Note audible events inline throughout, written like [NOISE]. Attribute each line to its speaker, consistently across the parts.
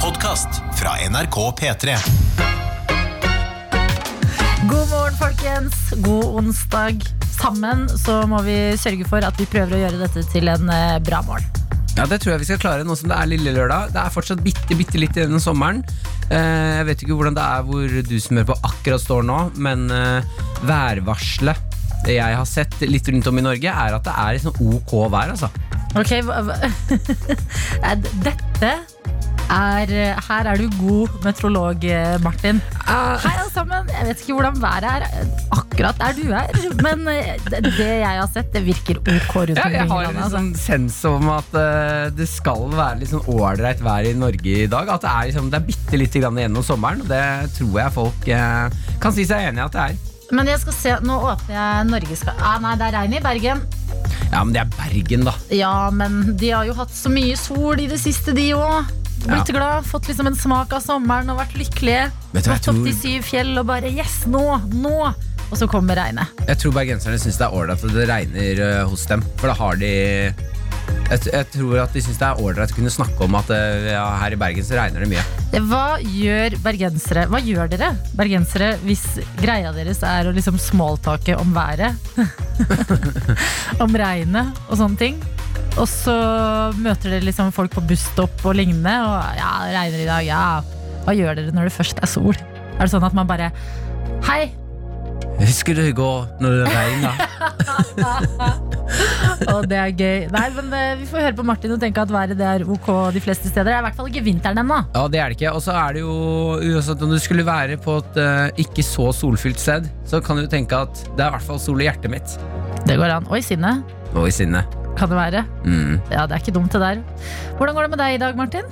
Speaker 1: podkast fra NRK P3.
Speaker 2: God morgen, folkens. God onsdag. Sammen så må vi sørge for at vi prøver å gjøre dette til en eh, bra morgen.
Speaker 3: Ja, Det tror jeg vi skal klare nå som det er lille lørdag. Det er fortsatt bitte, bitte litt igjen av sommeren. Eh, jeg vet ikke hvordan det er hvor du som hører på akkurat står nå, men eh, værvarselet det jeg har sett litt rundt om i Norge, er at det er liksom ok vær. altså
Speaker 2: Ok, hva, [LAUGHS] hva? Nei, d- Dette er eh, Her er du god meteorolog, eh, Martin. Hei, alle sammen. Jeg vet ikke hvordan været er eh, akkurat der du er, men eh, det det jeg har sett, det virker ok rundt
Speaker 3: Ja,
Speaker 2: omkring i
Speaker 3: jeg har
Speaker 2: landet.
Speaker 3: en
Speaker 2: altså.
Speaker 3: sånn sens om at eh, det skal være litt sånn ålreit vær i Norge i dag. At det er, liksom, det er bitte lite grann igjen av sommeren, og det tror jeg folk eh, kan si seg enig i at det er.
Speaker 2: Men jeg skal se, nå åpner jeg Norgeskartet. Ah, nei, det er regn i Bergen.
Speaker 3: Ja, men det er Bergen, da.
Speaker 2: Ja, men de har jo hatt så mye sol i det siste, de òg. Blitt glad, fått liksom en smak av sommeren og vært lykkelige.
Speaker 3: Vet du hva, jeg
Speaker 2: Gått opp
Speaker 3: tror-
Speaker 2: til syv fjell og bare Yes, nå! Nå! Og så kommer regnet.
Speaker 3: Jeg tror bergenserne syns det er ålreit at det regner eh, hos dem. For da har de Jeg, jeg tror at de syns det er ålreit å kunne snakke om at eh, ja, her i Bergen så regner det mye.
Speaker 2: Hva gjør bergensere Hva gjør dere bergensere hvis greia deres er å liksom smalltake om været? [LAUGHS] om regnet og sånne ting. Og så møter dere liksom folk på busstopp og lignende. Og ja, det regner i dag, ja. Hva gjør dere når det først er sol? Er det sånn at man bare Hei,
Speaker 3: Husker du i går når det regna?
Speaker 2: Og det er gøy. Nei, men eh, Vi får høre på Martin og tenke at været det er ok de fleste steder. Det er i hvert fall ikke vinteren ennå.
Speaker 3: [LAUGHS] ja, det er det ikke. Og så er det jo uansett om du skulle være på et eh, ikke så solfylt sted, så kan du tenke at det er i hvert fall sol i hjertet mitt.
Speaker 2: Det går an. Oi, sinne
Speaker 3: Og i sinnet.
Speaker 2: kan det være.
Speaker 3: Mm.
Speaker 2: Ja, det er ikke dumt, det der. Hvordan går det med deg i dag, Martin?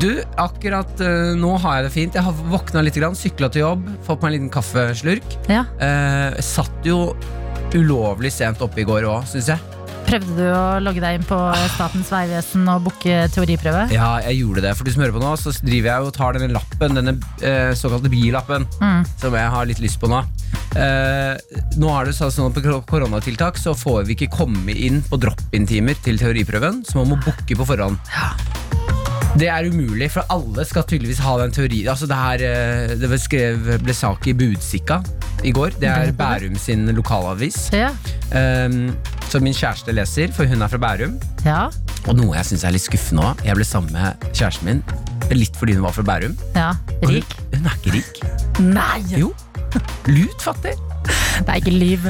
Speaker 3: Du, akkurat eh, nå har jeg det fint. Jeg har våkna litt, sykla til jobb, fått meg en liten kaffeslurk.
Speaker 2: Ja,
Speaker 3: Eh, satt jo ulovlig sent oppe i går òg, syns jeg.
Speaker 2: Prøvde du å logge deg inn på
Speaker 3: Ah.
Speaker 2: Statens vegvesen og booke teoriprøve?
Speaker 3: Ja, jeg gjorde det. For du som hører på nå, så driver jeg og tar denne lappen, denne eh, såkalte bilappen,
Speaker 2: Mm.
Speaker 3: som jeg har litt lyst på nå. Eh, nå er det så- sånn at På kor- koronatiltak så får vi ikke komme inn på drop-in-timer til teoriprøven, så man må booke på forhånd. Det er umulig, for alle skal tydeligvis ha den teorien. Altså det, her, eh, det ble, skrev, ble sak i Budsikka i går. Det er Bærum sin lokalavis,
Speaker 2: Ja.
Speaker 3: eh, som min kjæreste leser, for hun er fra Bærum.
Speaker 2: ja.
Speaker 3: Og noe jeg syns er litt skuffende òg. Jeg ble sammen med kjæresten min litt fordi hun var fra Bærum.
Speaker 2: Ja.
Speaker 3: Og hun-
Speaker 2: Rik?
Speaker 3: Hun er ikke rik.
Speaker 2: Nei!
Speaker 3: Jo. Lut fattig.
Speaker 2: Det er ikke
Speaker 3: [LAUGHS]
Speaker 2: liv.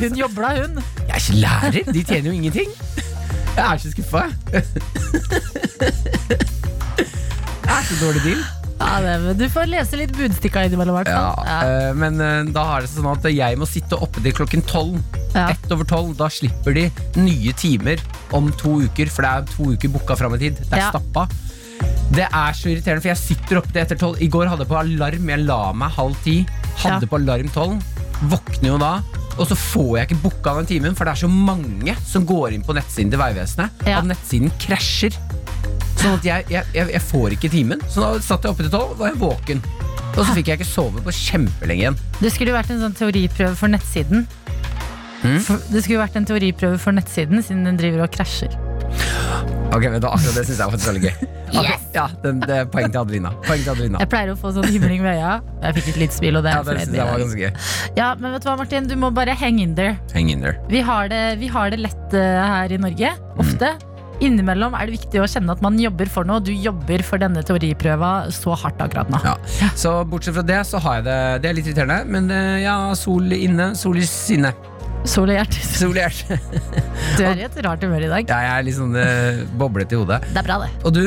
Speaker 2: Hun jobla, hun.
Speaker 3: Jeg er ikke lærer. De tjener jo ingenting. Jeg er så skuffa, jeg. Det er så dårlig deal.
Speaker 2: Ja, det, du får lese litt budstikka innimellom, i hvert fall.
Speaker 3: Eh, Men eh, da har det seg sånn at jeg må sitte oppe til klokken tolv.
Speaker 2: Ja.
Speaker 3: Ett over tolv. Da slipper de nye timer om to uker, for det er to uker booka fram i tid. Det er
Speaker 2: Ja.
Speaker 3: stappa. Det er så irriterende, for jeg sitter oppe til etter tolv. I går hadde jeg på alarm. Jeg la meg halv ti. Hadde
Speaker 2: Ja.
Speaker 3: på alarm tolv. Våkner jo da. Og så får jeg ikke booka den timen, for det er så mange som går inn på nettsiden til Vegvesenet
Speaker 2: Ja.
Speaker 3: at nettsiden krasjer. Sånn at jeg, jeg, jeg, jeg får ikke timen. Så da satt jeg oppe til tolv, var jeg våken. Og så fikk jeg ikke sove på kjempelenge igjen.
Speaker 2: Det skulle jo vært en sånn teoriprøve for nettsiden.
Speaker 3: Hm?
Speaker 2: For, det skulle jo vært en teoriprøve for nettsiden, siden den driver og krasjer.
Speaker 3: Ok, men da, akkurat Det syns jeg var faktisk
Speaker 2: [LAUGHS]
Speaker 3: veldig gøy. Akkurat- ja, den, det er poeng til Adelina. Poeng til Adelina.
Speaker 2: Jeg pleier å få sånn himling ved øya. Jeg fikk et lite smil, og det er
Speaker 3: Ja,
Speaker 2: jeg
Speaker 3: det
Speaker 2: fornøyd
Speaker 3: synes
Speaker 2: med
Speaker 3: jeg
Speaker 2: i
Speaker 3: var
Speaker 2: dag.
Speaker 3: ganske gøy.
Speaker 2: Ja, men vet du hva, Martin? Du må bare hang in there.
Speaker 3: Hang in there.
Speaker 2: Vi har det, vi har det lett eh, her i Norge. Ofte. Innimellom er det viktig å kjenne at man jobber for noe. Du jobber for denne teoriprøva så hardt akkurat nå.
Speaker 3: Ja. Så bortsett fra det, så har jeg det Det er litt irriterende, men eh, ja, sol inne, sol i sinne.
Speaker 2: Sol og hjerte. [LAUGHS]
Speaker 3: Sol i hjertet. [LAUGHS]
Speaker 2: Du er i et rart humør i dag.
Speaker 3: Ja, jeg er litt sånn eh, boblete i hodet.
Speaker 2: Det er bra, det.
Speaker 3: Og du?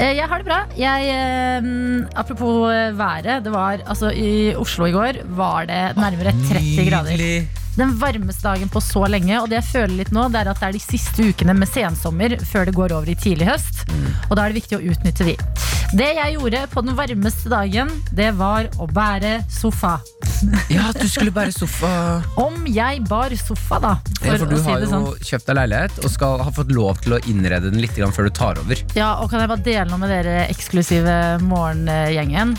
Speaker 2: Eh, Jeg har det bra. Jeg, eh, apropos eh, været. Det var, altså, I Oslo i går var det nærmere 30 grader.
Speaker 3: Nydelig.
Speaker 2: Den varmeste dagen på så lenge. Og det jeg føler litt nå, det er at det er de siste ukene med sensommer før det går over i tidlig høst.
Speaker 3: Mm.
Speaker 2: Og da er det viktig å utnytte de. Det jeg gjorde på den varmeste dagen, det var å bære sofa.
Speaker 3: Ja, du skulle bære sofa.
Speaker 2: Om jeg bar sofa, da, for,
Speaker 3: ja, for du
Speaker 2: å si
Speaker 3: har
Speaker 2: det
Speaker 3: jo
Speaker 2: sånn.
Speaker 3: kjøpt deg leilighet og skal ha fått lov til å innrede den litt grann før du tar over.
Speaker 2: Ja, og kan jeg bare dele noe med dere eksklusive morgengjengen?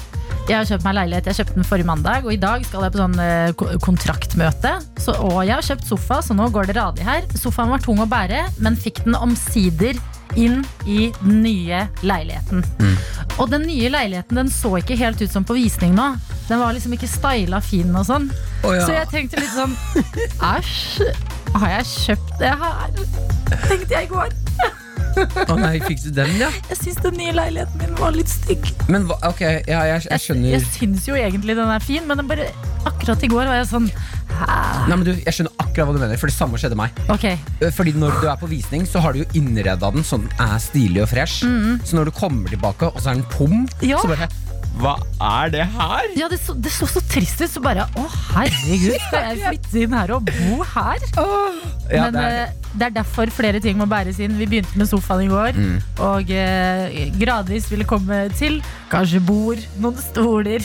Speaker 2: Jeg har kjøpt meg leilighet, jeg kjøpte den forrige mandag, og i dag skal jeg på sånn eh, ko- kontraktmøte. Så, og jeg har kjøpt sofa, så nå går det radig her. Sofaen var tung å bære, men fikk den omsider inn i den nye leiligheten. Og den nye leiligheten den så ikke helt ut som på visning nå. Den var liksom ikke styla fin og sånn.
Speaker 3: Å, ja.
Speaker 2: Så jeg tenkte litt sånn Æsj, har jeg kjøpt det her? Tenkte jeg i går.
Speaker 3: Å nei, fikk du den, ja?
Speaker 2: Jeg syns den nye leiligheten min var litt stygg.
Speaker 3: Men hva, ok, ja, jeg, jeg skjønner
Speaker 2: Jeg syns jo egentlig den er fin, men den bare, akkurat i går var jeg sånn Hæ?
Speaker 3: Nei, men du, Jeg skjønner akkurat hva du mener, for det samme skjedde meg.
Speaker 2: Ok,
Speaker 3: Eh, Fordi Når du er på visning, så har du jo innreda den sånn den er stilig og fresh. Så når du kommer tilbake, og så er den tom,
Speaker 2: Mhm. Ja.
Speaker 3: så bare Hva er det her?
Speaker 2: ja, det, så, det så så trist ut, så bare Å, herregud, skal jeg flytte inn her og bo her?
Speaker 3: Ja,
Speaker 2: Men
Speaker 3: det er,
Speaker 2: eh, det er derfor flere ting må bæres inn. Vi begynte med sofaen i går,
Speaker 3: Mm.
Speaker 2: og eh, gradvis ville komme til kanskje bord, noen
Speaker 3: [LAUGHS]
Speaker 2: stoler.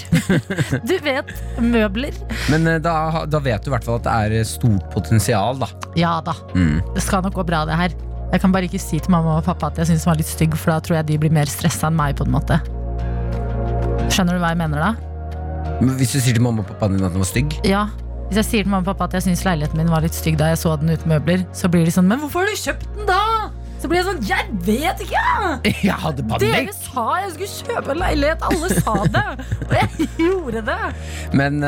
Speaker 2: du vet, møbler.
Speaker 3: men eh, da, da vet du i hvert fall at det er eh, stort potensial, da.
Speaker 2: Ja da,
Speaker 3: Mm.
Speaker 2: det skal nok gå bra, det her. Jeg kan bare ikke si til mamma og pappa at jeg syns den var litt stygg, for da tror jeg de blir mer stressa enn meg, på en måte. Skjønner du hva jeg mener da?
Speaker 3: Men Hvis du sier til mamma og pappaen din at den var stygg
Speaker 2: [LAUGHS] Ja. Hvis jeg sier til mamma og pappa at jeg syns leiligheten min var litt stygg da jeg så den uten møbler, så blir de sånn Men hvorfor har du kjøpt den da? Så blir jeg sånn Jeg vet ikke!
Speaker 3: Jeg hadde
Speaker 2: Dere
Speaker 3: panikk!
Speaker 2: sa jeg skulle kjøpe en leilighet! Alle sa det! Og jeg [LAUGHS] gjorde det!
Speaker 3: Men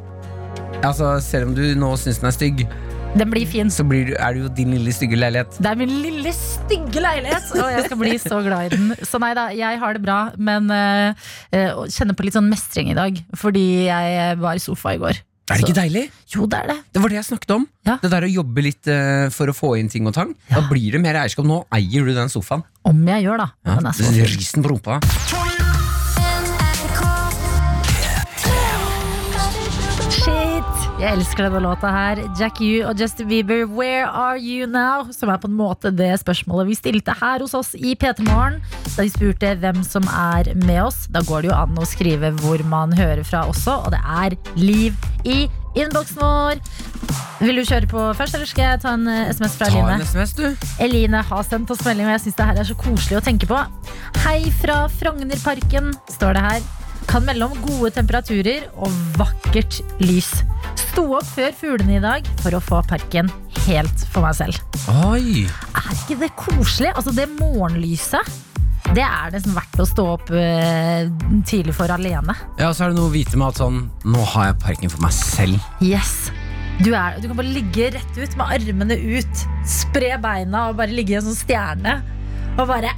Speaker 3: eh, altså, selv om du nå syns den er stygg,
Speaker 2: Den blir fin.
Speaker 3: så blir du, er det jo din lille stygge leilighet.
Speaker 2: Det er min lille, stygge leilighet, og jeg skal bli så glad i den. Så nei da, jeg har det bra, men eh, eh, og kjenner på litt sånn mestring i dag. Fordi jeg var i sofa i går.
Speaker 3: Er det ikke deilig?
Speaker 2: Jo, det er det.
Speaker 3: Det var det jeg snakket om.
Speaker 2: Ja.
Speaker 3: Det der å jobbe litt eh, for å få inn ting og tang. Da blir det mer eierskap. Nå eier du den sofaen.
Speaker 2: Om jeg gjør, da. Men den er så fin.
Speaker 3: Risen på rumpa.
Speaker 2: Shit! Jeg elsker denne låta her. Jack U og Justin Bieber, Where Are You Now? Som er på en måte det spørsmålet vi stilte her hos oss i P3 Morgen. Da vi spurte hvem som er med oss. Da går det jo an å skrive hvor man hører fra også, og det er Liv i innboksen vår. Vil du kjøre på først, eller skal jeg ta en eh, SMS fra
Speaker 3: Ta
Speaker 2: Eline?
Speaker 3: en SMS, du.
Speaker 2: Eline har sendt oss melding, og jeg syns det her er så koselig å tenke på. Hei fra Frognerparken, står det her. Kan melde om gode temperaturer og vakkert lys. Sto opp før fuglene i dag for å få parken helt for meg selv.
Speaker 3: Oi.
Speaker 2: Er ikke det koselig? Altså, det morgenlyset. Det er nesten verdt å stå opp eh, tidlig for alene.
Speaker 3: Ja, så er det noe å vite med at sånn Nå har jeg parken for meg selv.
Speaker 2: Yes. Du, er, du kan bare ligge rett ut med armene ut. Spre beina og bare ligge i en sånn stjerne. Og bare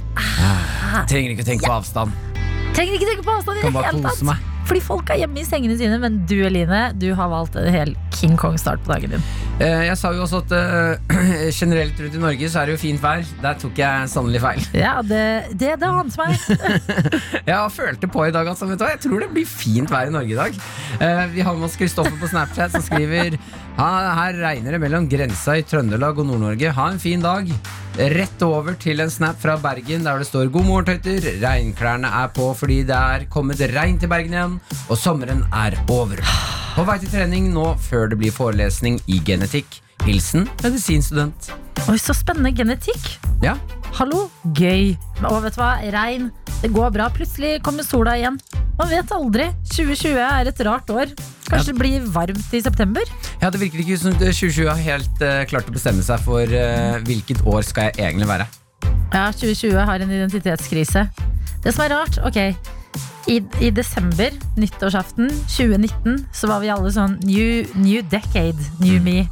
Speaker 3: Trenger ikke å tenke på avstand.
Speaker 2: Trenger ikke tenke på avstand i
Speaker 3: Kan
Speaker 2: det
Speaker 3: bare
Speaker 2: hele
Speaker 3: kose
Speaker 2: tatt.
Speaker 3: meg.
Speaker 2: Fordi folk er hjemme i sengene sine, men du Eline, du har valgt en hel King Kong-start på dagen din.
Speaker 3: Eh, Jeg sa jo også at eh, [CLEARS THROAT] generelt rundt i Norge så er det jo fint vær. Der tok jeg sannelig feil.
Speaker 2: Ja, det, det, det ante meg.
Speaker 3: Jeg følte på i dag, altså. Vet du hva? Jeg tror det blir fint vær i Norge i dag. Eh, vi har med oss Kristoffer på Snapchat som skriver «Ha, Her regner det mellom grensa i Trøndelag og Nord-Norge. Ha en fin dag. Rett over til en snap fra Bergen der det står 'God morgen, tøyter'. Regnklærne er på fordi det er kommet regn til Bergen igjen, og sommeren er over. På vei til trening nå før det blir forelesning i genetikk. Hilsen medisinstudent.
Speaker 2: [LAUGHS] Oi, så spennende genetikk.
Speaker 3: Ja,
Speaker 2: Hallo, gøy. Og vet du hva, regn. Det går bra. Plutselig kommer sola igjen. Man vet aldri. 2020 er et rart år. Kanskje det blir varmt i september?
Speaker 3: ja Det virker ikke som 2020 har helt eh, klart å bestemme seg for eh, hvilket år skal jeg egentlig være.
Speaker 2: Ja, 2020 har en identitetskrise. Det som er rart, ok I, i desember, nyttårsaften 2019, så var vi alle sånn New, new decade, new me.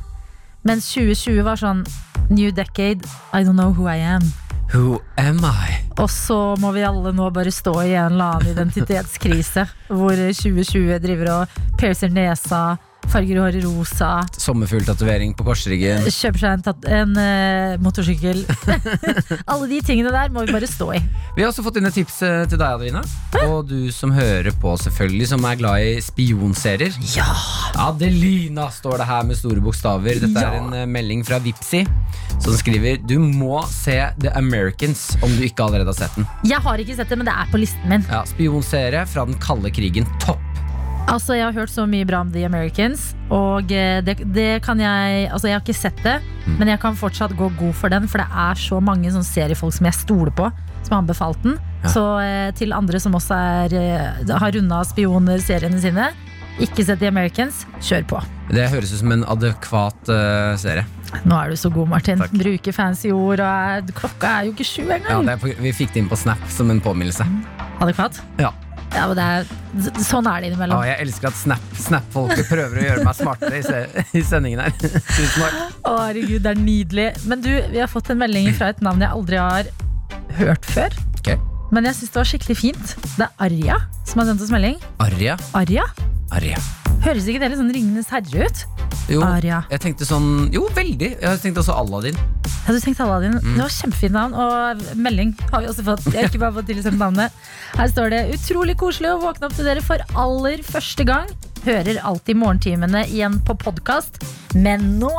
Speaker 2: Mens 2020 var sånn New decade, I don't know who I am.
Speaker 3: Who am I?
Speaker 2: Og så må vi alle nå bare stå i en eller annen identitetskrise. hvor 2020 driver og piercer nesa, farger håret rosa,
Speaker 3: Sommerfugltatovering på korsryggen.
Speaker 2: kjøper seg en, tat- en eh, motorsykkel. [LAUGHS] alle de tingene der må vi bare stå i.
Speaker 3: Vi har også fått inn et tips eh, til deg, Adelina. Og du som hører på, selvfølgelig, som er glad i spionserier.
Speaker 2: Ja!
Speaker 3: Adelina står det her med store bokstaver. Dette
Speaker 2: Ja.
Speaker 3: er en eh, melding fra Vipsi som skriver Du må se The Americans om du ikke allerede har sett den.
Speaker 2: Jeg har ikke sett det, men det er på listen min.
Speaker 3: Ja, Spionserie fra den kalde krigen. Topp.
Speaker 2: Altså, Jeg har hørt så mye bra om The Americans. Og eh, det, det kan jeg Altså, jeg har ikke sett det,
Speaker 3: Mm.
Speaker 2: men jeg kan fortsatt gå god for den, for det er så mange sånne seriefolk som jeg stoler på, som har anbefalt den.
Speaker 3: Ja.
Speaker 2: Så eh, til andre som også er, eh, har runda spionseriene sine, Ikke sett The Americans. Kjør på.
Speaker 3: Det høres ut som en adekvat eh, serie.
Speaker 2: Nå er du så god, Martin.
Speaker 3: Takk.
Speaker 2: Bruker fancy ord. Og er, klokka er jo ikke sju
Speaker 3: Ja,
Speaker 2: engang.
Speaker 3: det er på, vi fikk det inn på Snap som en påminnelse.
Speaker 2: Mm. Adekvat?
Speaker 3: Ja.
Speaker 2: Ja, men det er, s- sånn er det
Speaker 3: Ja,
Speaker 2: innimellom.
Speaker 3: jeg elsker at Snap- Snap-folket prøver å gjøre meg smartere i, se, i sendingen her. [LAUGHS] Tusen takk.
Speaker 2: Å, herregud, det er nydelig. Men du, vi har fått en melding fra et navn jeg aldri har hørt før.
Speaker 3: Ok.
Speaker 2: Men jeg syns det var skikkelig fint. Det er Arja som har sendt oss melding.
Speaker 3: Arja.
Speaker 2: Arja?
Speaker 3: Arja.
Speaker 2: Høres ikke det litt sånn Ringenes herre ut?
Speaker 3: Jo,
Speaker 2: Arja.
Speaker 3: jeg tenkte sånn Jo, veldig. Jeg tenkte også Aladdin.
Speaker 2: Ja, du tenkte Aladdin. Det var kjempefint navn, og melding har vi også fått. Jeg har ikke bare fått tilsendt navnet. Her står det 'Utrolig koselig å våkne opp til dere for aller første gang'. Hører alltid morgentimene igjen på podkast, men nå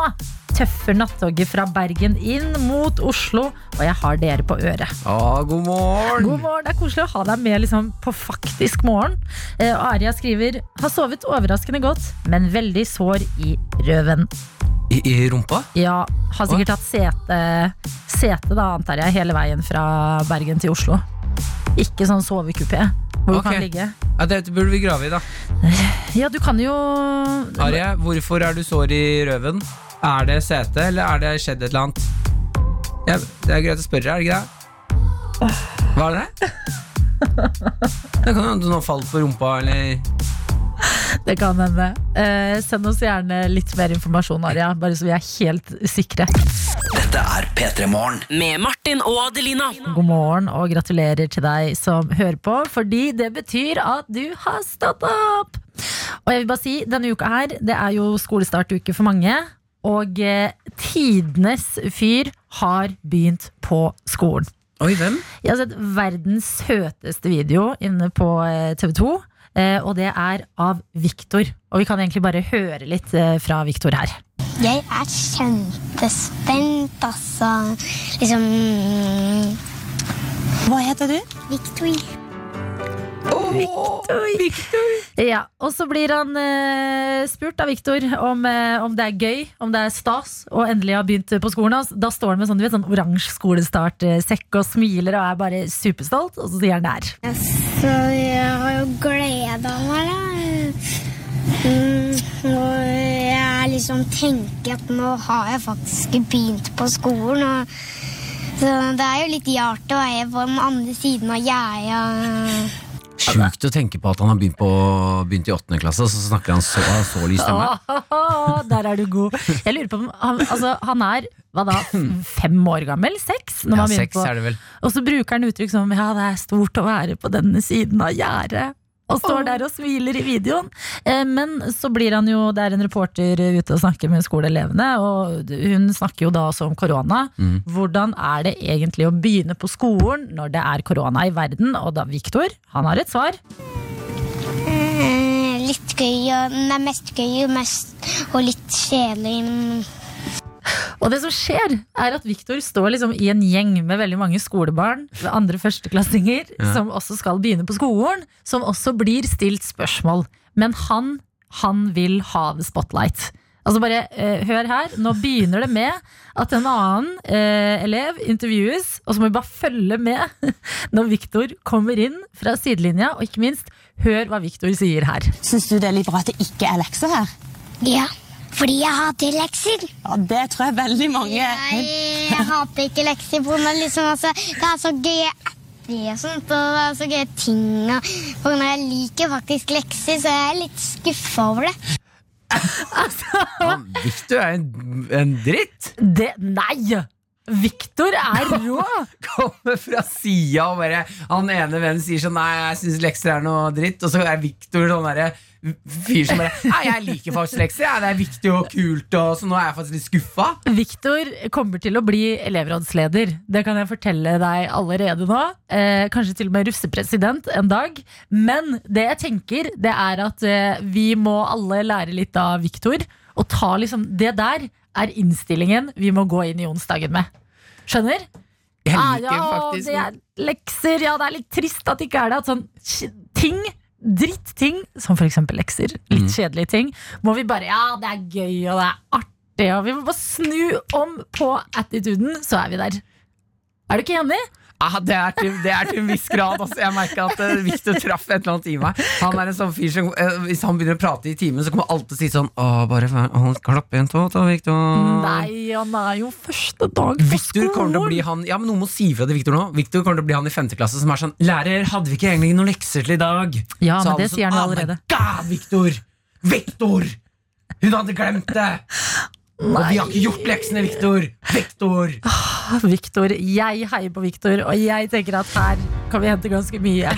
Speaker 2: tøffer nattoget fra Bergen inn mot Oslo, og jeg har dere på øret.
Speaker 3: Å, god morgen!
Speaker 2: God morgen, Det er koselig å ha deg med liksom, på faktisk morgen. Eh, og Aria skriver 'Har sovet overraskende godt, men veldig sår i røven'.
Speaker 3: I, I rumpa?
Speaker 2: Ja, har sikkert hatt sete, sete da, antar jeg, hele veien fra Bergen til Oslo. Ikke sånn sovekupé hvor du
Speaker 3: Ok.
Speaker 2: kan ligge.
Speaker 3: Ja, det burde vi grave i, da.
Speaker 2: Ja, du kan jo
Speaker 3: Arje, hvorfor er du sår i røven? Er det sete, eller er det skjedd et eller annet? Ja, det er greit å spørre, er det ikke det? Hva er
Speaker 2: [LAUGHS]
Speaker 3: det? Det kan jo hende du nå falt på rumpa, eller
Speaker 2: [LAUGHS] Det kan hende. Eh, send oss gjerne litt mer informasjon, Aria, bare så vi er helt sikre.
Speaker 4: Dette er P3 Morgen.
Speaker 5: Med Martin og Adelina.
Speaker 2: God morgen og gratulerer til deg som hører på, fordi det betyr at du har stått opp! Og jeg vil bare si, denne uka her, det er jo skolestartuke for mange, og eh, tidenes fyr har begynt på skolen.
Speaker 3: Oi, hvem?
Speaker 2: Jeg har sett verdens søteste video inne på eh, TV 2, eh, og det er av Viktor. Og vi kan egentlig bare høre litt eh, fra Viktor her.
Speaker 6: Jeg er kjempespent, altså. Liksom mm.
Speaker 7: Hva heter du?
Speaker 6: Victory.
Speaker 2: Ja, og så blir han eh, spurt av Viktor om, eh, om det er gøy, om det er stas, og endelig har begynt på skolen hans. Da står han med sånn, du vet, sånn oransje skolestart-sekk og smiler og er bare superstolt, og så sier han det her.
Speaker 6: Så Altså, jeg har jo gleda meg, da. Mm, og jeg liksom tenker at nå har jeg faktisk begynt på skolen. Og, så det er jo litt rart å være på den andre siden av gjerdet.
Speaker 3: Sjukt å tenke på at han har begynt, på, begynt i åttende klasse, og så snakker han så, har så lys stemme.
Speaker 2: Åh, [LAUGHS] der er du god. Jeg lurer på om han, altså, han er hva da, fem år gammel? Seks? Når
Speaker 3: Ja,
Speaker 2: man begynner
Speaker 3: seks
Speaker 2: på-
Speaker 3: er det vel.
Speaker 2: Og så bruker han uttrykk som Ja, det er stort å være på denne siden av gjerdet. Og står der og smiler i videoen. Eh, Men så blir han jo Det er en reporter ute og snakker med skoleelevene, og hun snakker jo da også om korona.
Speaker 3: Mm.
Speaker 2: Hvordan er det egentlig å begynne på skolen når det er korona i verden? Og da Viktor, han har et svar.
Speaker 6: Eh, Litt gøy, og nei, mest gøy og, mest, og litt kjedelig. men-
Speaker 2: Og det som skjer, er at Viktor står liksom i en gjeng med veldig mange skolebarn, andre førsteklassinger, som også skal begynne på skolen, som også blir stilt spørsmål. Men han, han vil ha the spotlight. Altså bare eh, Hør her, nå begynner det med at en annen eh, elev intervjues, og så må vi bare følge med [LAUGHS] når Viktor kommer inn fra sidelinja, og ikke minst, hør hva Viktor sier her.
Speaker 7: Syns du det er litt bra at det ikke er lekser her?
Speaker 6: Ja, fordi jeg hater lekser.
Speaker 7: Ja, Det tror jeg veldig mange
Speaker 6: Nei, jeg hater ikke lekser. på grunn av Liksom, altså, det er så gøye apper og sånt, og det er så gøye ting. Og, på grunn av jeg liker faktisk lekser, så jeg er litt skuffa over det.
Speaker 3: Han, Victor er en, en dritt!
Speaker 2: Det Nei! Viktor er rå!
Speaker 3: Kommer fra sida og bare Han ene vennen sier sånn Nei, jeg syns lekser er noe dritt. Og så er Victor sånn derre fyr som bare Nei, jeg liker faktisk lekser. Ja, det er viktig og kult, og så nå er jeg faktisk litt skuffa.
Speaker 2: Viktor kommer til å bli elevrådsleder. Det kan jeg fortelle deg allerede nå. Eh, kanskje til og med russepresident en dag. Men det jeg tenker, det er at eh, vi må alle lære litt av Viktor. Og ta liksom Det der er innstillingen vi må gå inn i onsdagen med. Skjønner?
Speaker 3: Jeg
Speaker 2: Ah,
Speaker 3: liker
Speaker 2: ja,
Speaker 3: faktisk
Speaker 2: det er lekser. Ja, det er litt trist at det ikke er det. At sånn sh- ting, drittting, som for eksempel lekser, litt
Speaker 3: Mm.
Speaker 2: kjedelige ting, må vi bare Ja, det er gøy, og det er artig, og vi må bare snu om på attituden, så er vi der. Er du ikke enig?
Speaker 3: Ah, det, er til, det er til en viss grad. Altså. Jeg merker at eh, Hvis du traff et eller annet i meg Han er en sånn fyr som eh, Hvis han begynner å prate i timen, så kommer han alltid til å si sånn Åh, bare vær- hold klapp igjen, to, to, Victor.
Speaker 2: Nei, han er jo første dag på
Speaker 3: Victor Ah. kommer til å
Speaker 2: skolen.
Speaker 3: bli han Ja, men Noen må si fra til Victor nå. Victor kommer til å bli han i femte klasse som er sånn Lærer, hadde vi ikke egentlig noen lekser til i dag?
Speaker 2: Ja, men
Speaker 3: alle
Speaker 2: det sier han jo
Speaker 3: «Ah, my
Speaker 2: allerede.»
Speaker 3: God, Victor! Victor! Hun hadde glemt det! Og vi har ikke gjort leksene, Victor! Victor!
Speaker 2: Victor, jeg heier på Victor, og jeg tenker at her kan vi hente ganske mye.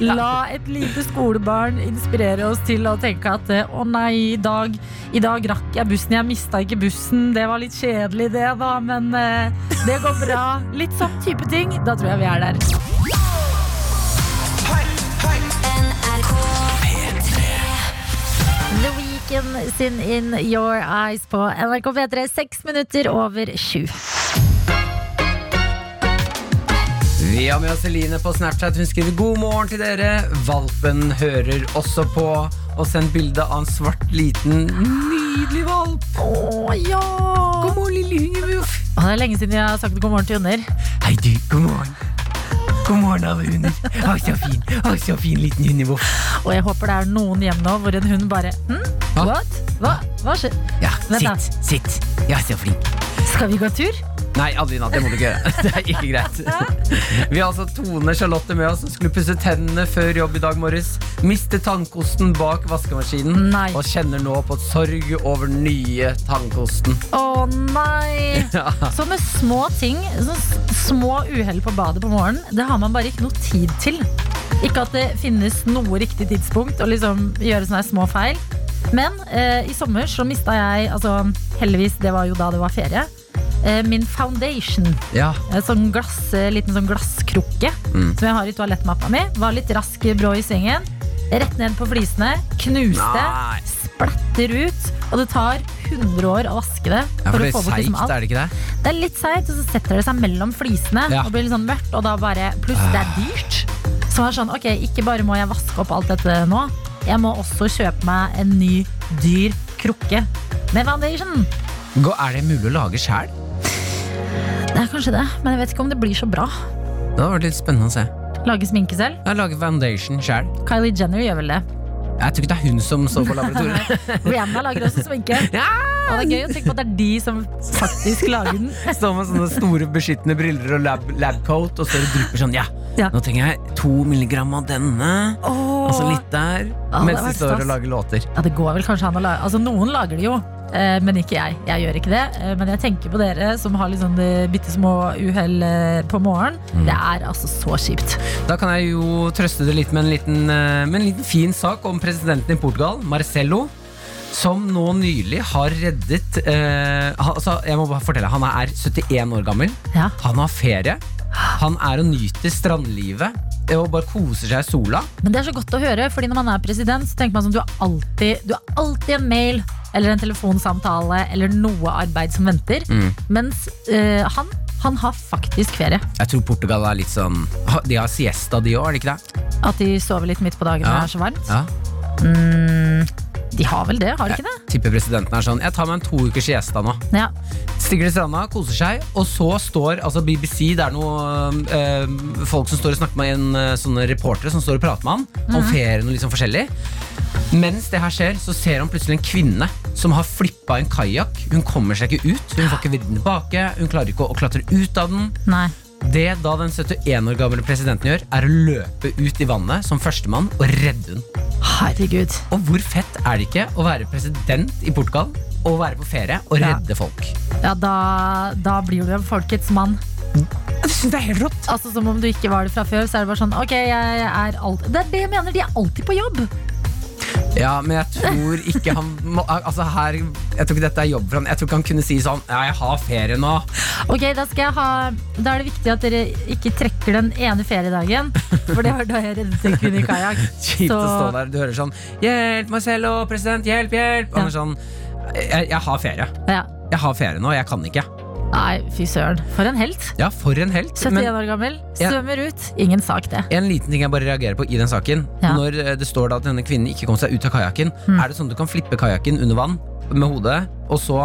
Speaker 2: La et lite skolebarn inspirere oss til å tenke at eh, å nei, i dag, i dag rakk jeg bussen, jeg mista ikke bussen, det var litt kjedelig det da, men eh, det går bra. Litt sånn type ting. Da tror jeg vi er der. The Weekend sin In Your Eyes på NRK P3, seks minutter over sju.
Speaker 3: Vi har med oss Eline på Snapchat. Hun skriver god morgen til dere. Valpen hører også på. Og send bilde av en svart, liten, nydelig valp.
Speaker 2: Å ja!
Speaker 3: God morgen, lille hundemuff.
Speaker 2: Å, Det er lenge siden jeg har sagt god morgen til hunder.
Speaker 3: Hei, du. God morgen. God morgen, alle hunder. Å, så fin. Å, så fin liten hundemuff.
Speaker 2: Og jeg håper det er noen hjem nå hvor en hund bare hm?
Speaker 3: Hva?
Speaker 2: What? Hva? Hva skjer?
Speaker 3: Ja,
Speaker 2: Vent da.
Speaker 3: sitt. Sitt. Ja, så flink.
Speaker 2: Skal vi gå tur?
Speaker 3: Nei, Adelina, det må du ikke gjøre. [LAUGHS] Det er ikke greit. Vi har altså Tone Charlotte med oss, som skulle pusse tennene før jobb i dag morges. Mistet tannkosten bak vaskemaskinen
Speaker 2: Nei.
Speaker 3: og kjenner nå på sorg over den nye tannkosten.
Speaker 2: Å nei!
Speaker 3: [LAUGHS] Ja.
Speaker 2: Sånne små ting, sånne s- små uhell på badet på morgenen, det har man bare ikke noe tid til. Ikke at det finnes noe riktig tidspunkt å liksom gjøre sånne her små feil. Men eh, i sommer så mista jeg, altså heldigvis, det var jo da det var ferie, eh, min foundation.
Speaker 3: Ja.
Speaker 2: En sånn glass, liten sånn glasskrukke
Speaker 3: Mm.
Speaker 2: som jeg har i toalettmappa mi. Var litt rask brå i svingen. Rett ned på flisene. Knuste.
Speaker 3: Nei.
Speaker 2: Splatter ut. Og det tar 100 år å vaske det.
Speaker 3: for det
Speaker 2: å
Speaker 3: er seigt, er det ikke det?
Speaker 2: Det er litt seigt, og så setter det seg mellom flisene.
Speaker 3: Ja. Ah.
Speaker 2: Og blir litt sånn mørkt, og da bare Pluss det er dyrt. Så det er sånn, ok, ikke bare må jeg vaske opp alt dette nå, jeg må også kjøpe meg en ny, dyr krukke med foundation.
Speaker 3: Gå- Er det mulig å lage sjæl?
Speaker 2: Det er kanskje det, men jeg vet ikke om det blir så bra.
Speaker 3: Det hadde vært litt spennende å se.
Speaker 2: Lage sminke selv.
Speaker 3: Jeg lager foundation sjæl.
Speaker 2: Kylie Jenner gjør vel det.
Speaker 3: Jeg tror ikke det er hun som står på laboratoriet. [LAUGHS]
Speaker 2: Rihanna lager også sminke.
Speaker 3: Ja!
Speaker 2: Og det er gøy å tenke på at det er de som faktisk lager den.
Speaker 3: Står med sånne store beskyttende briller og lab, labcoat og står og drypper sånn. Ja,
Speaker 2: Ja.
Speaker 3: nå trenger jeg to milligram av denne, og så litt der.
Speaker 2: Ja, det
Speaker 3: mens
Speaker 2: har
Speaker 3: de
Speaker 2: vært
Speaker 3: står
Speaker 2: stas.
Speaker 3: og lager låter.
Speaker 2: Altså, Ja, det går vel kanskje an å lage Altså, noen lager det jo, eh, men ikke jeg. Jeg gjør ikke det. Eh, Men jeg tenker på dere som har litt sånn bitte små uhell eh, på morgenen. Det er altså så kjipt.
Speaker 3: Da kan jeg jo trøste det litt med en liten, eh, med en liten fin sak om presidenten i Portugal, Marcello. Som nå nylig har reddet eh, han- altså, Jeg må bare fortelle, han er 71 år gammel.
Speaker 2: Ja.
Speaker 3: Han har ferie. Han er og nyter strandlivet og bare koser seg i sola.
Speaker 2: Men det er så godt å høre, fordi når man er president, så tenker man sånn du har alltid, du har alltid en mail eller en telefonsamtale eller noe arbeid som venter. Mens eh, han, han har faktisk ferie.
Speaker 3: Jeg tror Portugal er litt sånn De har siesta, de òg, er det ikke det?
Speaker 2: At de sover litt midt på dagen når
Speaker 3: Ja.
Speaker 2: det er så varmt.
Speaker 3: Ja.
Speaker 2: De har vel det, har de ikke det?
Speaker 3: Tipper presidenten er sånn Jeg tar meg en to ukers siesta nå
Speaker 2: Ja.
Speaker 3: Stikker til stranda, koser seg Og så står altså BBC Det er noen folk som står og snakker med en eh, Sånne reportere som står og prater med han Om ferien og litt sånn forskjellig mens det her skjer, så ser han plutselig en kvinne som har flippet en kajak. Hun kommer seg ikke ut, hun får ikke vidden tilbake, hun klarer ikke å- å klatre ut av den.
Speaker 2: Nei.
Speaker 3: Det da den 71 år gamle presidenten gjør, er å løpe ut i vannet som førstemann og redde hun.
Speaker 2: Herregud.
Speaker 3: Og hvor fett er det ikke å være president i Portugal og være på ferie og
Speaker 2: Ja.
Speaker 3: redde folk?
Speaker 2: Ja, da, da blir du en folkets mann.
Speaker 3: Jeg synes det er helt rått.
Speaker 2: Altså Som om du ikke var det fra før. Så er det bare sånn, ok, jeg er alt Det er det jeg mener, de er alltid på jobb!
Speaker 3: Ja, men jeg tror ikke han må, altså her, Jeg tror ikke dette er jobb for han Jeg tror ikke han kunne si sånn Ja, jeg har ferie nå. [LAUGHS]
Speaker 2: Ok, Da skal jeg ha Da er det viktig at dere ikke trekker den ene feriedagen. For det var da jeg reddet en kvinne i
Speaker 3: [LAUGHS]
Speaker 2: kajakk.
Speaker 3: Kjipt å stå
Speaker 2: Så
Speaker 3: der. Du hører sånn Hjelp, Marcello, president, hjelp, hjelp. Og han er sånn jeg, jeg har ferie.
Speaker 2: ja.
Speaker 3: Jeg har ferie nå. Jeg kan ikke.
Speaker 2: Nei, fy søren. For en helt.
Speaker 3: Ja, for en helt.
Speaker 2: 71
Speaker 3: men-
Speaker 2: år gammel.
Speaker 3: Ja.
Speaker 2: Svømmer ut. Ingen sak, det.
Speaker 3: En liten ting jeg bare reagerer på i den saken.
Speaker 2: Ja. Mm.
Speaker 3: Når eh, det står da at denne kvinnen ikke kom seg ut av kajakken, er det sånn du kan flippe kajakken under vann med hodet, og så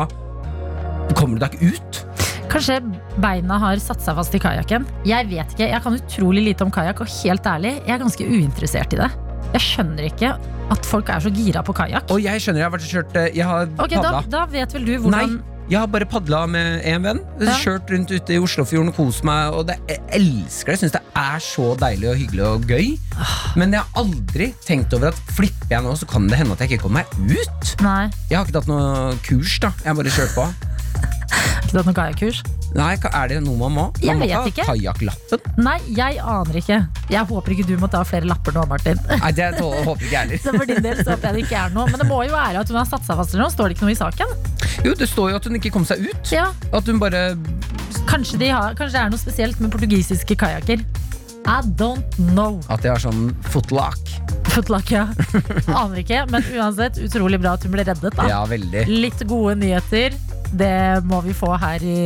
Speaker 3: kommer du deg ikke ut?
Speaker 2: Kanskje beina har satt seg fast i kajakken? Jeg vet ikke, jeg kan utrolig lite om kajakk, og helt ærlig, jeg er ganske uinteressert i det. Jeg skjønner ikke at folk er så gira på kajakk.
Speaker 3: Og jeg skjønner, jeg har vært og kjørt eh, Jeg har
Speaker 2: Ok, da,
Speaker 3: padla.
Speaker 2: da vet vel du hvordan
Speaker 3: Nei, jeg har bare padla med en venn.
Speaker 2: Ja.
Speaker 3: Kjørt rundt ute i Oslofjorden og kost meg. Og det, jeg elsker det. Jeg syns det er så deilig og hyggelig og gøy. Men jeg har aldri tenkt over at flipper jeg nå, så kan det hende at jeg ikke kommer meg ut.
Speaker 2: Nei,
Speaker 3: Jeg har ikke tatt noe kurs, da. Jeg har bare kjørt på.
Speaker 2: ikke tatt noe kajakkurs?
Speaker 3: Nei, ka- Er det noe man må?
Speaker 2: Jeg
Speaker 3: Man må
Speaker 2: vet
Speaker 3: ta
Speaker 2: ikke.
Speaker 3: kajakklappen?
Speaker 2: Nei, jeg aner ikke. Jeg håper ikke du må ta flere lapper nå, Martin.
Speaker 3: Nei, det tå- håper ikke jeg heller.
Speaker 2: [LAUGHS] Så [LAUGHS] for din del så håper jeg det ikke er noe. Men det må jo være at hun har satt seg fast eller noe. Står det ikke noe i saken?
Speaker 3: Jo, det står jo at hun ikke kom seg ut.
Speaker 2: Ja,
Speaker 3: At hun bare
Speaker 2: Kanskje, de har, kanskje det er noe spesielt med portugisiske kajakker. I don't know.
Speaker 3: At jeg har sånn footlock.
Speaker 2: Footlock, ja. Aner ikke. Men uansett, utrolig bra at hun ble reddet. da.
Speaker 3: Ja, veldig.
Speaker 2: Litt gode nyheter. Det må vi få her i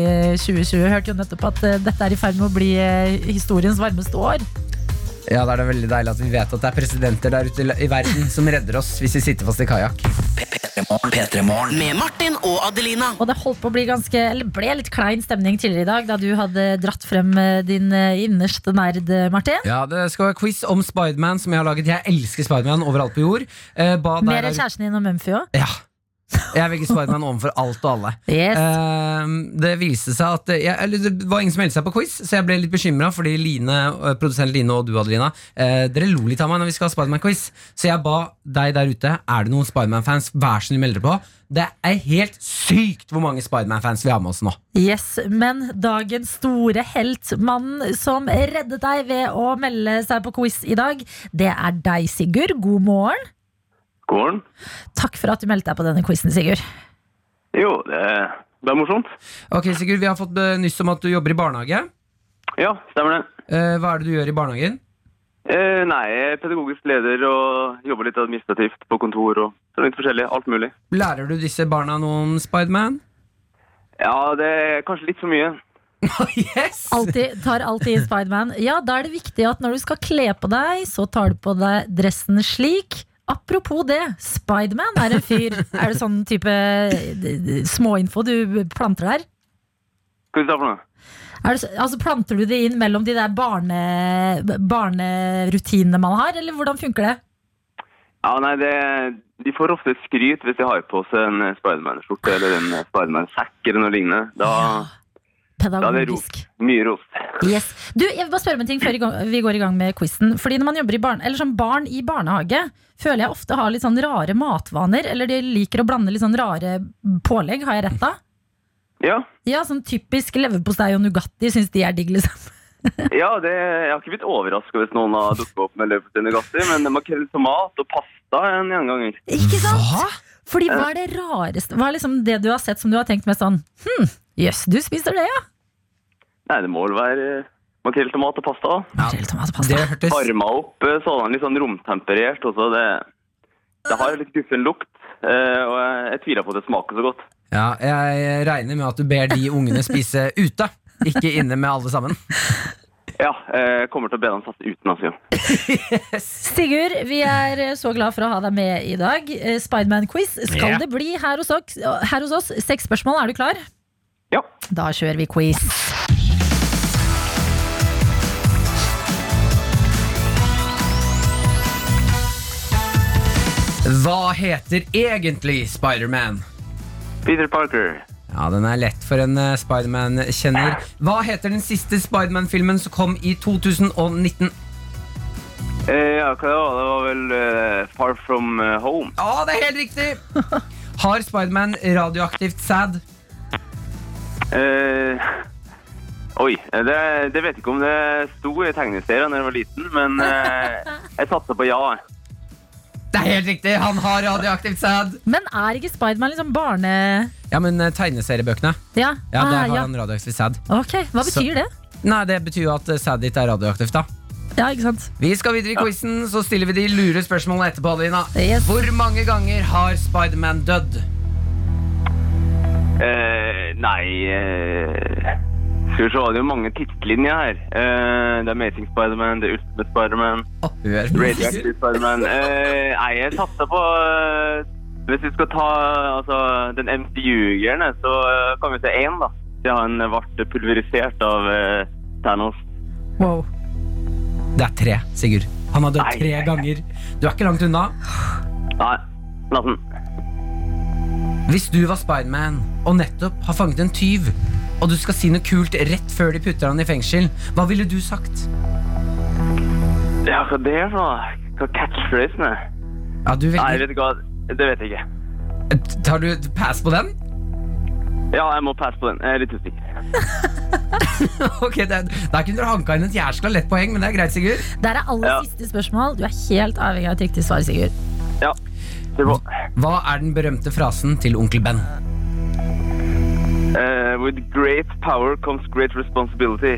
Speaker 2: 2020. Hørte jo nettopp at eh, dette er i ferd med å bli eh, historiens varmeste år.
Speaker 3: Ja, Da er det veldig deilig at vi vet at det er presidenter der ute i la- i verden som redder oss hvis vi sitter fast i kajakk.
Speaker 4: P3morgen. P3morgen.
Speaker 5: Med Martin og Adelina.
Speaker 2: Og det holdt på å bli ganske, eller ble litt klein stemning tidligere i dag, da du hadde dratt frem eh, din eh, innerste nerd, eh, Martin.
Speaker 3: Ja, Det skal være quiz om Spiderman, som jeg har laget. Jeg elsker Spiderman overalt på jord. Eh, ba deg-
Speaker 2: Mer enn kjæresten din og Mumphy òg.
Speaker 3: Ja. Jeg velger Spiderman overfor alt og alle.
Speaker 2: Yes.
Speaker 3: Eh, det viste seg at jeg, eller, Det var ingen som meldte seg på quiz, så jeg ble litt bekymra. Fordi Line, eh, produsent Line og du, Adelina, eh, dere lo litt av meg når vi skal ha Spiderman-quiz. Så jeg ba deg der ute, er det noen Spiderman-fans, vær så snill meld dere på. Det er helt sykt hvor mange Spiderman-fans vi har med oss nå.
Speaker 2: Yes, men dagens store helt, mannen som reddet deg ved å melde seg på quiz i dag, det er deg, Sigurd. God morgen.
Speaker 8: God morgen.
Speaker 2: Takk for at du meldte deg på denne quizen, Sigurd.
Speaker 8: Jo, det er, det er morsomt.
Speaker 3: Ok, Sigurd, Vi har fått eh, nyss om at du jobber i barnehage.
Speaker 8: Ja, stemmer det.
Speaker 3: Eh, hva er det du gjør i barnehagen?
Speaker 8: Eh, nei, jeg er pedagogisk leder og jobber litt administrativt på kontor og så litt forskjellig. Alt mulig.
Speaker 3: Lærer du disse barna noe om Spiderman?
Speaker 8: Ja, det er kanskje litt for mye.
Speaker 3: yes!
Speaker 2: Alltid, tar alltid i Spiderman. Ja, da er det viktig at når du skal kle på deg, så tar du på deg dressen slik. Apropos det, Spiderman er en fyr. Er det sånn type d- d- småinfo du planter der?
Speaker 8: Hva skal vi ta for noe?
Speaker 2: Er det, så- altså Planter du det inn mellom de der barne, barnerutinene man har, eller hvordan funker det?
Speaker 8: Ja, nei, det, De får ofte skryt hvis de har på seg en Spiderman-skjorte eller en Spiderman-sekk eller noe lignende. Da, da er det ros.
Speaker 2: Pedagogisk.
Speaker 8: Mye ros.
Speaker 2: Yes. Du, jeg vil bare spørre om en ting før i gang- vi går i gang med quizen. Fordi når man jobber i barn, eller som barn i barnehage, føler jeg ofte har litt sånn rare matvaner. Eller de liker å blande litt sånn rare pålegg, har jeg rett da?
Speaker 8: Ja,
Speaker 2: Ja, sånn typisk leverpostei og Nugatti syns de er digg, liksom. [LAUGHS]
Speaker 8: ja det, jeg har ikke blitt overraska hvis noen har dukket opp med løpet til Nugatti, men makrell i tomat og pasta er en gjenganger.
Speaker 2: Ikke sant? Fordi hva er det rareste Hva er liksom det du har sett som du har tenkt med sånn Hm, jøss, du spiser det, ja?
Speaker 8: Nei, det må vel være eh, makrell i tomat og pasta. da.
Speaker 2: Makrell, tomat og pasta.
Speaker 3: Det hørtes
Speaker 8: varma opp eh, sådan litt sånn romtemperert også. Det, det har litt guffen lukt, eh, og jeg, jeg tviler på at det smaker så godt.
Speaker 3: Ja, jeg regner med at du ber de ungene spise ute. Ikke inne med alle sammen.
Speaker 8: Ja, eh, jeg kommer til å be dem satse uten altså.
Speaker 2: Sigurd, vi er eh, så glad for å ha deg med i dag. Eh, Spiderman-quiz skal
Speaker 3: Ja.
Speaker 2: det bli her hos, oss, her hos oss. Seks spørsmål, er du klar?
Speaker 8: Ja.
Speaker 2: Da kjører vi quiz.
Speaker 3: Hva heter egentlig Spiderman?
Speaker 8: Peter Parker.
Speaker 3: Ja, den er lett for en eh, Spiderman-kjenner. Hva heter den siste Spiderman-filmen som kom i 2019?
Speaker 8: Eh, ja, hva det var det? var vel eh, Far From eh, Home.
Speaker 3: Ja, det er helt riktig! Har Spiderman radioaktivt sæd?
Speaker 8: Eh, oi, eh, det, det vet jeg ikke om det sto i tegneserien da jeg var liten, men eh, jeg satser på ja. jeg.
Speaker 3: Det er helt riktig! Han har radioaktivt sæd!
Speaker 2: Men er ikke Spiderman liksom barne...
Speaker 3: Ja, men eh, tegneseriebøkene.
Speaker 2: Ja,
Speaker 3: Ja,
Speaker 2: ah,
Speaker 3: Der har
Speaker 2: ja.
Speaker 3: han radioaktivt sæd.
Speaker 2: Ok, Hva betyr det?
Speaker 3: Nei, det betyr jo at eh, sædet ditt er radioaktivt, da.
Speaker 2: Ja, ikke sant?
Speaker 3: Vi skal videre i quizen, så stiller vi de lure spørsmålene etterpå. Adelina.
Speaker 2: Yes.
Speaker 3: Hvor mange ganger har Spiderman dødd?
Speaker 8: Eh, nei eh, Skal vi se, det er jo mange tidslinjer her. Eh, det er Amazing Spiderman, det er Ultimate Spiderman, Radioactive Spiderman eh, Nei, jeg satser på eh, Hvis vi skal ta altså, den MCU-greiene, så eh, kan vi se én, da. ja, han ble pulverisert av eh, Thanos.
Speaker 2: Wow.
Speaker 3: Det er tre, Sigurd. Han har dødd
Speaker 8: Nei,
Speaker 3: tre
Speaker 8: nei, nei.
Speaker 3: ganger. Du er ikke langt unna.
Speaker 8: Nei, Lassen.
Speaker 3: Hvis du var Spiderman og nettopp har fanget en tyv, og du skal si noe kult rett før de putter han i fengsel, hva ville du sagt?
Speaker 8: Ja, hva det er for noe? Hva catchphrasen er?
Speaker 3: Ja, du
Speaker 8: Nei,
Speaker 3: velger
Speaker 8: vet du hva, det vet jeg ikke.
Speaker 3: Tar du pass på den? [LAUGHS]
Speaker 8: Ja, jeg må passe på den. Jeg er litt usikker.
Speaker 3: ok, det, Der kunne dere hanka inn et jæskla lett poeng, men det er greit, Sigurd.
Speaker 2: Der er aller
Speaker 8: Ja.
Speaker 2: siste spørsmål. Du er helt avhengig av et riktig svar, Sigurd.
Speaker 8: Ja, det var...
Speaker 3: Hva er den berømte frasen til onkel Ben?
Speaker 8: Eh, with great power comes great responsibility.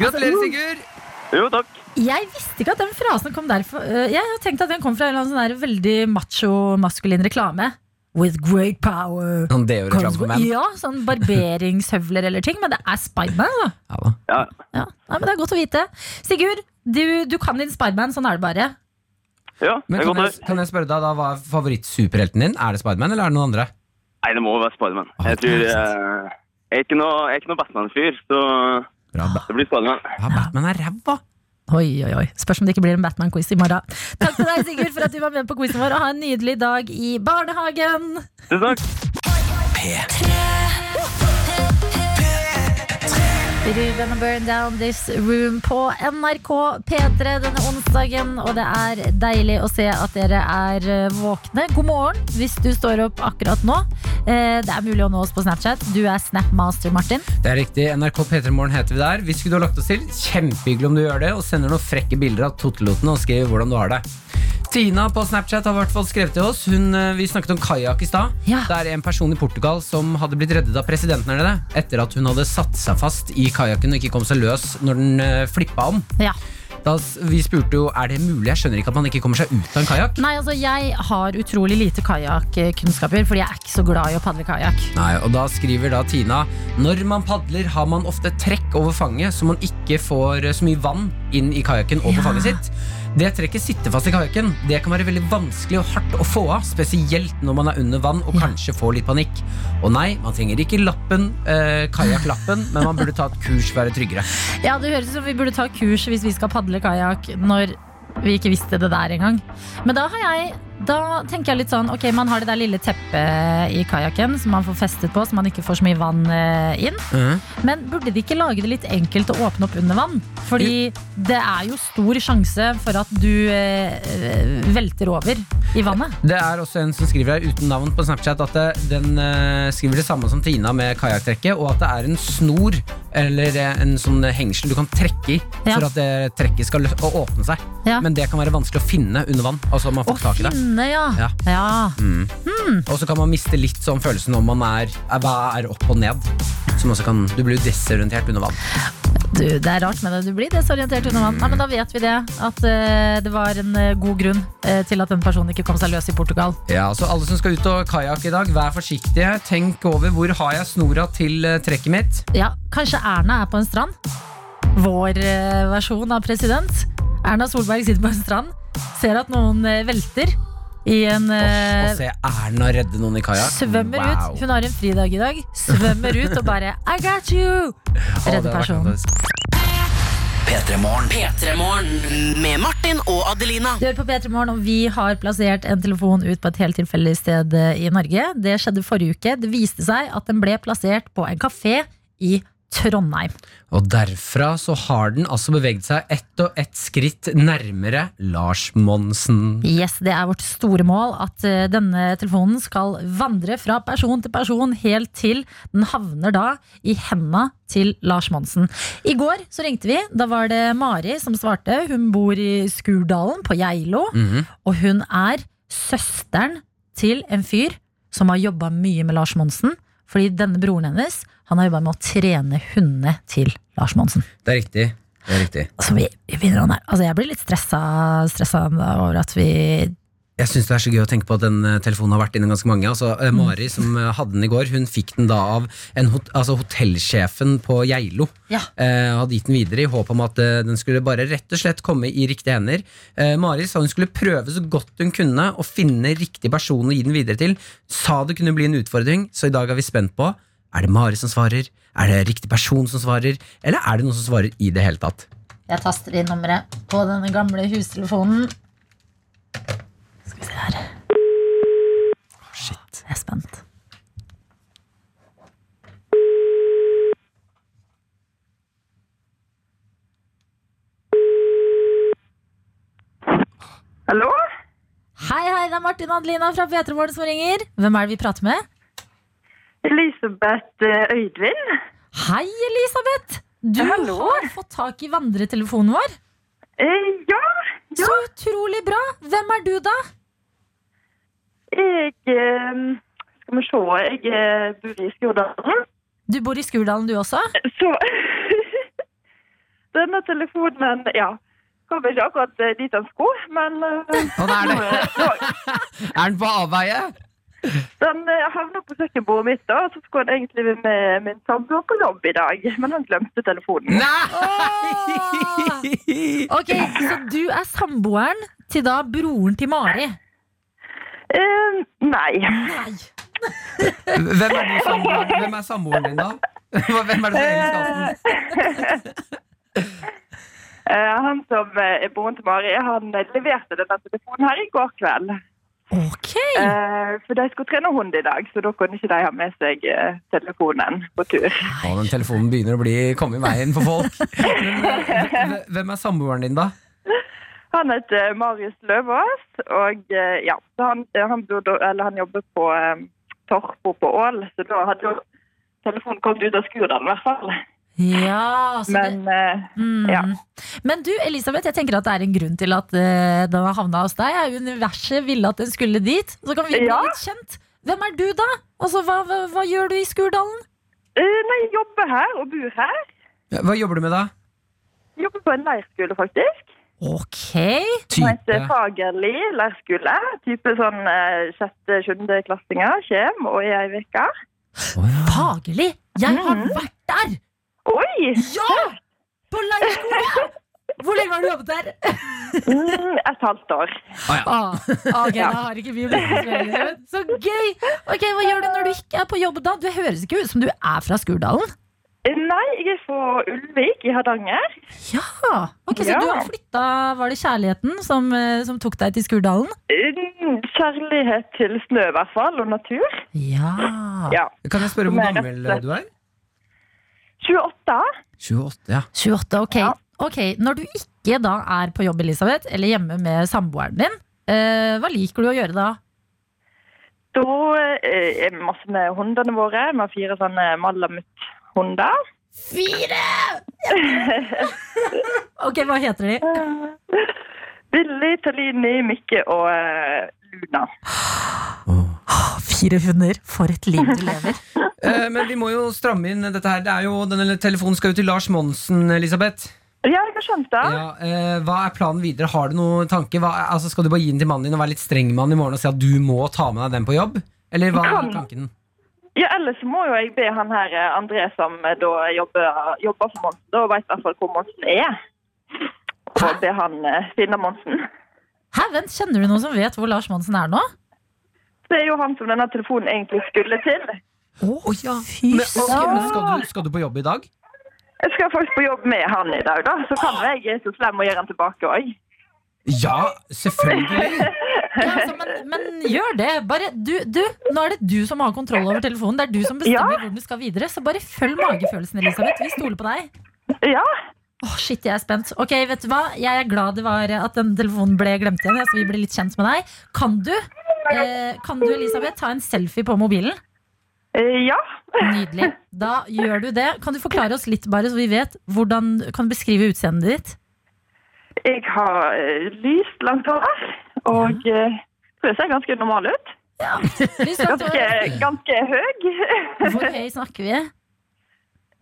Speaker 3: Gratulerer, Sigurd!
Speaker 8: Jo, takk.
Speaker 2: Jeg visste ikke at den frasen kom derfra. Eh, Jeg har tenkt at den kom fra en eller annen sånn der veldig macho-maskulin reklame. With great power.
Speaker 3: Sånn deo-reklame for menn.
Speaker 2: Ja, sånn barberingshøvler eller ting, men det er Spiderman. da.
Speaker 3: Ja, da.
Speaker 8: Ja,
Speaker 2: Ja. Nei, men det er godt å vite. Sigurd, du, du kan din Spiderman, sånn er det bare.
Speaker 8: ja det
Speaker 3: Men
Speaker 8: er
Speaker 3: kan
Speaker 8: godt
Speaker 3: jeg,
Speaker 8: her.
Speaker 3: kan jeg spørre deg da, Hva er favorittsuperhelten din? Er det Spiderman eller er det noen andre?
Speaker 8: Nei, det må jo være Spiderman. Jeg tror eh, Jeg er ikke noe, jeg er ikke noe Batman-fyr, så
Speaker 3: Bra, ba
Speaker 8: det blir Spiderman.
Speaker 3: ja, Batman er ræva!
Speaker 2: Oi, oi, oi. Spørs om det ikke blir en Batman-quiz i morgen. Takk til deg, Sigurd, for at du var med på quizen vår, og ha en nydelig dag i barnehagen.
Speaker 8: Tusen takk.
Speaker 2: Ruben og Burn Down This Room på NRK P3 denne onsdagen. Og det er deilig å se at dere er eh, våkne. God morgen hvis du står opp akkurat nå. Eh, Det er mulig å nå oss på Snapchat. Du er Snapmaster, Martin.
Speaker 3: Det er riktig. NRK P3 Morgen heter vi der. Hvis skulle du har lagt oss til, kjempehyggelig om du gjør det, og sender noen frekke bilder av Totelotene og skriver hvordan du har det. Tina på Snapchat har i hvert fall skrevet til oss. Hun, eh, vi snakket om kajakk i stad.
Speaker 2: Ja.
Speaker 3: Det er en person i Portugal som hadde blitt reddet av presidenten her nede etter at hun hadde satt seg fast i kajakken og ikke kom seg løs når den eh, flippa om.
Speaker 2: Ja.
Speaker 3: Da, s- vi spurte jo er det mulig. Jeg skjønner ikke at man ikke kommer seg ut av en kajakk.
Speaker 2: Nei, altså, jeg har utrolig lite kajakkunnskaper, fordi jeg er ikke så glad i å padle kajakk.
Speaker 3: Nei, og da skriver da Tina Når man padler har man ofte trekk over fanget Så man ikke får eh, så mye vann inn i kajakken og på fanget sitt Det trekket sitter fast i kajakken Det kan være veldig vanskelig og hardt å få av Spesielt når man er under vann og kanskje får litt panikk Og nei, man trenger ikke lappen, eh, kajaklappen Men man burde ta et kurs for å være tryggere
Speaker 2: Ja, Det høres ut som vi burde ta kurs hvis vi skal padle kajakk når vi ikke visste det der engang. Men da har jeg da tenker jeg litt sånn, ok, Man har det der lille teppet i kajakken som man får festet på, så man ikke får så mye vann eh, inn. Men burde de ikke lage det litt enkelt å åpne opp under vann? Fordi det er jo stor sjanse for at du eh, eh, velter over i vannet.
Speaker 3: Det er også en som skriver her uten navn på Snapchat at eh, den eh, skriver det samme som Tina med kajakktrekket, og at det er en snor eller eh, en sånn hengsel du kan trekke i
Speaker 2: Ja.
Speaker 3: for at det trekket skal lø- å åpne seg.
Speaker 2: Ja.
Speaker 3: Men det kan være vanskelig å finne under vann. Altså man
Speaker 2: Å
Speaker 3: får tak i det.
Speaker 2: finne, ja.
Speaker 3: Ja.
Speaker 2: ja.
Speaker 3: Og så kan man miste litt sånn følelsen om man er, er, hva er opp og ned. Som også kan, du blir jo desorientert under vann.
Speaker 2: Du, det er rart med det. Du blir desorientert under vann. Nei, men da vet vi det. At eh, det var en eh, god grunn eh, til at den personen ikke kom seg løs i Portugal.
Speaker 3: Ja, så Alle som skal ut og kajakke i dag, vær forsiktige. Tenk over hvor har jeg snora til eh, trekket mitt.
Speaker 2: Ja, Kanskje Erna er på en strand? Vår eh, versjon av president. Erna Solberg sitter på en strand, ser at noen eh, velter i en
Speaker 3: Åh,
Speaker 2: eh,
Speaker 3: og se Erna redde noen i kajakk.
Speaker 2: Svømmer
Speaker 3: wow.
Speaker 2: ut. Hun har en fridag i dag. Svømmer ut og bare I got you!
Speaker 3: Åh, det
Speaker 2: Redder
Speaker 3: hadde vært
Speaker 2: personen.
Speaker 3: fantastisk.
Speaker 4: P3-morgen.
Speaker 5: P3-morgen med Martin og Adelina.
Speaker 2: Du hører på P3 Morgen, og vi har plassert en telefon ut på et helt tilfeldig sted eh, i Norge. Det skjedde forrige uke. Det viste seg at den ble plassert på en kafé i Trondheim.
Speaker 3: Og derfra så har den altså beveget seg ett og ett skritt nærmere Lars Monsen.
Speaker 2: Yes, Det er vårt store mål at eh, denne telefonen skal vandre fra person til person helt til den havner da i henda til Lars Monsen. I går så ringte vi. Da var det Mari som svarte. Hun bor i Skurdalen på Geilo.
Speaker 3: Mhm.
Speaker 2: Og hun er søsteren til en fyr som har jobba mye med Lars Monsen. Fordi denne broren hennes han har jobba med å trene hundene til Lars Monsen.
Speaker 3: Det er riktig. Det er riktig.
Speaker 2: Altså, vi, vi begynner å nær- altså, jeg blir litt stressa, stressa over at vi
Speaker 3: Jeg synes det er så gøy å tenke på at den eh, telefonen har vært inne ganske mange. Altså, eh, Mari, som eh, hadde den i går, hun fikk den da av en hot altså, hotellsjefen på Geilo.
Speaker 7: Ja.
Speaker 3: Eh, hadde gitt den videre i håp om at eh, den skulle bare rett og slett komme i riktige hender. Eh, Mari sa hun skulle prøve så godt hun kunne å finne riktig person å gi den videre til. Sa det kunne bli en utfordring, så i dag er vi spent på er det Mari som svarer, er det riktig person som svarer, eller er det noen som svarer i det hele tatt?
Speaker 2: Jeg taster inn nummeret på denne gamle hustelefonen. Skal vi se her. Shit. Jeg er spent.
Speaker 9: Hallo?
Speaker 2: Hei, hei, det er Martin og Adelina fra P3 Morgen som ringer. Hvem er det vi prater med?
Speaker 9: Elisabeth eh, Øydvin?
Speaker 2: Hei, Elisabeth! Du
Speaker 9: Hallo.
Speaker 2: har fått tak i vandretelefonen vår.
Speaker 9: Eh, ja, ja.
Speaker 2: Så utrolig bra! Hvem er du, da?
Speaker 9: Jeg eh, Skal vi se. Jeg eh, bor i Stjørdal.
Speaker 2: Du bor i Skurdalen, du
Speaker 9: [LAUGHS]
Speaker 2: også?
Speaker 9: Så Denne telefonen Ja. Kom ikke akkurat eh, dit han skulle, men eh,
Speaker 3: Å, det er
Speaker 9: [LAUGHS]
Speaker 3: det.
Speaker 9: nå-
Speaker 3: Er den på avveie? [LAUGHS]
Speaker 9: den eh, havna på kjøkkenbordet mitt, da, og så skulle han egentlig være med min samboer på jobb i dag, men han glemte telefonen.
Speaker 3: Nei!
Speaker 2: Ok, Så du er samboeren til da broren til Mari?
Speaker 9: Eh, nei.
Speaker 2: Nei.
Speaker 3: Hvem er, du samboeren? Hvem er samboeren din, da? Hva- Hvem er det som er elsker den?
Speaker 9: Eh, han som eh, er broren til Mari, han eh, leverte denne telefonen her i går kveld.
Speaker 2: Ok!
Speaker 9: Eh, for de skulle trene hund i dag, så da kunne ikke de ha med seg eh, telefonen på tur.
Speaker 3: Å, den telefonen begynner å bli, komme i veien for folk. [LAUGHS] Men, eh, Hvem er samboeren din, da?
Speaker 9: Han heter Marius Løvaas, og eh, ja, så han, eh, han, bor da- eller han jobber på eh, Torpo på Ål, så da hadde jo telefonen kommet ut av Skurdal i hvert fall.
Speaker 2: Ja, så det,
Speaker 9: Men eh,
Speaker 2: mm.
Speaker 9: ja.
Speaker 2: Men du, Elisabeth, jeg tenker at det er en grunn til at eh, den har havna hos deg. Er Universet ville at den skulle dit. Så kan vi bli
Speaker 9: Ja.
Speaker 2: litt kjent. Hvem er du, da? Altså, hva, hva, hva gjør du i Skurdalen?
Speaker 9: eh, Nei, jeg jobber her og bor her.
Speaker 3: Hva jobber du med, da?
Speaker 9: Jobber på en leirskole, faktisk.
Speaker 2: Ok.
Speaker 9: Som heter Fagerli leirskole. Type sånn eh, sjette-sjuendeklassinger kommer og er ei uke.
Speaker 3: Å, ja.
Speaker 2: Fagerli! Jeg har vært der!
Speaker 9: Oi!
Speaker 2: Ja! På leirskole! Hvor lenge har du jobbet der?
Speaker 9: Mm, et halvt år.
Speaker 2: Ah, ok, da har ikke vi blitt venner. Så gøy! Ok, Hva gjør du når du ikke er på jobb da? Du høres ikke ut som du er fra Skurdalen.
Speaker 9: Nei, jeg er fra Ulvik i Hardanger.
Speaker 2: Ja, ok, Så
Speaker 9: Ja.
Speaker 2: du har flytta Var det kjærligheten som, eh, som tok deg til Skurdalen?
Speaker 9: Mm, Kjærlighet til snø, i hvert fall, og natur.
Speaker 2: Ja.
Speaker 9: Ja.
Speaker 3: Kan jeg spørre hvor gammel eh, du er?
Speaker 9: 28.
Speaker 3: 28, ja.
Speaker 2: 28, ok.
Speaker 9: Ja.
Speaker 2: Ok, Når du ikke da er på jobb, Elisabeth, eller hjemme med samboeren din, eh, hva liker du å gjøre da?
Speaker 9: Da eh, er vi masse med hundene våre. Vi har fire sånne malamuthunder.
Speaker 2: Ok, Hva heter de?
Speaker 9: Billy, Talini, Mikke og eh, Luna.
Speaker 2: Ah, Fire hunder. For et liv du lever.
Speaker 3: Eh, Men vi må jo stramme inn dette her. Det er jo, denne telefonen skal jo til Lars Monsen, Elisabeth.
Speaker 9: Ja, jeg har skjønt det.
Speaker 3: Ja, eh, hva er planen videre? Har du noen tanke? Hva, altså, skal du bare gi den til mannen din og være litt streng med han i morgen og si at du må ta med deg den på jobb? Eller hva er
Speaker 9: Kan-
Speaker 3: tanken?
Speaker 9: Ja, ellers må jo jeg be han her, eh, André, som eh, da jobber, jobber for Monsen, da vet i hvert fall hvor Monsen er. Og be han eh, finne Monsen.
Speaker 2: Hæ, vent, Kjenner du noen som vet hvor Lars Monsen er nå?
Speaker 9: Det er jo han som denne telefonen egentlig skulle til.
Speaker 3: Å, ja. Men, ok, men skal, du, skal du på jobb i dag?
Speaker 9: Jeg skal faktisk på jobb med han i dag, da. Så kan jo jeg er så slem og gjøre han tilbake òg.
Speaker 3: Ja, selvfølgelig!
Speaker 2: Ja, altså, men, men gjør det. Bare, du, du, nå er det du som har kontroll over telefonen. Det er du som bestemmer
Speaker 9: Ja.
Speaker 2: hvor du skal videre. Så bare følg magefølelsen, Elisabeth. Vi stoler på deg.
Speaker 9: Ja.
Speaker 2: Åh, shit, jeg er spent. Ok, vet du hva? Jeg er glad det var at den telefonen ble glemt igjen. ja, Så vi ble litt kjent med deg. Kan du, eh, kan du Elisabeth, ta en selfie på mobilen?
Speaker 9: Eh, Ja.
Speaker 2: Nydelig. Da gjør du det. Kan du forklare oss litt, bare, så vi vet hvordan Kan du beskrive utseendet ditt?
Speaker 9: Jeg har eh, lyst langt hår, og eh, tror jeg ser ganske normal ut.
Speaker 2: Lyst langt
Speaker 9: Ganske,
Speaker 2: hår.
Speaker 9: ganske høy.
Speaker 2: Hvor høy snakker vi?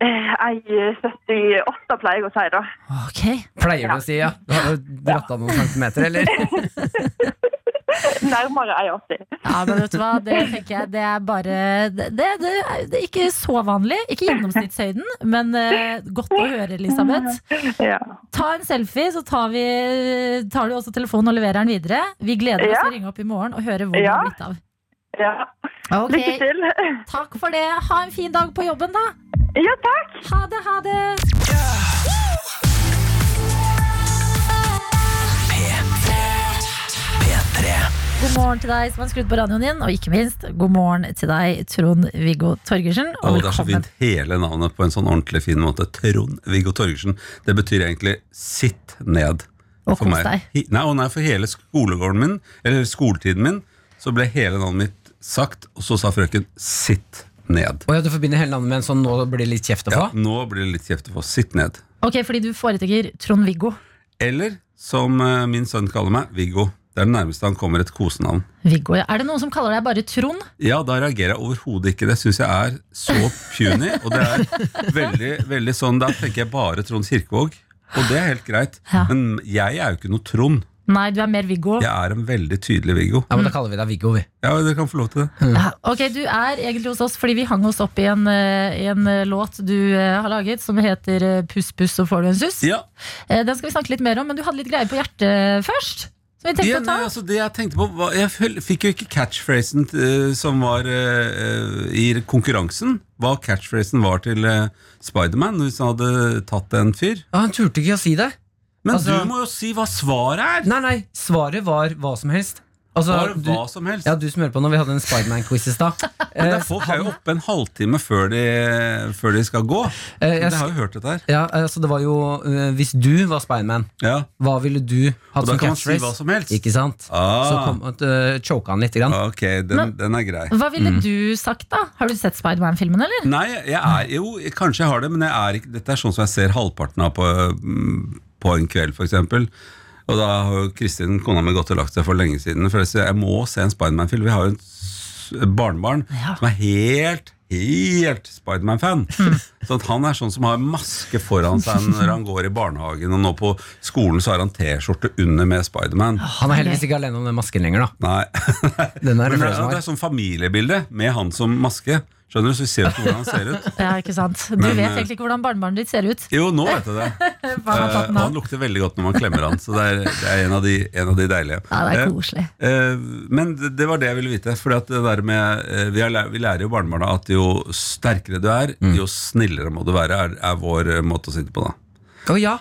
Speaker 9: Eh, Ei eh, 78 pleier jeg å si, da.
Speaker 2: Ok.
Speaker 3: Pleier du å si ja? Du har jo dratt av noen centimeter, eller?
Speaker 9: Nærmere er jeg 80.
Speaker 2: Ja, men vet du hva, det tenker jeg Det er bare Det, det, det, er, det er ikke så vanlig. Ikke gjennomsnittshøyden, men eh, godt å høre, Elisabeth.
Speaker 9: Ja.
Speaker 2: Ta en selfie, så tar, vi, tar du også telefonen og leverer den videre. Vi gleder oss
Speaker 9: Ja.
Speaker 2: til å ringe opp i morgen og høre hvor det
Speaker 9: Ja.
Speaker 2: har blitt av.
Speaker 9: ja.
Speaker 2: Ok,
Speaker 9: Lykke til. [LAUGHS]
Speaker 2: Takk for det. Ha en fin dag på jobben, da.
Speaker 9: Ja, takk.
Speaker 2: Ha det, ha det. God morgen til deg som har skrudd på radioen din, og ikke minst god morgen til deg, Trond-Viggo Torgersen.
Speaker 10: Å,
Speaker 2: Og
Speaker 10: det er så fint. Hele navnet på en sånn ordentlig fin måte. Trond-Viggo Torgersen. Det betyr egentlig 'sitt ned'.
Speaker 2: Og
Speaker 10: For
Speaker 2: kos
Speaker 10: meg.
Speaker 2: deg.
Speaker 10: Hi- Nei, og nei, for hele skolegården min, eller skoletiden min, så ble hele navnet mitt sagt, og så sa frøken 'sitt ned'.
Speaker 3: Og ja, Du forbinder hele landet med en sånn 'nå blir det litt kjeft å
Speaker 10: Ja,
Speaker 3: få'?
Speaker 10: nå blir det litt kjeft å få 'sitt ned'.
Speaker 2: Ok, fordi du foretrekker Trond-Viggo.
Speaker 10: Eller som eh, min sønn kaller meg, Viggo. Det er det nærmeste han kommer et kosenavn.
Speaker 2: Viggo, ja. Er det noen som kaller deg bare Trond?
Speaker 10: Ja, da reagerer jeg overhodet ikke. Det syns jeg er så puny. Og det er veldig, veldig sånn Da tenker jeg bare Trond Kirkevåg. Og det er helt greit.
Speaker 2: Ja.
Speaker 10: Men jeg er jo ikke noe Trond.
Speaker 2: Nei, du er mer Viggo.
Speaker 10: Jeg er en veldig tydelig Viggo.
Speaker 3: Ja, men Da kaller vi deg Viggo, vi.
Speaker 10: Ja, dere kan få lov til det.
Speaker 2: Ja, Ok, du er egentlig hos oss fordi vi hang oss opp i en, eh, i en eh, låt du eh, har laget som heter eh, Puss, puss, så får du en suss.
Speaker 10: Ja,
Speaker 2: Eh, Den skal vi snakke litt mer om, men du hadde litt greier på hjertet først. Som vi tenkte
Speaker 10: ja
Speaker 2: å ta.
Speaker 10: nei, altså det Jeg tenkte på var, Jeg føl- fikk jo ikke catchphrasen eh, som var eh, eh, i konkurransen. Hva catchphrasen var til eh, Spiderman hvis han hadde tatt en fyr.
Speaker 3: Ja, han turte ikke å si det.
Speaker 10: Men
Speaker 3: Altså-
Speaker 10: du må jo si hva svaret er!
Speaker 3: Nei, nei, svaret var hva som helst. Altså,
Speaker 10: Bare
Speaker 3: du,
Speaker 10: hva som helst.
Speaker 3: ja, du som hører på når vi hadde en Spiderman-quiz i
Speaker 10: [LAUGHS]
Speaker 3: stad.
Speaker 10: Men
Speaker 3: Eh,
Speaker 10: det er folk er jo oppe en halvtime før de, før de skal gå.
Speaker 3: eh,
Speaker 10: Jeg
Speaker 3: jeg
Speaker 10: har
Speaker 3: sk-
Speaker 10: jo hørt dette her.
Speaker 3: ja, eh, så det var jo eh, Hvis du var Spiderman,
Speaker 10: Ja.
Speaker 3: hva ville du hatt
Speaker 10: Og da
Speaker 3: som
Speaker 10: kan man si hva
Speaker 3: catchphrase?
Speaker 10: som helst.
Speaker 3: Ikke sant? Så
Speaker 10: Ah,
Speaker 3: kom, eh, choka han litt. Grann.
Speaker 10: ok, den,
Speaker 2: Men-
Speaker 10: den er grei.
Speaker 2: Hva ville
Speaker 3: Mm.
Speaker 2: du sagt, da? Har du sett Spiderman-filmen, eller?
Speaker 10: Nei, jeg er jo Kanskje jeg har det, men jeg er ikke, dette er sånn som jeg ser halvparten av på, mm, på en kveld, f.eks. Og da har jo Kristin, kona mi, gått og lagt seg for lenge siden. For jeg, sier, jeg må se en Spiderman-film. Vi har jo en s- barnebarn
Speaker 2: Ja.
Speaker 10: som er helt Helt Spiderman-fan. [LAUGHS] Så at han er sånn som har maske foran seg når han går i barnehagen, og nå på skolen så har han T-skjorte under med Spiderman.
Speaker 3: Han er heldigvis ikke alene om den masken lenger, da.
Speaker 10: Nei.
Speaker 3: Den er
Speaker 10: [LAUGHS] Men
Speaker 3: det
Speaker 10: det,
Speaker 3: flere
Speaker 10: er,
Speaker 3: som
Speaker 10: det
Speaker 3: har.
Speaker 10: er sånn familiebilde med han som maske. Skjønner du, Så vi ser jo ikke hvordan han ser ut.
Speaker 2: Ja, ikke sant? Du
Speaker 10: Men,
Speaker 2: vet
Speaker 10: eh,
Speaker 2: egentlig ikke hvordan barnebarnet ditt ser ut.
Speaker 10: Jo, nå vet jeg det.
Speaker 2: [LAUGHS] Hva har
Speaker 10: Eh,
Speaker 2: tatt
Speaker 10: og han
Speaker 2: den av?
Speaker 10: lukter veldig godt når man klemmer han, så det er, det er en, av de, en av de deilige.
Speaker 2: Ja, det
Speaker 10: Eh,
Speaker 2: er koselig.
Speaker 10: eh, men det, det var det jeg ville vite. Fordi at det der med, eh, vi, har, læ- vi lærer jo barnebarna at jo sterkere du er, jo snillere må du være, er, er vår eh, måte å si det på. da
Speaker 3: Å ja!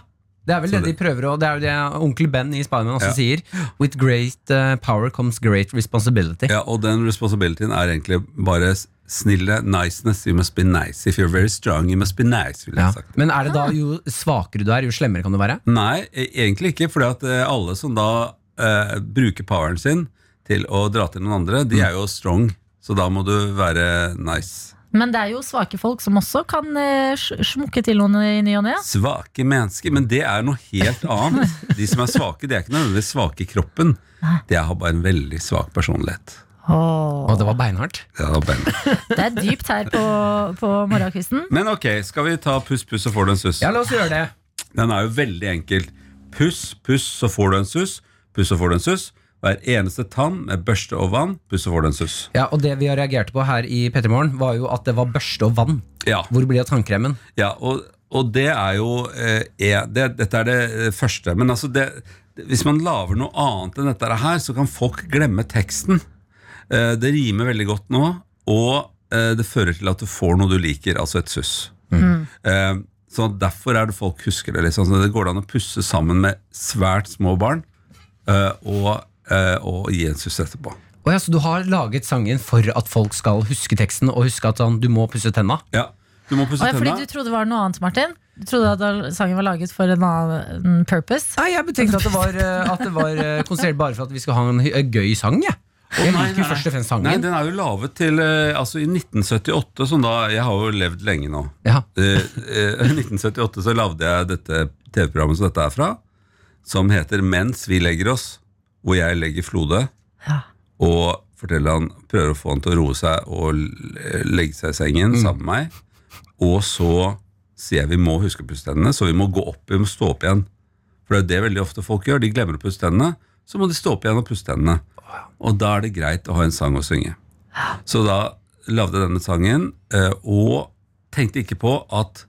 Speaker 3: Det er vel det
Speaker 10: Så
Speaker 3: de
Speaker 10: det-
Speaker 3: prøver å Det er jo det onkel Ben i Spiderman også
Speaker 10: Ja.
Speaker 3: sier. With great eh, power comes great responsibility.
Speaker 10: ja, Og den responsibilityen er egentlig bare s- snille niceness. You must be nice. If you're very strong, you must be nice. Ville
Speaker 3: Ja.
Speaker 10: jeg sagt.
Speaker 3: Men er det da jo svakere du er, jo slemmere kan du være?
Speaker 10: Nei, e- egentlig ikke. Fordi at eh, alle som da eh, bruker poweren sin til å dra til noen andre,
Speaker 3: Mm.
Speaker 10: de er jo strong. Så da må du være nice.
Speaker 2: Men det er jo svake folk som også kan eh, sj- smukke til noen i ny og ne.
Speaker 10: Svake mennesker, men det er noe
Speaker 3: [LAUGHS]
Speaker 10: helt annet. De som er svake, de er ikke nødvendigvis svake i kroppen. De har bare en veldig svak personlighet.
Speaker 2: Åh,
Speaker 3: Å, det var beinhardt.
Speaker 10: Ja, Ben.
Speaker 2: Det er dypt her på, på morgenkvisten.
Speaker 10: Men ok, skal vi ta puss, puss, så får du en suss?
Speaker 3: Ja, la oss gjøre det.
Speaker 10: Den er jo veldig enkel. Puss, puss, så får du en suss. Puss, så får du en suss. Hver eneste tann med børste og vann. Puss, så får du en suss.
Speaker 3: Ja, Og det vi har reagert på her i P3 Morgen, var jo at det var børste og vann.
Speaker 10: Ja.
Speaker 3: Hvor blir det av tannkremen?
Speaker 10: Ja, og, og det er jo eh, er- det, Dette er det eh, første. Men altså det, det- hvis man lager noe annet enn dette her, så kan folk glemme teksten. Eh, det rimer veldig godt nå, og eh, det fører til at du får noe du liker, altså et suss.
Speaker 2: Mm.
Speaker 10: Eh, så derfor er det folk husker det. Liksom. Så det går an å pusse sammen med svært små barn eh, og, eh, og gi en suss etterpå.
Speaker 3: Å ja, så du har laget sangen for at folk skal huske teksten, og huske at sånn, du må pusse tenna?
Speaker 10: Ja, du må pusse
Speaker 2: Åh, ja, fordi
Speaker 10: tenna.
Speaker 2: du trodde det var noe annet, Martin? Du trodde at sangen var laget for en annen purpose?
Speaker 3: Nei, jeg tenkte at det var, eh, at det var eh, konsert bare for at vi skal ha en hy- eh, gøy sang, jeg. Jeg
Speaker 10: nei,
Speaker 3: liker jo
Speaker 10: nei.
Speaker 3: først og fremst sangen.
Speaker 10: Nei, den er jo laget til eh, Altså i 1978, som da Jeg har jo levd lenge nå.
Speaker 3: Ja.
Speaker 10: Eh, eh, I 1978 så lagde jeg dette TV-programmet som dette er fra, som heter Mens vi legger oss, hvor jeg legger Flode
Speaker 2: Ja.
Speaker 10: og forteller han, prøver å få han til å roe seg og l- legge seg i sengen sammen med meg. Og så sier jeg vi må huske å pusse tennene, så vi må gå opp, vi må stå opp igjen. For det er jo det veldig ofte folk gjør. De glemmer å pusse tennene, så må de stå opp igjen og puste hendene. Og da er det greit å ha en sang å synge. Så da lagde jeg denne sangen, eh, og tenkte ikke på at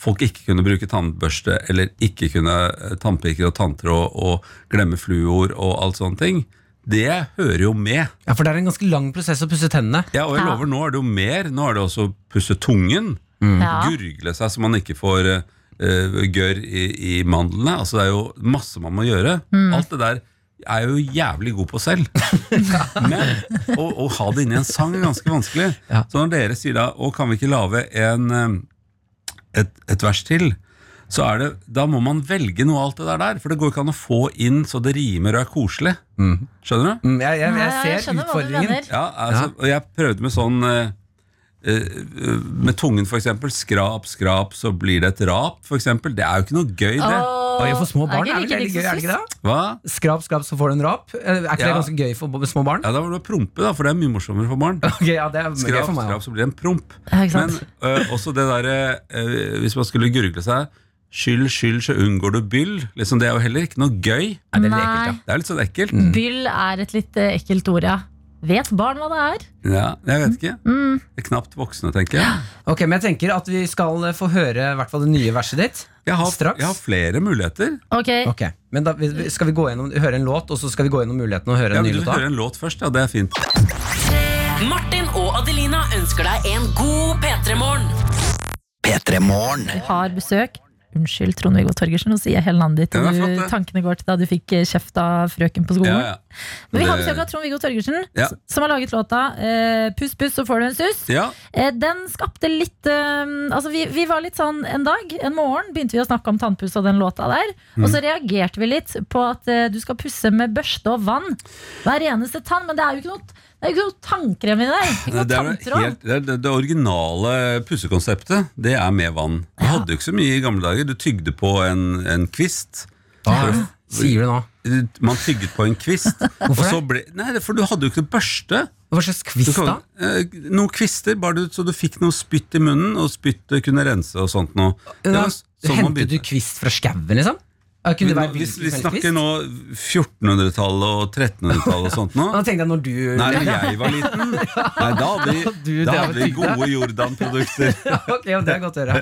Speaker 10: folk ikke kunne bruke tannbørste, eller ikke kunne eh, tannpirker og tanntråd, og glemme fluor og alt sånne ting. Det hører jo med.
Speaker 3: Ja, For det er en ganske lang prosess å pusse tennene.
Speaker 10: Ja, og jeg
Speaker 3: Ja.
Speaker 10: lover, nå er det jo mer. Nå er det også å pusse tungen.
Speaker 3: Mm.
Speaker 2: Ja.
Speaker 10: Gurgle seg så man ikke får eh, eh, gørr i, i mandlene. Altså, det er jo masse man må gjøre.
Speaker 2: Mm.
Speaker 10: Alt det der er jeg jo jævlig god på
Speaker 2: [LAUGHS]
Speaker 10: selv. Men å, å ha det inni en sang er ganske vanskelig. Så når dere sier da Å, kan vi ikke lage en, eh, et, et vers til? Så er det, Da må man velge noe av alt det der der. For det går ikke an å få inn så det rimer og er koselig. Skjønner du?
Speaker 3: Mm, jeg, jeg, jeg
Speaker 2: Ja,
Speaker 3: ser
Speaker 2: jeg skjønner hva du
Speaker 3: utfordringen.
Speaker 2: mener.
Speaker 10: Ja, altså, og jeg prøvde med sånn eh, eh, Med tungen for eksempel Skrap, skrap, så blir det et rap for eksempel Det er jo ikke noe gøy det
Speaker 2: Åh,
Speaker 3: Oi, for små barn
Speaker 2: ikke
Speaker 3: er vel
Speaker 2: like
Speaker 3: veldig gøy, er det ikke
Speaker 2: liksom
Speaker 3: det?
Speaker 10: Hva?
Speaker 3: Skrap, skrap, så får du en rap. Eh, Er ikke det
Speaker 10: Ja.
Speaker 3: ganske gøy for b- små barn?
Speaker 10: Ja, da var det å prompe da, for det er mye morsommere for barn
Speaker 3: Ok, [LAUGHS] ja, det er gøy
Speaker 10: Skrap,
Speaker 3: for meg også.
Speaker 10: skrap, så blir det en promp
Speaker 2: Ja, ikke
Speaker 10: Men
Speaker 2: sant?
Speaker 10: eh, også det der eh, Hvis man skulle gurgle seg Skyld, skyld, så unngår du byll liksom, Det er jo heller ikke noe gøy
Speaker 3: Nei, det er litt
Speaker 2: Nei.
Speaker 3: ekkelt,
Speaker 10: Det er litt sånn ekkelt
Speaker 3: Mm.
Speaker 2: Byll er et litt eh, ekkelt ord, ja. Vet barn hva det er?
Speaker 10: Ja, jeg vet ikke
Speaker 2: Mm.
Speaker 10: Det er knapt voksne, tenker jeg
Speaker 3: ja. Ok, Men jeg tenker at vi skal eh, få høre i hvert fall det nye verset ditt.
Speaker 10: Jeg har,
Speaker 3: Straks.
Speaker 10: jeg har flere muligheter
Speaker 2: Ok,
Speaker 3: Ok, men da vi- Skal vi gå gjennom, høre en låt, og så skal vi gå gjennom mulighetene og høre
Speaker 10: Ja,
Speaker 3: en ny
Speaker 10: vil du
Speaker 3: låt? da?
Speaker 10: høre en låt først? Ja, det er fint
Speaker 5: Martin og Adelina ønsker deg en god P3-morgen.
Speaker 4: P3-morgen.
Speaker 2: vi har besøk. Unnskyld, Trond-Viggo Torgersen, nå sier jeg hele navnet ditt.
Speaker 10: Ja, det er
Speaker 2: og
Speaker 10: flott,
Speaker 2: du,
Speaker 10: det.
Speaker 2: tankene går til da du fikk eh, kjeft av frøken på skolen.
Speaker 10: Ja, ja
Speaker 2: Men vi har
Speaker 10: Det-
Speaker 2: besøk av Trond-Viggo Torgersen,
Speaker 10: Ja.
Speaker 2: s- som har laget låta eh, 'Puss, puss, så får du en sus'.
Speaker 10: Ja,
Speaker 2: Eh, Den skapte litt eh, Altså vi, vi var litt sånn en dag, en morgen, begynte vi å snakke om tannpuss og den låta der. Og så
Speaker 10: Mm.
Speaker 2: reagerte vi litt på at eh, du skal pusse med børste og vann hver eneste tann. Men det er jo ikke noe, det er jo ikke noe tannkrem i det. Ikke
Speaker 10: Nei,
Speaker 2: noe
Speaker 10: Det, er jo
Speaker 2: tanntråd.
Speaker 10: helt, det, er- det, det originale pussekonseptet Det er med vann. Du hadde jo ikke så mye i gamle dager. Du tygde på en, en kvist.
Speaker 3: Ah, sier du nå?
Speaker 10: Du- Man tygget på en kvist. og
Speaker 3: [LAUGHS] Hvorfor
Speaker 10: så ble, nei, det er for du hadde jo ikke noe børste.
Speaker 3: Hva slags
Speaker 10: Du
Speaker 3: quiz, da?
Speaker 10: kan- eh, noen kvister, bare du, så du fikk noe spytt i munnen, og spyttet kunne rense og sånt noe. Det var sånn man
Speaker 3: Hentet du
Speaker 10: begynte.
Speaker 3: kvist fra skauen, liksom? Ja, Kunne det være
Speaker 10: Vi, vi
Speaker 3: hvilken som helst
Speaker 10: snakker
Speaker 3: kvist?
Speaker 10: nå 1400-tallet og 1300-tallet og sånt nå.
Speaker 3: [LAUGHS] Ja, Da tenkte jeg når du
Speaker 10: Nei, da jeg var liten Nei, Da hadde vi,
Speaker 3: Du,
Speaker 10: da hadde
Speaker 3: det var
Speaker 10: vi
Speaker 3: tydelig.
Speaker 10: gode Jordan-produkter.
Speaker 3: [LAUGHS] Ok, ja, det er godt å høre.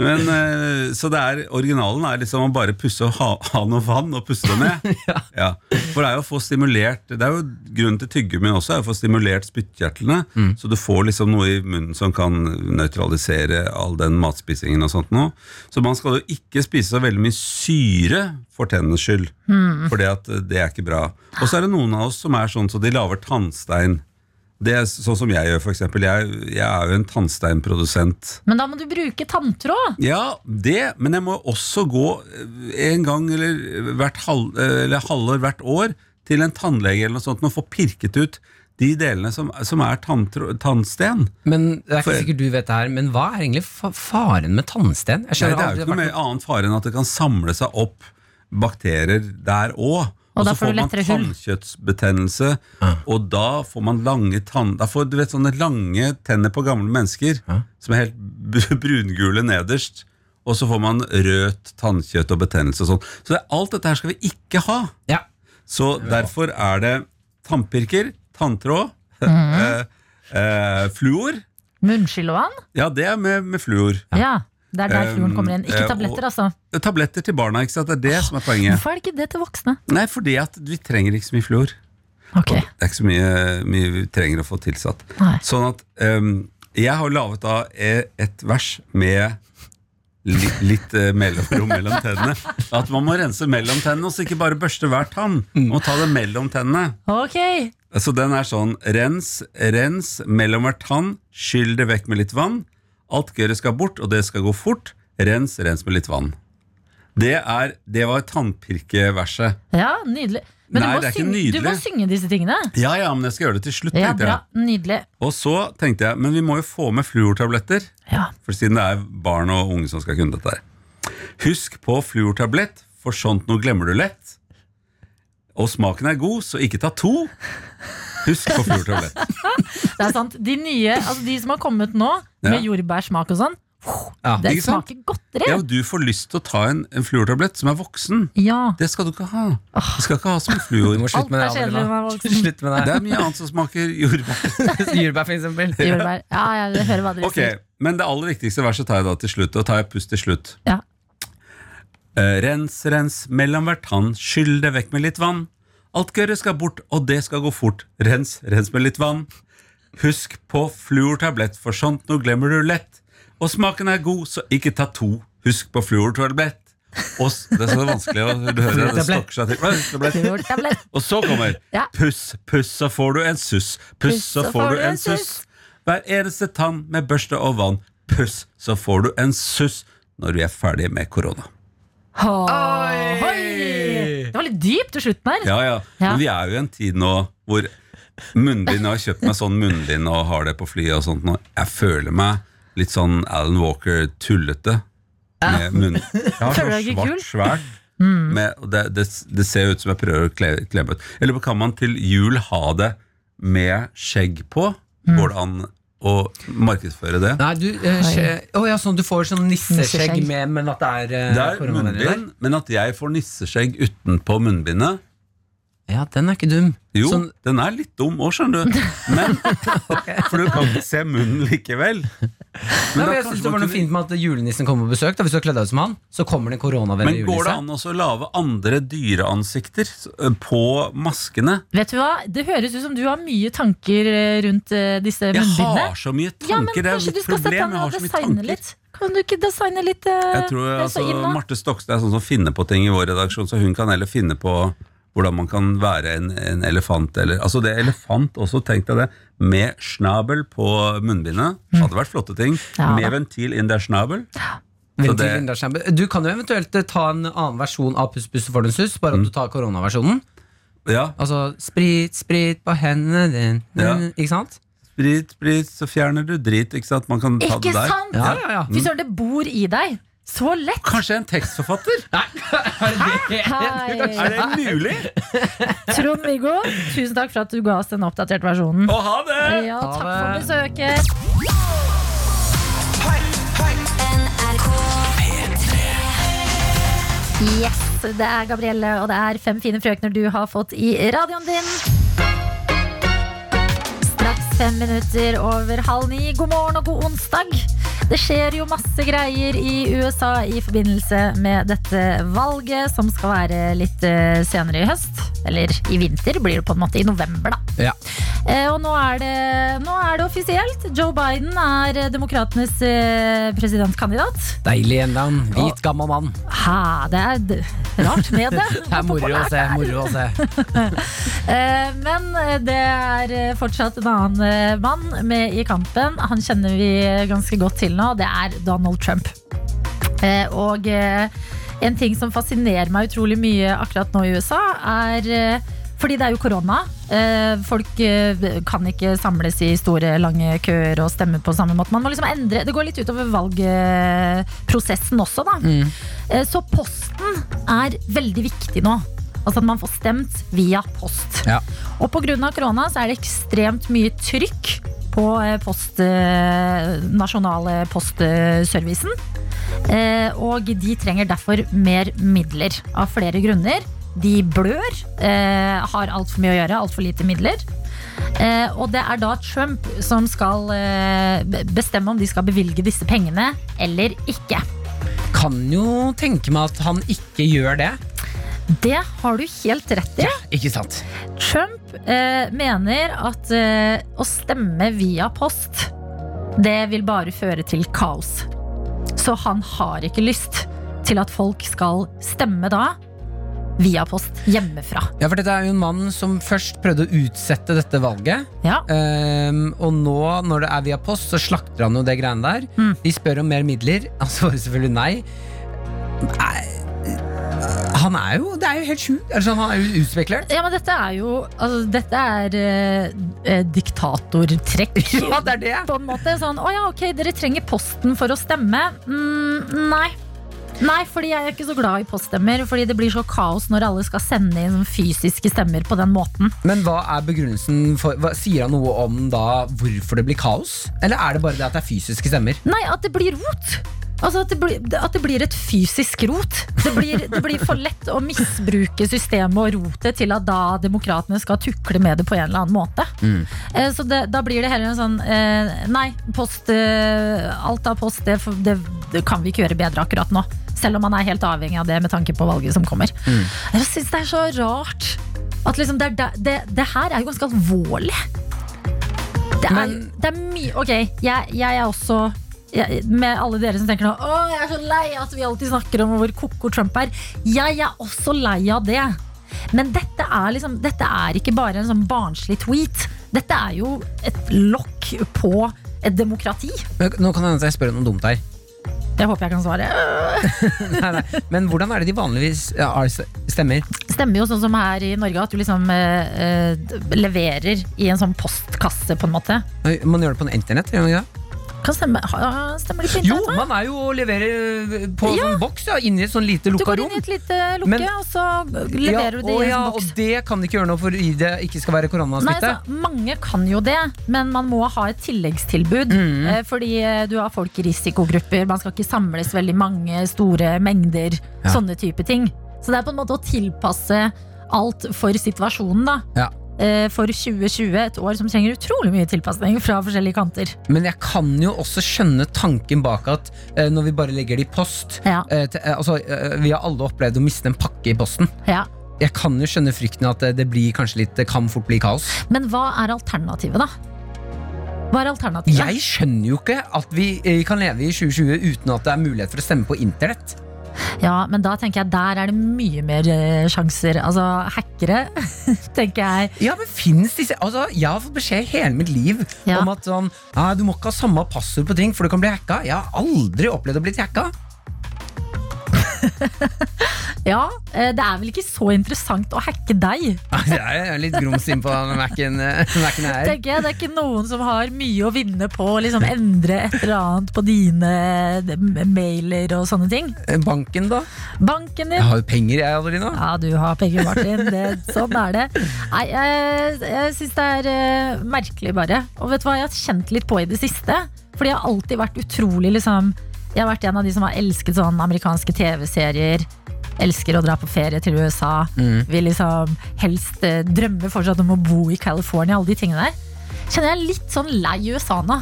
Speaker 10: Men, eh, så det er, originalen er liksom å bare pusse og ha, ha noe vann og puste det med. ja. For det er jo å få stimulert Det er jo grunnen til tyggegummi også, er å få stimulert spyttkjertlene. Så du får liksom noe i munnen som kan nøytralisere all den matspisingen og sånt noe. Så man skal jo ikke spise så veldig mye syre for tennenes skyld. For det er ikke bra. Og så er det noen av oss som er sånn så de lager tannstein. Det er Sånn som jeg gjør, for eksempel. Jeg, jeg er jo en tannsteinprodusent.
Speaker 2: Men da må du bruke tanntråd.
Speaker 10: Ja, det, men jeg må også gå eh, en gang eller hvert halv, eh, eller halvår hvert år til en tannlege eller noe sånt og få pirket ut de delene som, som er tanntro- tannsten.
Speaker 3: Men det er ikke
Speaker 10: For-
Speaker 3: sikkert du vet det her, men hva er egentlig fa faren med tannsten? Jeg
Speaker 10: Nei, det er
Speaker 3: skjønner
Speaker 10: jo
Speaker 3: aldri-
Speaker 10: ikke noe mer annen fare enn at det kan samle seg opp bakterier der òg.
Speaker 2: Og da
Speaker 10: så
Speaker 2: får
Speaker 10: får
Speaker 2: du
Speaker 10: man
Speaker 2: lettere hull.
Speaker 10: tannkjøttsbetennelse, og da får man lange tann... Da får du vet, sånne lange tenner på gamle mennesker som er helt b- brungule nederst. Og så får man rødt tannkjøtt og betennelse og sånn. Så det, alt dette her skal vi ikke ha.
Speaker 3: Ja.
Speaker 10: Så derfor er det tannpirker, tanntråd,
Speaker 2: Mhm.
Speaker 10: [LAUGHS] eh, eh, fluor.
Speaker 2: Munnskyld og vann.
Speaker 10: Ja, det er med, med fluor.
Speaker 2: Ja. Det er der
Speaker 10: Um,
Speaker 2: fluren kommer inn.
Speaker 10: eh,
Speaker 2: Ikke tabletter, altså.
Speaker 10: Tabletter til barna, ikke sant? Det er det som er poenget.
Speaker 2: Hvorfor er det ikke det til voksne?
Speaker 10: Nei, fordi at vi trenger ikke så mye fluor.
Speaker 2: Ok,
Speaker 10: Det er ikke så mye, mye vi trenger å få tilsatt.
Speaker 2: Nei.
Speaker 10: Sånn at ehm, jeg har laget da e- et vers med li, litt eh, mellomrom mellom tennene. At man må rense mellom tennene, og så ikke bare børste hver tann. Man må ta det mellom tennene.
Speaker 2: Ok,
Speaker 10: Så den er sånn rens, rens, mellom hver tann, skyll det vekk med litt vann. Alt gørret skal bort, og det skal gå fort. Rens, rens med litt vann. Det, er, det var tannpirkeverset.
Speaker 2: ja, nydelig. Men
Speaker 10: Nei,
Speaker 2: du, må
Speaker 10: det er ikke
Speaker 2: synge, du må
Speaker 10: nydelig.
Speaker 2: synge disse tingene.
Speaker 10: Ja, ja, men jeg skal gjøre det til slutt.
Speaker 2: Ja,
Speaker 10: tenkte jeg.
Speaker 2: bra. Nydelig.
Speaker 10: Og så tenkte jeg, men vi må jo få med fluortabletter,
Speaker 2: Ja.
Speaker 10: for siden det er barn og unge som skal kunne dette her. Husk på fluortablett, for sånt noe glemmer du lett. Og smaken er god, så ikke ta to. Husk på
Speaker 2: [LAUGHS]
Speaker 10: fluortablett.
Speaker 2: Det er sant. De nye, altså de som har kommet nå, med
Speaker 10: Ja.
Speaker 2: jordbærsmak og sånn,
Speaker 10: Ja,
Speaker 2: det
Speaker 10: ikke sant?
Speaker 2: smaker godteri.
Speaker 10: Ja, og du får lyst til å ta en, en fluortablett som er voksen.
Speaker 2: Ja.
Speaker 10: Det skal du ikke ha. Du skal ikke ha som fluor.
Speaker 3: [LAUGHS] Du må slutte med det,
Speaker 2: Alt er
Speaker 3: Adelina.
Speaker 2: kjedelig
Speaker 3: [LAUGHS]
Speaker 2: når man er voksen.
Speaker 3: Slutt med
Speaker 10: Det
Speaker 3: det.
Speaker 10: er mye annet som smaker jordbær.
Speaker 2: [LAUGHS]
Speaker 3: Jordbær, for eksempel.
Speaker 2: Jordbær. Ja, ja, jeg hører hva dere
Speaker 10: Ok, Men det aller viktigste verset tar jeg da til slutt. Og tar jeg pust til slutt.
Speaker 2: sier. Ja.
Speaker 10: Eh, rens, rens, mellom hvert tann, skyll det vekk med litt vann. Alt gørre skal bort, og det skal gå fort. Rens, rens med litt vann. Husk på fluortablett, for sånt nå glemmer du lett. Og smaken er god, så ikke ta to. Husk på fluortablett. Og s- det er så vanskelig å høre. Det stokker seg til. Fluortablett.
Speaker 2: Fluortablett.
Speaker 10: Og så kommer
Speaker 2: Ja.
Speaker 10: Puss, puss, så får du en suss. Puss, så får du en suss. Hver eneste tann med børste og vann. Puss, så får du en suss når vi er ferdige med korona.
Speaker 2: Oi! Det var litt dypt til slutten her.
Speaker 10: Ja, ja.
Speaker 2: Ja.
Speaker 10: Men vi er jo i en tid nå hvor munnbind Jeg har kjøpt meg sånn munnbind og har det på flyet og sånt nå. Jeg føler meg litt sånn Alan Walker-tullete. Med
Speaker 3: [LAUGHS]
Speaker 10: munn. Jeg har
Speaker 2: Føler du
Speaker 10: så
Speaker 2: deg ikke kul? Mm.
Speaker 10: svart, svært. Med, og det, det, det ser ut som jeg prøver å kle, kle meg ut. Eller kan man til jul ha det med skjegg på?
Speaker 2: Mm.
Speaker 10: Går det an å markedsføre det?
Speaker 3: Nei, du eh, skje- Å ja, sånn du får sånn nisseskjegg
Speaker 2: Nisseskjegg.
Speaker 3: med, men at det er, eh,
Speaker 10: Det er
Speaker 3: koronavennlig der.
Speaker 10: munnbind, men at jeg får nisseskjegg utenpå munnbindet
Speaker 3: Ja, den er ikke dum.
Speaker 10: Jo,
Speaker 3: Sånn,
Speaker 10: den er litt dum òg, skjønner du. Men, for du kan ikke se munnen likevel. Men,
Speaker 3: Nei,
Speaker 10: da
Speaker 3: men jeg
Speaker 10: kanskje
Speaker 3: synes Det
Speaker 10: man
Speaker 3: var noe
Speaker 10: kunne-
Speaker 3: fint med at julenissen kommer på besøk. Da, hvis du har kledd deg ut som han, så kommer det en koronavennlig
Speaker 10: men går det
Speaker 3: julenisse.
Speaker 10: an også å lage andre dyreansikter eh, på maskene?
Speaker 2: Vet du hva? Det høres ut som du har mye tanker eh, rundt eh, disse
Speaker 10: Jeg har
Speaker 2: munnbindene.
Speaker 10: så mye
Speaker 2: Ja, men
Speaker 10: tanker. det er
Speaker 2: kanskje
Speaker 10: jo
Speaker 2: du
Speaker 10: mitt
Speaker 2: skal sette deg
Speaker 10: problem. Jeg
Speaker 2: ned
Speaker 10: har
Speaker 2: og
Speaker 10: så mye
Speaker 2: designe
Speaker 10: tanker.
Speaker 2: litt? Kan du ikke designe litt? eh,
Speaker 10: Jeg tror altså, Marte Stokstad er sånn som finner på ting i vår redaksjon, så hun kan heller finne på hvordan man kan være en, en elefant. Eller, altså det er elefant også, tenk deg det, med snabel på munnbindet. Hadde vært flotte ting.
Speaker 2: Mm. Ja,
Speaker 10: med
Speaker 2: da.
Speaker 10: ventil in der snabel.
Speaker 3: Vent
Speaker 10: Så
Speaker 3: til
Speaker 10: det-
Speaker 3: vindarskjermen. Du kan jo eventuelt eh, ta en annen versjon av Puss Puss for den sus,
Speaker 10: Mm.
Speaker 3: bare at du tar koronaversjonen.
Speaker 10: Ja,
Speaker 3: Altså sprit, sprit på hendene din.
Speaker 10: Ja.
Speaker 3: Ikke sant?
Speaker 10: Sprit, sprit, så fjerner du drit. Ikke sant? Man kan ta
Speaker 2: Ikke
Speaker 10: det der.
Speaker 2: sant?
Speaker 3: Ja, ja, ja.
Speaker 2: Fy søren, det bor i deg. Så lett!
Speaker 10: Kanskje en tekstforfatter?
Speaker 2: Hei!
Speaker 10: Er det mulig?
Speaker 2: Trond-Viggo, tusen takk for at du ga oss den oppdaterte versjonen.
Speaker 10: Å, ha det!
Speaker 2: Ja, takk for besøket. Yes, det er Gabrielle, og det er fem fine frøkner du har fått i radioen din. Straks fem minutter over halv ni. God morgen og god onsdag. Det skjer jo masse greier i USA i forbindelse med dette valget, som skal være litt eh, senere i høst. Eller i vinter blir det på en måte. I november, da.
Speaker 3: Ja.
Speaker 2: Eh, Og nå er, det, nå er det offisielt. Joe Biden er eh, demokratenes eh, presidentkandidat.
Speaker 3: Deilig Enland. Hvit, gammel mann.
Speaker 2: Ha, det er d- rart med det.
Speaker 3: Det er moro å se. moro å se
Speaker 2: Eh, Men eh, det er eh, fortsatt en annen eh, mann med i kampen. Han kjenner vi eh, ganske godt til nå. Det er Donald Trump. Eh, Og eh, en ting som fascinerer meg utrolig mye akkurat nå i USA, er eh, fordi det er jo korona. eh, Folk eh, kan ikke samles i store, lange køer og stemme på samme måte. Man må liksom endre. Det går litt utover valgprosessen også, da. Eh, Så posten er veldig viktig nå. Altså at man får stemt via post.
Speaker 3: Ja.
Speaker 2: Og pga. korona så er det ekstremt mye trykk på eh, post, eh, nasjonale postservicen. Eh, Og de trenger derfor mer midler av flere grunner. De blør, eh, har altfor mye å gjøre, altfor lite midler. Eh, og det er da Trump som skal eh, be- bestemme om de skal bevilge disse pengene eller ikke.
Speaker 3: Kan jo tenke meg at han ikke gjør det.
Speaker 2: Det har du helt rett i.
Speaker 3: Ikke sant?
Speaker 2: Trump eh, mener at eh, å stemme via post, det vil bare føre til kaos. Så han har ikke lyst til at folk skal stemme da via post hjemmefra.
Speaker 3: Ja, for dette er jo en mann som først prøvde å utsette dette valget.
Speaker 2: Ja.
Speaker 3: ehm, og nå, når det er via post, så slakter han jo det greiene der.
Speaker 2: Mm.
Speaker 3: De spør om mer midler. [LAUGHS] Han svarer selvfølgelig nei. Nei, Han er jo Det er jo helt sjukt. Altså, han er jo utspekulert.
Speaker 2: Ja, men dette er jo altså, Dette er eh, eh, diktatortrekk.
Speaker 3: [LAUGHS] Ja, det er det.
Speaker 2: På en måte sånn Å ja, ok, dere trenger posten for å stemme. Mm, nei. Nei, fordi jeg er ikke så glad i poststemmer. Fordi det blir så kaos når alle skal sende inn sånn fysiske stemmer på den måten.
Speaker 3: Men hva er begrunnelsen for hva, Sier han noe om da hvorfor det blir kaos? Eller er det bare det at det er fysiske stemmer?
Speaker 2: Nei, at det blir rot! Altså at det, blir, at det blir et fysisk rot. Det blir, det blir for lett å misbruke systemet og rotet til at da demokratene skal tukle med det på en eller annen måte. Eh, Så det, da blir det heller en sånn eh, Nei, post, eh, alt av post det, får- det, det kan vi ikke gjøre bedre akkurat nå. Selv om man er helt avhengig av det med tanke på valget som kommer. Jeg syns det er så rart at liksom det, er der- det, det her er jo ganske alvorlig. Det er, det er mye Ok, jeg, jeg er også jeg, med alle dere som tenker nå Å, jeg er så lei at vi alltid snakker om hvor koko Trump er. Jeg er også lei av det. Men dette er, liksom, dette er ikke bare en sånn barnslig tweet. Dette er jo et lokk på et demokrati.
Speaker 3: Men, nå kan det hende at jeg spør noe dumt her. [LAUGHS]
Speaker 2: Jeg håper jeg kan svare.
Speaker 3: nei, nei. Men hvordan er det de vanligvis ja, er- stemmer?
Speaker 2: stemmer jo sånn som her i Norge, at du liksom eh, eh, leverer i en sånn postkasse, på en måte.
Speaker 3: Man gjør det på en internett? Gjør man ikke det?
Speaker 2: Kan stemme. Ha, stemmer det på
Speaker 3: Jo,
Speaker 2: internett? da?
Speaker 3: man er jo og leverer på
Speaker 2: Ja.
Speaker 3: sånn boks ja, inni et sånn lite
Speaker 2: Du
Speaker 3: lukka
Speaker 2: går
Speaker 3: rom.
Speaker 2: inn i et lite lukke,
Speaker 3: Men-
Speaker 2: og så leverer du det
Speaker 3: og,
Speaker 2: i en
Speaker 3: ja,
Speaker 2: boks.
Speaker 3: og det kan de ikke gjøre noe for i det ikke skal være
Speaker 2: Nei,
Speaker 3: koronasmitte.
Speaker 2: altså, mange kan jo det, men man må ha et tilleggstilbud.
Speaker 3: Mm.
Speaker 2: eh, Fordi eh, du har folk i risikogrupper, man skal ikke samles veldig mange store mengder.
Speaker 3: Ja.
Speaker 2: Sånne type ting. Så det er på en måte å tilpasse alt for situasjonen, da.
Speaker 3: Ja.
Speaker 2: Eh, For 2020, et år som trenger utrolig mye tilpasning fra forskjellige kanter.
Speaker 3: Men jeg kan jo også skjønne tanken bak at eh, når vi bare legger det i post
Speaker 2: Ja.
Speaker 3: eh, til, eh, altså, eh, Vi har alle opplevd å miste en pakke i posten.
Speaker 2: Ja.
Speaker 3: Jeg kan jo skjønne frykten at eh, det blir kanskje litt, det kan fort bli kaos.
Speaker 2: Men hva er alternativet, da? Hva er alternativet?
Speaker 3: Jeg skjønner jo ikke at vi eh, kan leve i 2020 uten at det er mulighet for å stemme på internett.
Speaker 2: Ja, men da tenker jeg der er det mye mer eh, sjanser. Altså hackere, [LAUGHS] tenker jeg.
Speaker 3: Ja, men finnes disse Altså, Jeg har fått beskjed hele mitt liv
Speaker 2: Ja.
Speaker 3: om at sånn «Nei, du må ikke ha samme passord på ting, for du kan bli hacka. Jeg har aldri opplevd å bli hacka. [LAUGHS]
Speaker 2: Ja, eh, det er vel ikke så interessant å hacke deg,
Speaker 3: Altså, Jeg er litt grums inn på Mac-en eh, Mac-en her.
Speaker 2: tenker jeg. Det er ikke noen som har mye å vinne på å liksom endre et eller annet på dine eh, mailer og sånne ting.
Speaker 3: Banken, da?
Speaker 2: Banken
Speaker 3: Jeg
Speaker 2: din.
Speaker 3: har jo penger, jeg, Adelina.
Speaker 2: Ja, du har penger, Martin. Det, sånn er det. Nei, jeg, jeg syns det er eh, merkelig, bare. Og vet du hva jeg har kjent litt på i det siste? Fordi jeg har alltid vært utrolig liksom Jeg har vært en av de som har elsket sånne amerikanske TV-serier. Elsker å dra på ferie til USA. Vil liksom helst eh, drømme fortsatt om å bo i California, alle de tingene der. Kjenner jeg er litt sånn lei USA nå.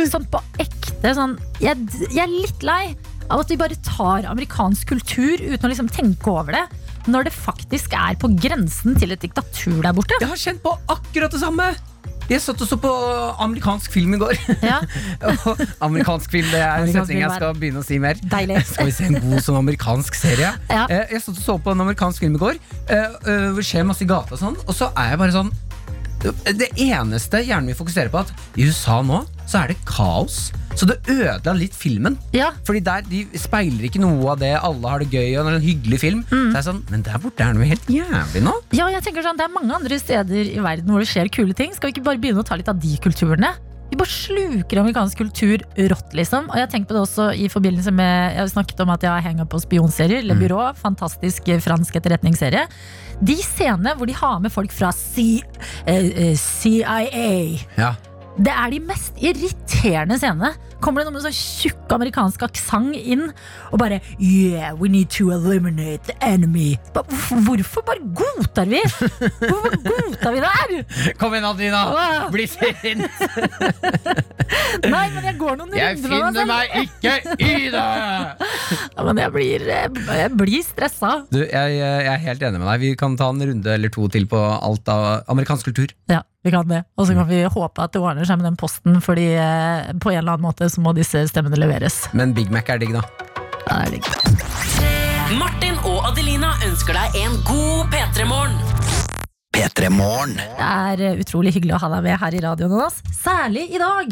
Speaker 2: Sånn på ekte. Sånn, jeg, jeg er litt lei av at vi bare tar amerikansk kultur uten å liksom tenke over det. Når det faktisk er på grensen til et diktatur der borte.
Speaker 3: Jeg har kjent på akkurat det samme! Jeg satt og så på amerikansk film i går.
Speaker 2: Ja,
Speaker 3: Og amerikansk film, det er en
Speaker 2: Amerikansk
Speaker 3: setning jeg
Speaker 2: film er-
Speaker 3: skal begynne å si mer.
Speaker 2: deilig.
Speaker 3: Skal vi se en god sånn amerikansk serie?
Speaker 2: Ja.
Speaker 3: Eh, Jeg satt og så på en amerikansk film i går. eh, eh, Hvor det skjer masse i gata og sånn, og så er jeg bare sånn Det eneste hjernen min fokuserer på, er at i USA nå så er det kaos. Så det ødela litt filmen.
Speaker 2: Ja,
Speaker 3: Fordi der, De speiler ikke noe av det alle har det gøy og det er en hyggelig film.
Speaker 2: Mm.
Speaker 3: Det er sånn, Men der borte er det noe helt jævlig nå.
Speaker 2: ja, jeg tenker sånn, Det er mange andre steder i verden hvor det skjer kule ting. Skal vi ikke bare begynne å ta litt av de kulturene? Vi bare sluker amerikansk kultur rått, liksom. Og jeg tenker på det også i forbindelse med Jeg har snakket om at jeg har henga på spionserier. Le Bureau, fantastisk eh, fransk etterretningsserie. De scenene hvor de har med folk fra C, eh, eh, CIA
Speaker 3: Ja.
Speaker 2: Det er de mest irriterende scenene. Kommer det noe med sånn tjukk amerikansk aksent inn og bare Yeah, we need to eliminate the enemy. Ba- hvorfor- Hvorfor bare godtar vi? Hvorfor bare godtar vi det her?
Speaker 3: Kom igjen, Adelina!
Speaker 2: Wow. [LAUGHS]
Speaker 3: Bli sint!
Speaker 2: Nei, men jeg går noen runder med meg selv.
Speaker 3: ikke i det!
Speaker 2: Ja, men jeg blir, eh, jeg blir stressa.
Speaker 3: Du, jeg, jeg er helt enig med deg. Vi kan ta en runde eller to til på alt av amerikansk kultur.
Speaker 2: Ja, vi kan det. Og så kan vi håpe at det ordner seg med den posten, fordi eh, på en eller annen måte så må disse stemmene leveres.
Speaker 3: Men Big Mac er digg, da.
Speaker 2: Ja, det er digg.
Speaker 5: Martin og Adelina ønsker deg en god P3-morgen.
Speaker 4: P3 Morgen.
Speaker 2: Det er eh, utrolig hyggelig å ha deg med her i radioen, Jonas. Særlig i dag.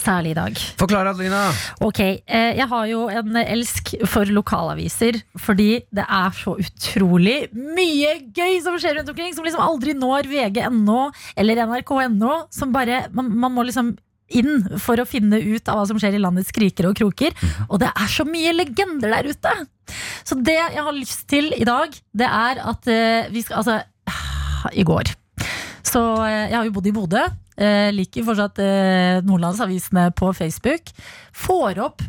Speaker 2: Særlig i dag.
Speaker 3: Forklar, Adelina.
Speaker 2: Ok, eh, jeg har jo en elsk for lokalaviser, fordi det er så utrolig mye gøy som skjer rundt omkring, som liksom aldri når vg.no eller nrk.no, som bare, man, man må liksom inn for å finne ut av hva som skjer i landets kriker og kroker, og det er så mye legender der ute. Så det jeg har lyst til i dag, det er at eh, vi skal, altså, [SIGHS] i går. Så eh, jeg har jo bodd i Bodø. Eh, liker fortsatt eh, Nordlandsavisene på Facebook. Får opp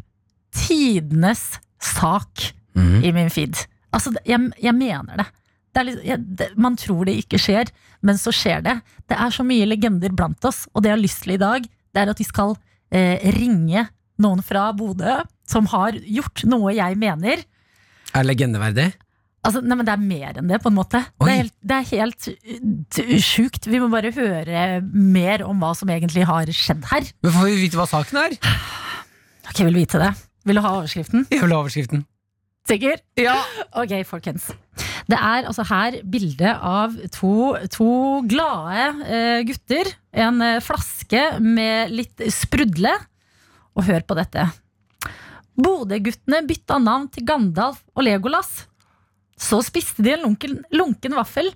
Speaker 2: tidenes sak
Speaker 3: Mhm.
Speaker 2: i min feed. Altså, det- jeg, jeg mener det. det, er litt, jeg, det. Man tror det ikke skjer, men så skjer det. Det er så mye legender blant oss, og det jeg har lyst til i dag, det er at vi skal eh, ringe noen fra Bodø som har gjort noe jeg mener.
Speaker 3: Er legendeverdig?
Speaker 2: Altså, nei, men Det er mer enn det, på en måte. Det er, helt, det er helt uh, sjukt. Vi må bare høre mer om hva som egentlig har skjedd her.
Speaker 3: Men får vi vite hva saken er?
Speaker 2: Ok, jeg vil vite det. Vil du ha overskriften?
Speaker 3: Jeg vil ha overskriften.
Speaker 2: Sikker? Ja. Ok, folkens. Det er altså her bilde av to, to glade eh, gutter. En eh, flaske med litt sprudle. Og hør på dette. Bodø-guttene bytta navn til Gandalf og Legolas. Så spiste de en lunken, lunken vaffel.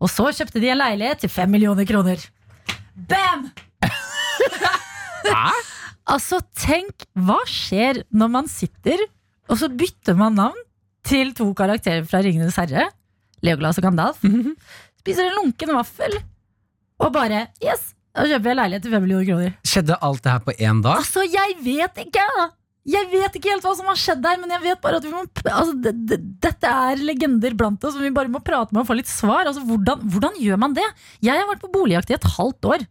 Speaker 2: Og så kjøpte de en leilighet til fem millioner kroner. Bam!
Speaker 3: Hæ?
Speaker 2: [LAUGHS] Altså, tenk, hva skjer når man sitter og så bytter man navn til to karakterer fra Ringenes herre, Legolas og
Speaker 3: [LAUGHS]
Speaker 2: Gandalf, spiser en lunken vaffel og bare Yes! Da kjøper jeg leilighet til 5 millioner kroner.
Speaker 3: Skjedde alt det her på én dag?
Speaker 2: Altså, jeg vet ikke! Jeg vet ikke helt hva som har skjedd der, men jeg vet bare at vi må p- altså, det, det, dette er legender blant oss, som vi bare må prate med og få litt svar. Altså, hvordan, hvordan gjør man det? Jeg har vært på boligjakt i et halvt år.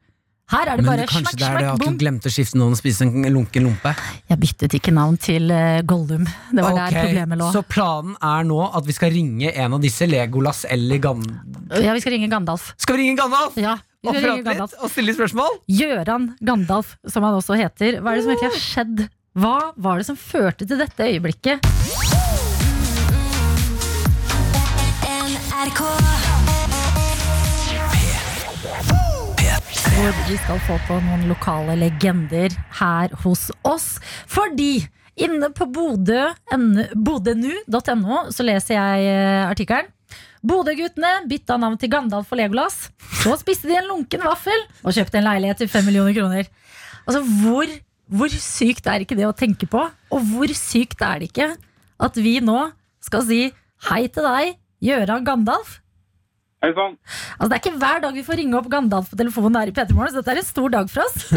Speaker 2: Her er det
Speaker 3: Men
Speaker 2: bare
Speaker 3: kanskje
Speaker 2: smakk,
Speaker 3: det er det
Speaker 2: smakk,
Speaker 3: at
Speaker 2: bom.
Speaker 3: hun glemte å skifte noen og spise en lunken lompe?
Speaker 2: Jeg byttet ikke navn til eh, Gollum. Det var
Speaker 3: Ok,
Speaker 2: der problemet lå.
Speaker 3: Så planen er nå at vi skal ringe en av disse, Legolas eller Gan...
Speaker 2: Ja, vi skal ringe Gandalf.
Speaker 3: Skal vi ringe Gandalf?
Speaker 2: Ja, vi
Speaker 3: Og
Speaker 2: skal ringe
Speaker 3: prate litt
Speaker 2: Gandalf.
Speaker 3: og stille litt spørsmål?
Speaker 2: Gjøran Gandalf, som han også heter. Hva er det som egentlig har skjedd? Hva var det som førte til dette øyeblikket?
Speaker 11: NRK.
Speaker 2: Hvor vi skal få på noen lokale legender her hos oss. Fordi inne på Bodø- N- bodønu.no så leser jeg eh, artikkelen. Bodø-guttene bytta navn til Gandalf og Legolas. Så spiste de en lunken vaffel og kjøpte en leilighet til 5 millioner kroner. Altså, hvor, hvor sykt er ikke det å tenke på? Og hvor sykt er det ikke at vi nå skal si hei til deg, Gjøran Gandalf?
Speaker 12: Hei sånn. sann.
Speaker 2: Altså, det er ikke hver dag vi får ringe opp Gandalf på telefonen her i P3 Morgen, så dette er en stor dag for oss.
Speaker 12: [LAUGHS]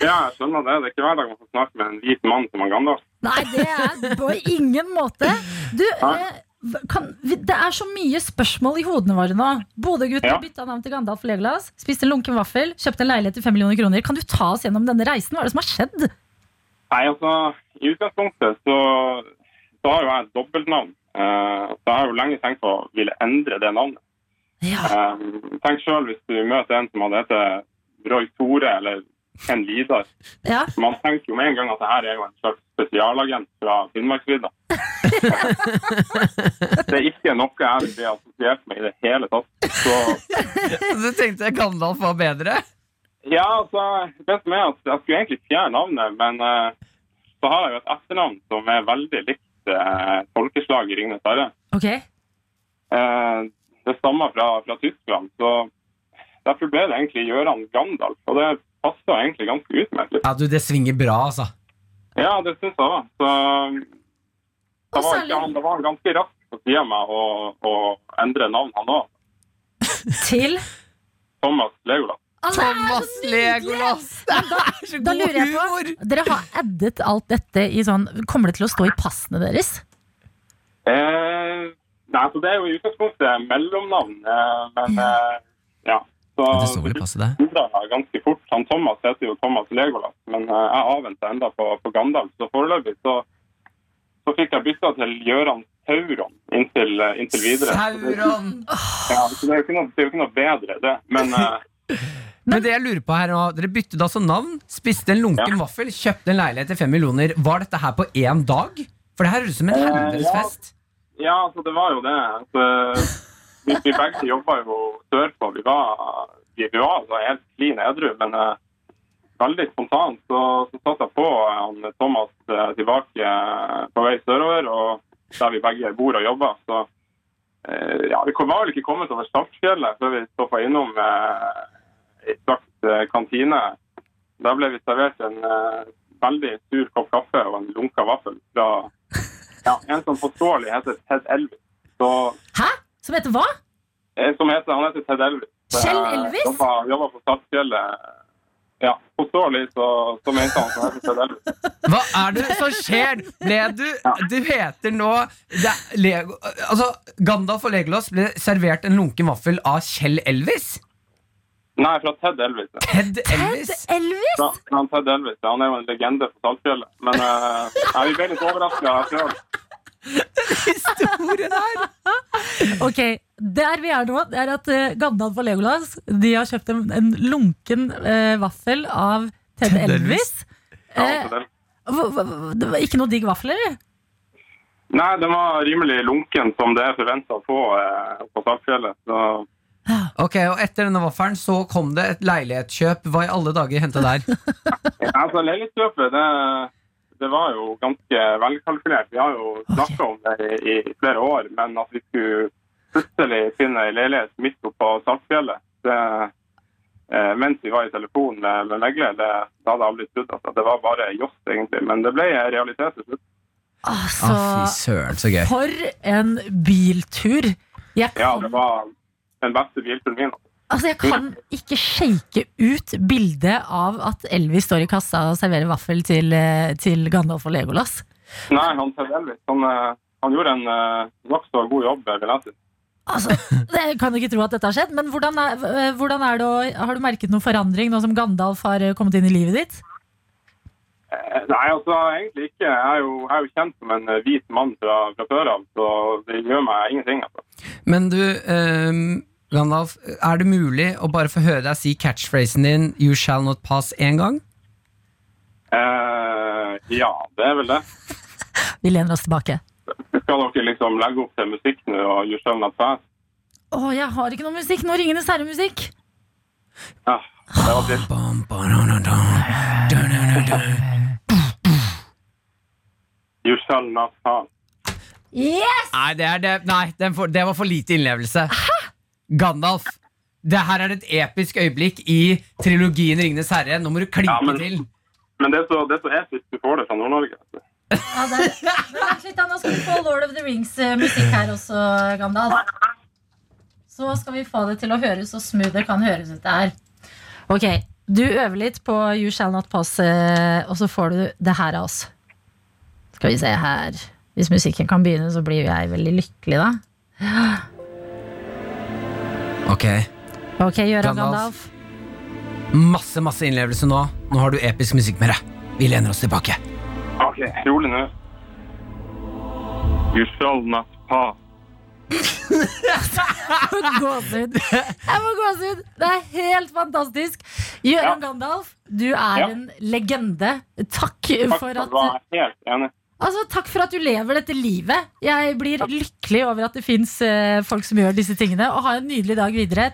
Speaker 12: Ja, jeg skjønner det. Det er ikke hver dag man får snakke med en hvit mann som han Gandalf.
Speaker 2: Nei, det er på ingen måte. Du, eh, kan, vi- det er så mye spørsmål i hodene våre nå. Bodø-gutten
Speaker 12: Ja.
Speaker 2: bytta navn til Gandalf og Legolas, spiste en lunken vaffel, kjøpte en leilighet til 5 millioner kroner. Kan du ta oss gjennom denne reisen? Hva er det som har skjedd?
Speaker 12: Nei, altså, i utgangspunktet så, så har jo jeg et dobbeltnavn. Eh, så jeg har jo lenge tenkt på å ville endre det navnet. Eh, tenk sjøl hvis du møter en som hadde hett Roy Tore eller Ken Vidar. Man tenker jo med en gang at det her er jo en slags spesialagent fra Finnmarksvidda. det er ikke noe jeg vil bli assosiert med i det hele tatt. Så
Speaker 3: Så tenkte jeg Gandalf var bedre.
Speaker 12: Ja, altså, det som er at jeg skulle egentlig fjerne navnet, men eh, så har jeg jo et etternavn som er veldig likt uh, folkeslaget i Ringnes Herre.
Speaker 2: Ok.
Speaker 12: Eh, det stammer fra, fra Tyskland, så derfor ble det egentlig Gjøran Gandalf, og det passet egentlig ganske utmerkelig.
Speaker 3: Ja, du, det svinger bra, altså.
Speaker 12: Ja, det synes jeg da. Så det var, ikke, han, det var ganske raskt å si meg å, å endre navn han også.
Speaker 2: Til?
Speaker 12: Thomas Legolas.
Speaker 2: Thomas Legolas!
Speaker 12: [LAUGHS]
Speaker 2: Da lurer jeg på, dere har addet alt dette i sånn Kommer det til å stå i passene deres?
Speaker 12: Eh, nei, så det er jo i utgangspunktet mellomnavn, eh, men eh, ja. Så
Speaker 3: Det står vel i passet, det.
Speaker 12: endret jeg ganske fort. Han Thomas heter jo Thomas Legolas, men eh, jeg avventer enda på, på Gandalf, så foreløpig så, så fikk jeg bytta til Gjøran Sauron inntil, eh, inntil videre. Så det-
Speaker 3: Sauron!
Speaker 12: Ja, så det er jo ikke noe, det er jo ikke noe bedre, det. Men eh,
Speaker 3: Men det jeg lurer på her nå, Dere byttet altså navn, spiste en lunken vaffel, kjøpte en leilighet til fem millioner. Var dette her på én dag? For det her høres ut som en
Speaker 12: Eh,
Speaker 3: helvetesfest.
Speaker 12: Ja, altså det var jo det. Altså, vi, vi begge jobba jo sørpå. Vi var, vi, vi var altså helt klin edru, men eh, veldig spontant så, så satt jeg på han Thomas eh, tilbake eh, på vei sørover, og der vi begge bor og jobber. Så eh, ja, vi kom- var vel ikke kommet over Startfjellet før vi stoppa innom eh, ei slags eh, kantine. Da ble vi servert en eh, veldig sur kopp kaffe og en lunka vaffel fra ja, en som forståelig heter Ted Elvis. Så,
Speaker 2: Hæ? Som heter hva?
Speaker 12: eh, som heter, han heter Ted Elvis.
Speaker 2: Kjell Elvis?
Speaker 12: Jobba, jobba på Saltfjellet ja, forståelig, så, så mente han som jeg fikk det der.
Speaker 3: Hva er det som skjer? Ble du Du heter nå det er Lego, altså, Gandalf og Legolas ble servert en lunken vaffel av Kjell Elvis?
Speaker 12: Nei, fra Ted Elvis. ja.
Speaker 3: Ted Elvis?
Speaker 2: [LAUGHS]
Speaker 12: Fra, fra han Ted Elvis, ja, Han er jo en legende for Saltfjellet. Men eh, ja, vi ble litt overraska sjøl.
Speaker 2: Historien her! ok, der vi er nå, det er at eh, Gandalf og Legolas De har kjøpt en, en lunken eh, vaffel av Ted
Speaker 12: Ted Elvis.
Speaker 2: Elvis.
Speaker 12: Ja,
Speaker 2: Eh,
Speaker 12: Ted Elvis.
Speaker 2: hva- hva- det var ikke noe digg vaffel, eller?
Speaker 12: Nei, den var rimelig lunken, som det er forventa å få eh, på Saltfjellet. Så
Speaker 3: Ok, og Etter denne vaffelen så kom det et leilighetskjøp. Hva i alle dager hendte der?
Speaker 12: Ja, altså, Leilighetskjøpet det, det var jo ganske velkalkulert. Vi har jo snakka om det i, i flere år, men at vi skulle plutselig finne ei leilighet midt oppe på Saltfjellet det, eh, mens vi var i telefon med med megler, det, det hadde jeg aldri trodd. Altså. Det var bare joss, egentlig. Men det ble en realitet til slutt. Ah,
Speaker 2: Altså,
Speaker 3: søren, så gøy.
Speaker 2: for en biltur! Jeg
Speaker 12: Ja,
Speaker 2: kan,
Speaker 12: det var den beste bilturen min.
Speaker 2: altså, jeg kan ikke shake ut bildet av at Elvis står i kassa og serverer vaffel til, eh, til Gandalf og Legolas.
Speaker 12: Nei, han Ted Elvis, han, eh, han gjorde en eh, nokså god jobb, vil jeg si.
Speaker 2: Altså, jeg kan ikke tro at dette har skjedd, men hvordan er, eh, hvordan er det å Har du merket noen forandring nå som Gandalf har eh, kommet inn i livet ditt?
Speaker 12: Eh, Nei, altså egentlig ikke. Jeg er jo, jeg er jo kjent som en eh, hvit mann fra, fra før av, så det gjør meg ingenting. Altså.
Speaker 3: Men du, ehm, Gandalf, er det mulig å bare få høre deg si catchphrasen din 'You shall not pass' én gang?
Speaker 12: Eh, ja, det er vel det.
Speaker 2: Vi lener oss tilbake.
Speaker 12: Skal dere liksom legge opp til musikk nå og gjøre selv at fast?
Speaker 2: Å, jeg har ikke noe musikk. Nå ringer det særmusikk.
Speaker 12: Ja, det var dritt. You shall not pass.
Speaker 2: Yes!
Speaker 3: Nei, det, er det. Nei den for, det var for lite innlevelse. Gandalf, det her er et episk øyeblikk i trilogien 'Ringenes herre'. Nå må du klinke til.
Speaker 12: Men det er så, det er så episk du får det fra Nord-Norge. altså.
Speaker 2: Ja, der. Men vent litt, da. Nå skal vi få Lord of the Rings-musikk her også, Gandalf. Så skal vi få det til å høres så smooth det kan høres ut det er. Ok, du øver litt på You Shall Not Pass, eh, og så får du det her av oss. Skal vi se her. Hvis musikken kan begynne, så blir jo jeg veldig lykkelig, da.
Speaker 3: Ok,
Speaker 2: Ok, Gøran Gandalf.
Speaker 3: Gandalf. Masse, masse innlevelse nå. Nå har du episk musikk med deg. Vi lener oss tilbake.
Speaker 12: Ok, rolig nå. You shall not pass.
Speaker 2: gåsehud. Jeg får gåsehud. Det er helt fantastisk. Gøran Gandalf, du er
Speaker 12: Ja.
Speaker 2: en legende. Takk for
Speaker 12: Takk
Speaker 2: at
Speaker 12: for at du var helt enig.
Speaker 2: Altså, Takk for at du lever dette livet. Jeg blir lykkelig over at det fins folk som gjør disse tingene. Og ha en nydelig dag videre.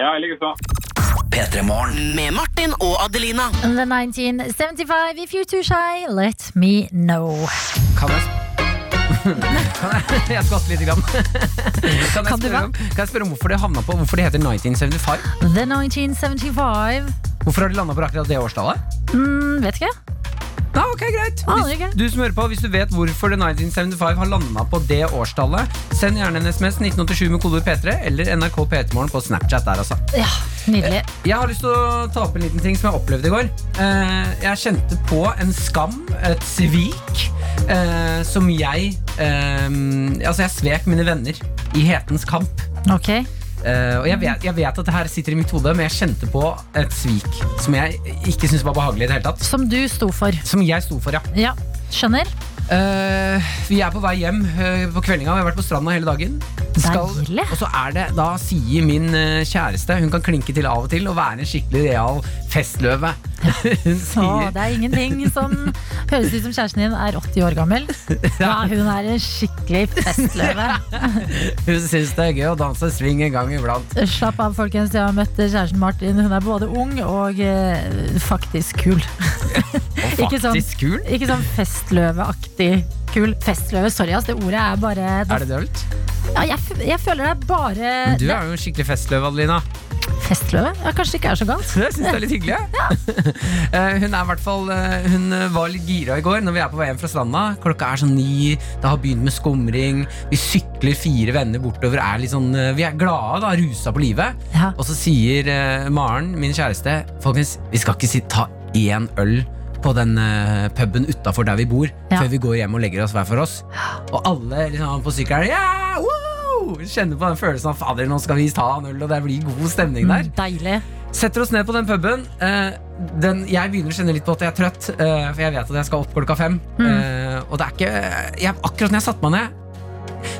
Speaker 12: Ja, jeg liker så.
Speaker 4: P3 Morgen.
Speaker 5: Med Martin og Adelina.
Speaker 2: The 1975, if you too shy, let me know.
Speaker 3: Kan jeg kan [LAUGHS] jeg, jeg skvatt litt. Grann. [LAUGHS] Kan, jeg spørre om, kan jeg spørre om hvorfor det havna på Hvorfor det heter 1975?
Speaker 2: The 1975
Speaker 3: Hvorfor har de landa på akkurat det årstallet?
Speaker 2: mm, Vet ikke.
Speaker 3: Ja, ok, greit.
Speaker 2: Aner ikke.
Speaker 3: Du som hører på, Hvis du vet hvorfor The 1975 har landa på det årstallet, send gjerne en SMS 1987 med kodeord P3 eller NRK P3morgen på Snapchat der, altså.
Speaker 2: Ja, Nydelig.
Speaker 3: Jeg har lyst til å ta opp en liten ting som jeg opplevde i går. Eh, Jeg kjente på en skam, et svik, eh, som jeg eh, Altså, jeg svek mine venner i hetens kamp.
Speaker 2: Ok.
Speaker 3: Eh,
Speaker 2: Mhm.
Speaker 3: og jeg vet, jeg vet at det her sitter i mitt hode, men jeg kjente på et svik som jeg ikke syntes var behagelig i det hele tatt.
Speaker 2: Som du sto for.
Speaker 3: Som jeg sto for, ja.
Speaker 2: Ja, Skjønner.
Speaker 3: Eh, vi er på vei hjem eh, på kveldinga. Vi har vært på stranda hele dagen. og så er det, Da sier min eh, kjæreste Hun kan klinke til av og til og være en skikkelig real festløve. [LAUGHS] hun
Speaker 2: Å,
Speaker 3: sier
Speaker 2: det er ingenting som høres ut som kjæresten din er 80 år
Speaker 3: [LAUGHS]
Speaker 2: gammel. Ja, hun er en skikkelig festløve.
Speaker 3: hun syns det er gøy å danse swing en gang iblant.
Speaker 2: Slapp av, folkens. Jeg har møtt kjæresten Martin. Hun er både ung og eh, faktisk kul.
Speaker 3: Og
Speaker 2: [LAUGHS] Ikke sånn-
Speaker 3: faktisk kul.
Speaker 2: Ikke sånn festløveaktig kul. Festløve, sorry, ass. Det ordet er bare
Speaker 3: Er det dølt?
Speaker 2: Ja, jeg, f- jeg føler det er bare
Speaker 3: Men du
Speaker 2: det-
Speaker 3: er jo en skikkelig festløve, Adelina.
Speaker 2: Festløve? Ja, kanskje det ikke er så galt.
Speaker 3: Jeg synes det er litt hyggelig, jeg. [LAUGHS] Eh, Hun er i hvert fall eh, Hun var litt gira i går når vi er på vei hjem fra stranda. Klokka er sånn ni, det har begynt med skumring. Vi sykler fire venner bortover. Er litt sånn, eh, vi er glade, da, rusa på livet. Og så sier eh, Maren, min kjæreste, folkens, vi skal ikke si, ta én øl på den eh, puben utafor der vi bor,
Speaker 2: Ja.
Speaker 3: før vi går hjem og legger oss hver for oss. Og alle liksom, på sykkelen yeah, woo! kjenner på den følelsen av fader, nå skal vi ta en øl, og det blir god stemning der.
Speaker 2: Deilig.
Speaker 3: Setter oss ned på den puben. Eh, den, jeg begynner å kjenne litt på at jeg er trøtt, eh, for jeg vet at jeg skal opp klokka fem.
Speaker 2: Mm.
Speaker 3: Eh, og det er ikke jeg, Akkurat når jeg satte meg ned,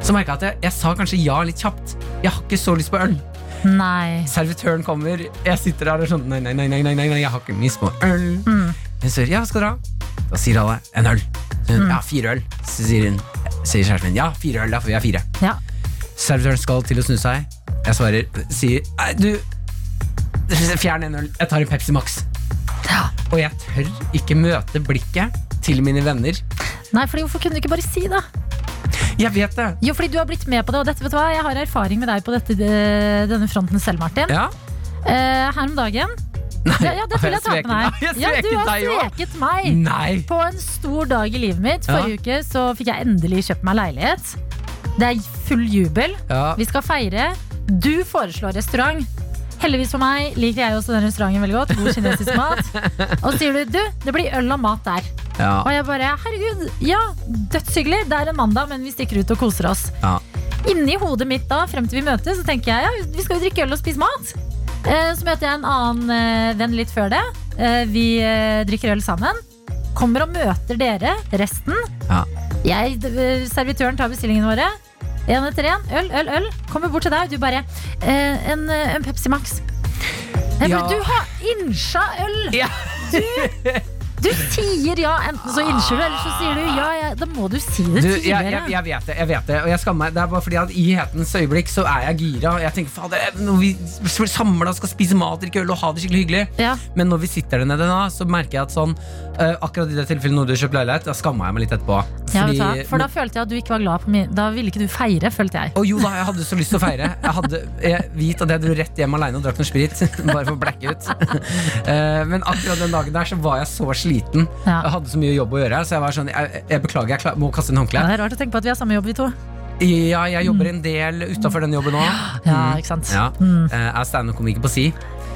Speaker 3: så merka jeg at jeg, jeg sa kanskje ja litt kjapt. Jeg har ikke så lyst på øl.
Speaker 2: Nei.
Speaker 3: Servitøren kommer, jeg sitter der og sånn Nei, nei, nei, nei, nei, nei, nei jeg har ikke lyst på øl.
Speaker 2: Mm.
Speaker 3: Hun sier ja, hva skal dere ha? Da sier alle en øl. Så hun,
Speaker 2: Mm.
Speaker 3: Ja, fire øl. Så sier hun, sier kjæresten min ja, fire øl, da får vi ha fire.
Speaker 2: Ja.
Speaker 3: Servitøren skal til å snu seg. Jeg svarer, sier nei, du Fjern en øl. Jeg tar en Pepsi Max. Og jeg tør ikke møte blikket til mine venner.
Speaker 2: Nei, fordi hvorfor kunne du ikke bare si det?
Speaker 3: Jeg vet det.
Speaker 2: Jo, fordi du har blitt med på det, og dette, vet du hva? jeg har erfaring med deg på dette, det- denne fronten selv, Martin.
Speaker 3: Ja.
Speaker 2: Eh, her om dagen ja, ja, dette vil jeg ta
Speaker 3: Har jeg
Speaker 2: med deg.
Speaker 3: sveket deg?
Speaker 2: Ja,
Speaker 3: Jeg
Speaker 2: du
Speaker 3: sveket
Speaker 2: har
Speaker 3: deg også.
Speaker 2: sveket meg.
Speaker 3: Nei.
Speaker 2: På en stor dag i livet mitt.
Speaker 3: Ja.
Speaker 2: Forrige uke så fikk jeg endelig kjøpt meg leilighet. Det er full jubel.
Speaker 3: Ja.
Speaker 2: Vi skal feire. Du foreslår restaurant. Heldigvis for meg liker jeg også den restauranten veldig godt. God kinesisk mat. [LAUGHS] Og så sier du du, det blir øl og mat der.
Speaker 3: Ja.
Speaker 2: Og jeg bare herregud, ja, dødshyggelig. Det er en mandag, men vi stikker ut og koser oss.
Speaker 3: Ja.
Speaker 2: Inni hodet mitt da, frem til vi møtes, så tenker jeg ja, vi skal jo drikke øl og spise mat. Eh, Så møter jeg en annen eh, venn litt før det. Eh, Vi eh, drikker øl sammen. Kommer og møter dere, resten.
Speaker 3: Ja.
Speaker 2: Jeg, d- eh, servitøren tar bestillingene våre. En etter en, Øl, øl, øl. Kommer bort til deg, du bare eh, en, eh, en Pepsi Max. Jeg
Speaker 3: Ja.
Speaker 2: bare, Du har innsja øl! Du, du sier ja, enten så innsjer du, eller så sier du ja. ja. Da må du si det
Speaker 3: Du, jeg,
Speaker 2: tidligere.
Speaker 3: jeg, jeg vet det, jeg vet det, og jeg skammer meg. Det er bare fordi at i hetens øyeblikk så er jeg gira. Og jeg tenker, fader, når vi samla skal spise mat, drikke øl og ha det skikkelig hyggelig. Men når vi sitter der nede da, så merker jeg at sånn eh, Akkurat i det tilfellet når du har kjøpt leilighet, da skamma jeg meg litt etterpå.
Speaker 2: Ja, vet
Speaker 3: Fordi-
Speaker 2: du hva? For da følte jeg at du ikke var glad på min Da ville ikke du feire, følte jeg.
Speaker 3: Å jo da, jeg hadde så lyst til å feire. Jeg hadde jeg vet at jeg dro rett hjem alene og drakk noe sprit. [LAUGHS] Bare for å blacke ut. Eh, Men akkurat den dagen der så var jeg så sliten.
Speaker 2: Ja.
Speaker 3: Jeg hadde så mye jobb å gjøre. Så jeg var sånn, jeg, jeg beklager, jeg kla- må kaste inn
Speaker 2: Ja,
Speaker 3: håndkleet.
Speaker 2: det er rart å tenke på at vi har samme jobb, vi to.
Speaker 3: Ja, jeg jobber en del utafor den jobben nå.
Speaker 2: [GASPS] Ja, ikke sant?
Speaker 3: Ja.
Speaker 2: Mm.
Speaker 3: Eh, Jeg er standup-komiker på si,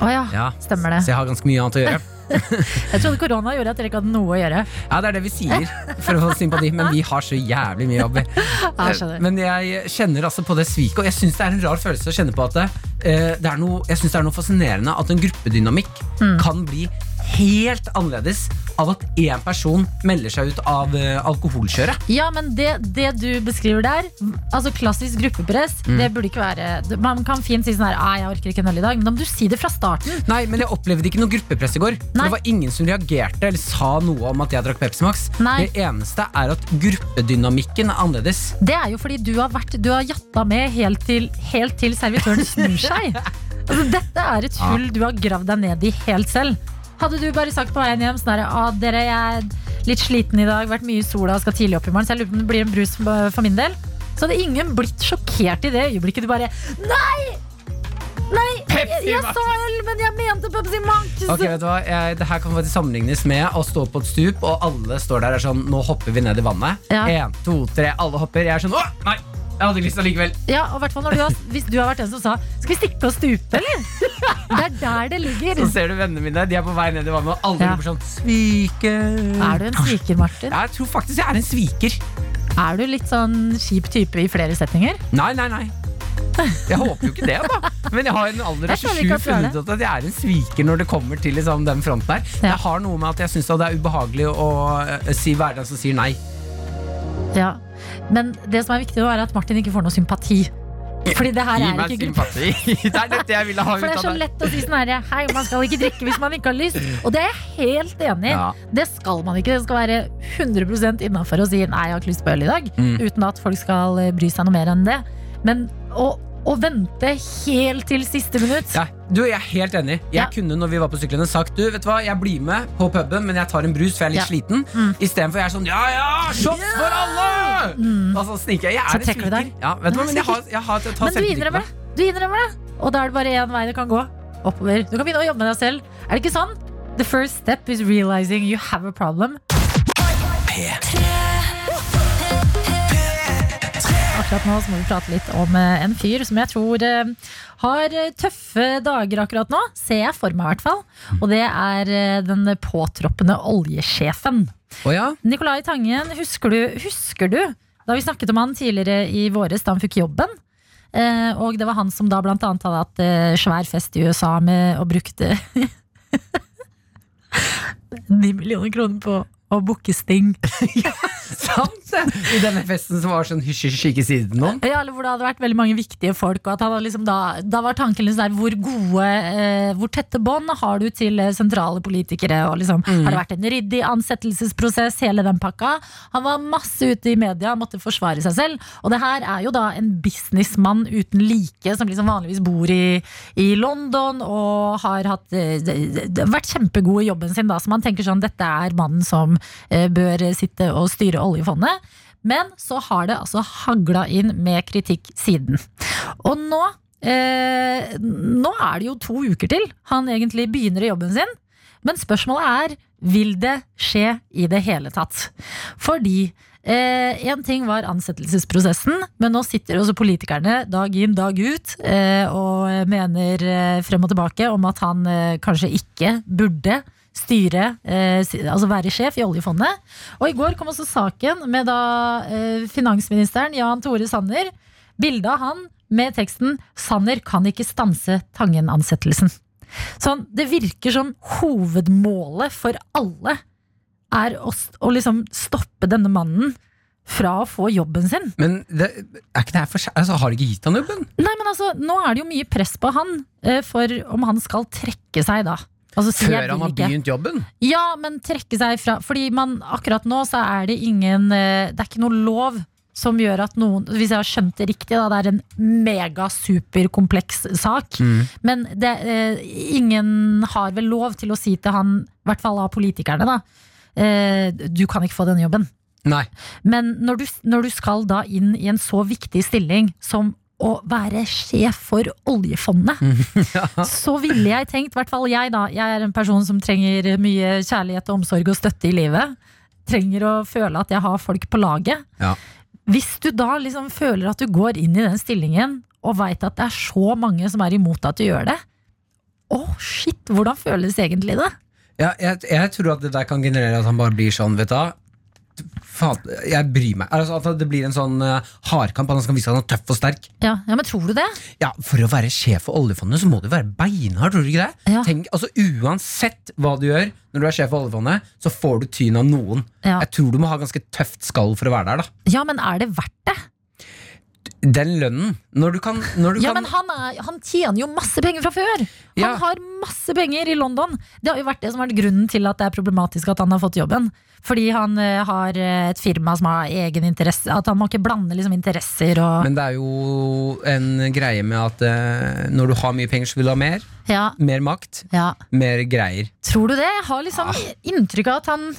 Speaker 2: Å ja,
Speaker 3: Ja.
Speaker 2: stemmer det.
Speaker 3: så jeg har ganske mye annet å gjøre.
Speaker 2: Jeg trodde korona gjorde at dere ikke hadde noe å
Speaker 3: [LAUGHS]
Speaker 2: gjøre.
Speaker 3: Ja, Det er det vi
Speaker 2: [LAUGHS]
Speaker 3: sier for å få sympati, men vi har så jævlig mye jobber.
Speaker 2: Ja, jeg skjønner.
Speaker 3: Eh, Men jeg kjenner altså på det sviket, og jeg syns det er en rar følelse å kjenne på at det, eh, det er noe, jeg synes det er noe fascinerende at en gruppedynamikk
Speaker 2: Mm.
Speaker 3: kan bli helt annerledes av at én person melder seg ut av eh, alkoholkjøret.
Speaker 2: Ja, men det, det du beskriver der, altså klassisk gruppepress,
Speaker 3: Mm.
Speaker 2: det burde ikke være Man kan fint si sånn her «Ah, 'jeg orker ikke en øl i dag', men da må du si det fra starten.
Speaker 3: Nei, men jeg opplevde ikke noe gruppepress i går. For
Speaker 2: Nei.
Speaker 3: det var ingen som reagerte eller sa noe om at jeg drakk Pepsi Max.
Speaker 2: Nei.
Speaker 3: Det eneste er at gruppedynamikken er annerledes.
Speaker 2: Det er jo fordi du har, vært, du har jatta med helt til, helt til servitøren snur
Speaker 3: [LAUGHS]
Speaker 2: seg. Altså, dette er et hull du har gravd deg ned i helt selv. Hadde du bare sagt på veien hjem sånn herre ah, dere, jeg er litt sliten i dag, vært mye i sola og skal tidlig opp i morgen, så jeg lurer på om det blir en brus for for min del. Så hadde ingen blitt sjokkert i det øyeblikket du bare Nei! Nei! Jeg,
Speaker 3: Pepsi
Speaker 2: jeg
Speaker 3: Max!»
Speaker 2: sa øl, men jeg mente Pepsi Max!
Speaker 3: Ok, vet du hva? Jeg, det her kan faktisk sammenlignes med å stå på et stup, og alle står der og er sånn Nå hopper vi ned i vannet.
Speaker 2: Ja.
Speaker 3: En, to, tre, alle hopper. Jeg er sånn Å, nei! Jeg hadde ikke lyst allikevel.
Speaker 2: Ja, og hvertfall når du har, Hvis du har vært den som sa 'skal vi stikke og stupe', eller?
Speaker 3: [LAUGHS]
Speaker 2: Det er der det ligger.
Speaker 3: Så ser du vennene mine, de er på vei ned i vannet, og alle
Speaker 2: Ja.
Speaker 3: roper sånn Sviker.
Speaker 2: Er du en sviker, Martin?
Speaker 3: Jeg tror faktisk jeg er en sviker.
Speaker 2: Er du litt sånn kjip type i flere setninger?
Speaker 3: Nei, nei, nei. Jeg håper jo ikke det, da. Men jeg har i en alder av
Speaker 2: Jeg føler ikke
Speaker 3: 27
Speaker 2: at du er det.
Speaker 3: funnet ut at jeg er en sviker når det kommer til liksom, den fronten der. Jeg har noe med at jeg syns det er ubehagelig å eh, si være den som sier nei.
Speaker 2: Ja. Men det som er viktig, nå er at Martin ikke får noe sympati. Fordi det her
Speaker 3: Gi
Speaker 2: er
Speaker 3: meg
Speaker 2: ikke gruppe.
Speaker 3: sympati. [LAUGHS] Det er dette jeg ville ha ut
Speaker 2: For det er så
Speaker 3: av deg.
Speaker 2: lett å si sånn herre Hei, man skal ikke drikke hvis man ikke har lyst. Og det er jeg helt enig i.
Speaker 3: Ja.
Speaker 2: Det skal man ikke. Det skal være 100 innafor å si nei, jeg har ikke lyst på øl i dag.
Speaker 3: Mm.
Speaker 2: Uten at folk skal eh, bry seg noe mer enn det. Men å, å vente helt til siste minutt
Speaker 3: Ja, du, jeg er helt enig. Jeg
Speaker 2: Ja.
Speaker 3: kunne når vi var på syklene sagt Du, vet du hva, jeg blir med på puben, men jeg tar en brus, for jeg er litt
Speaker 2: Ja. Mm.
Speaker 3: sliten. Istedenfor jeg er sånn Ja, ja, shots for alle! Og så sniker jeg. Jeg
Speaker 2: Mm. Så
Speaker 3: er en
Speaker 2: trekker du
Speaker 3: sviker.
Speaker 2: deg.
Speaker 3: Ja, vet du hva,
Speaker 2: Nei,
Speaker 3: men jeg
Speaker 2: sniker.
Speaker 3: har, jeg har jeg tar
Speaker 2: Men du
Speaker 3: selvkritikk på
Speaker 2: innrømmer det. Du innrømmer det. Og da er det bare én vei det kan gå. oppover. Du kan begynne å jobbe med deg selv. Er det ikke sånn? The first step is realizing you have a problem. Akkurat nå så må vi prate litt om eh, en fyr som jeg tror eh, har eh, tøffe dager akkurat nå. Ser jeg for meg, i hvert fall. Og det er eh, den påtroppende oljesjefen.
Speaker 3: Å ja?
Speaker 2: Nicolai Tangen, husker du, husker du da vi snakket om han tidligere i våres da han fikk jobben? Eh, og det var han som da blant annet hadde hatt eh, svær fest i USA med og brukte [LAUGHS] ni millioner kroner på å booke Sting. [LAUGHS]
Speaker 3: Sant det! [LAUGHS] I denne festen som var sånn hysj-hysj, ikke si det til noen.
Speaker 2: Ja, eller hvor det hadde vært veldig mange viktige folk. Og at han hadde liksom da, da var tanken liksom der, hvor gode, eh, hvor tette bånd har du til eh, sentrale politikere? Og liksom, Har det vært en ryddig ansettelsesprosess? Hele den pakka. Han var masse ute i media, måtte forsvare seg selv. Og det her er jo da en businessmann uten like, som liksom vanligvis bor i, i London og har hatt, eh, d- d- vært kjempegod i jobben sin, da, så man tenker sånn dette er mannen som eh, bør sitte og styre oljefondet. Men så har det altså hagla inn med kritikk siden. Og nå, eh, nå er det jo to uker til han egentlig begynner i jobben sin. Men spørsmålet er vil det skje i det hele tatt. Fordi én ting var ansettelsesprosessen, men nå sitter også politikerne dag inn dag ut eh, og mener eh, frem og tilbake om at han eh, kanskje ikke burde styre, eh, si- altså være sjef i oljefondet. Og i går kom også saken med da eh, finansministeren Jan Tore Sanner. Bildet av han med teksten 'Sanner kan ikke stanse Tangen-ansettelsen'. Sånn, det virker som hovedmålet for alle er å, st- å liksom stoppe denne mannen fra å få jobben sin.
Speaker 3: Men det, er ikke det her for seg? Altså, har de ikke gitt han jobben?
Speaker 2: Nei, men altså, Nå er det jo mye press på han eh, for om han skal trekke seg, da. Altså, si, jeg
Speaker 3: Før
Speaker 2: vil
Speaker 3: han har
Speaker 2: ikke.
Speaker 3: begynt jobben?
Speaker 2: Ja, men trekke seg fra Fordi man, akkurat nå så er det ingen eh, Det er ikke noe lov som gjør at noen Hvis jeg har skjønt det riktig, da, det er en megasuperkompleks sak.
Speaker 3: Mm.
Speaker 2: Men det, eh, ingen har vel lov til å si til han, i hvert fall av politikerne, da eh, Du kan ikke få denne jobben.
Speaker 3: Nei.
Speaker 2: Men når du, når du skal da inn i en så viktig stilling som å være sjef for oljefondet, så ville jeg tenkt, i hvert fall jeg da, jeg er en person som trenger mye kjærlighet og omsorg og støtte i livet. Trenger å føle at jeg har folk på laget.
Speaker 3: Ja.
Speaker 2: Hvis du da liksom føler at du går inn i den stillingen og veit at det er så mange som er imot at du gjør det, å shit, hvordan føles egentlig det?
Speaker 3: Ja, jeg, jeg tror at det der kan generere at han bare blir sånn, vet du hva. Faen, jeg bryr meg. Altså, at det blir en sånn eh, hardkamp. at Han skal vise at han er tøff og sterk.
Speaker 2: Ja, ja, men tror du det?
Speaker 3: Ja, For å være sjef for oljefondet så må du være beinhard, tror du ikke det? Tenk, altså Uansett hva du gjør når du er sjef for oljefondet, så får du tyn av noen.
Speaker 2: Ja.
Speaker 3: Jeg tror du må ha ganske tøft skall for å være der, da.
Speaker 2: Ja, men er det verdt
Speaker 3: Den lønnen. Når du kan, når du
Speaker 2: Ja,
Speaker 3: kan
Speaker 2: men han, er, han tjener jo masse penger fra før! Han
Speaker 3: Ja.
Speaker 2: har masse penger i London. Det har jo vært det som har vært grunnen til at det er problematisk at han har fått jobben. Fordi han eh, har eh, et firma som har egen interesse. At han må ikke blande liksom, interesser og
Speaker 3: Men det er jo en greie med at eh, når du har mye penger, så vil du ha mer.
Speaker 2: ja,
Speaker 3: Mer makt.
Speaker 2: ja.
Speaker 3: Mer greier.
Speaker 2: Tror du det? Jeg har
Speaker 3: Ah.
Speaker 2: liksom inntrykk av at han,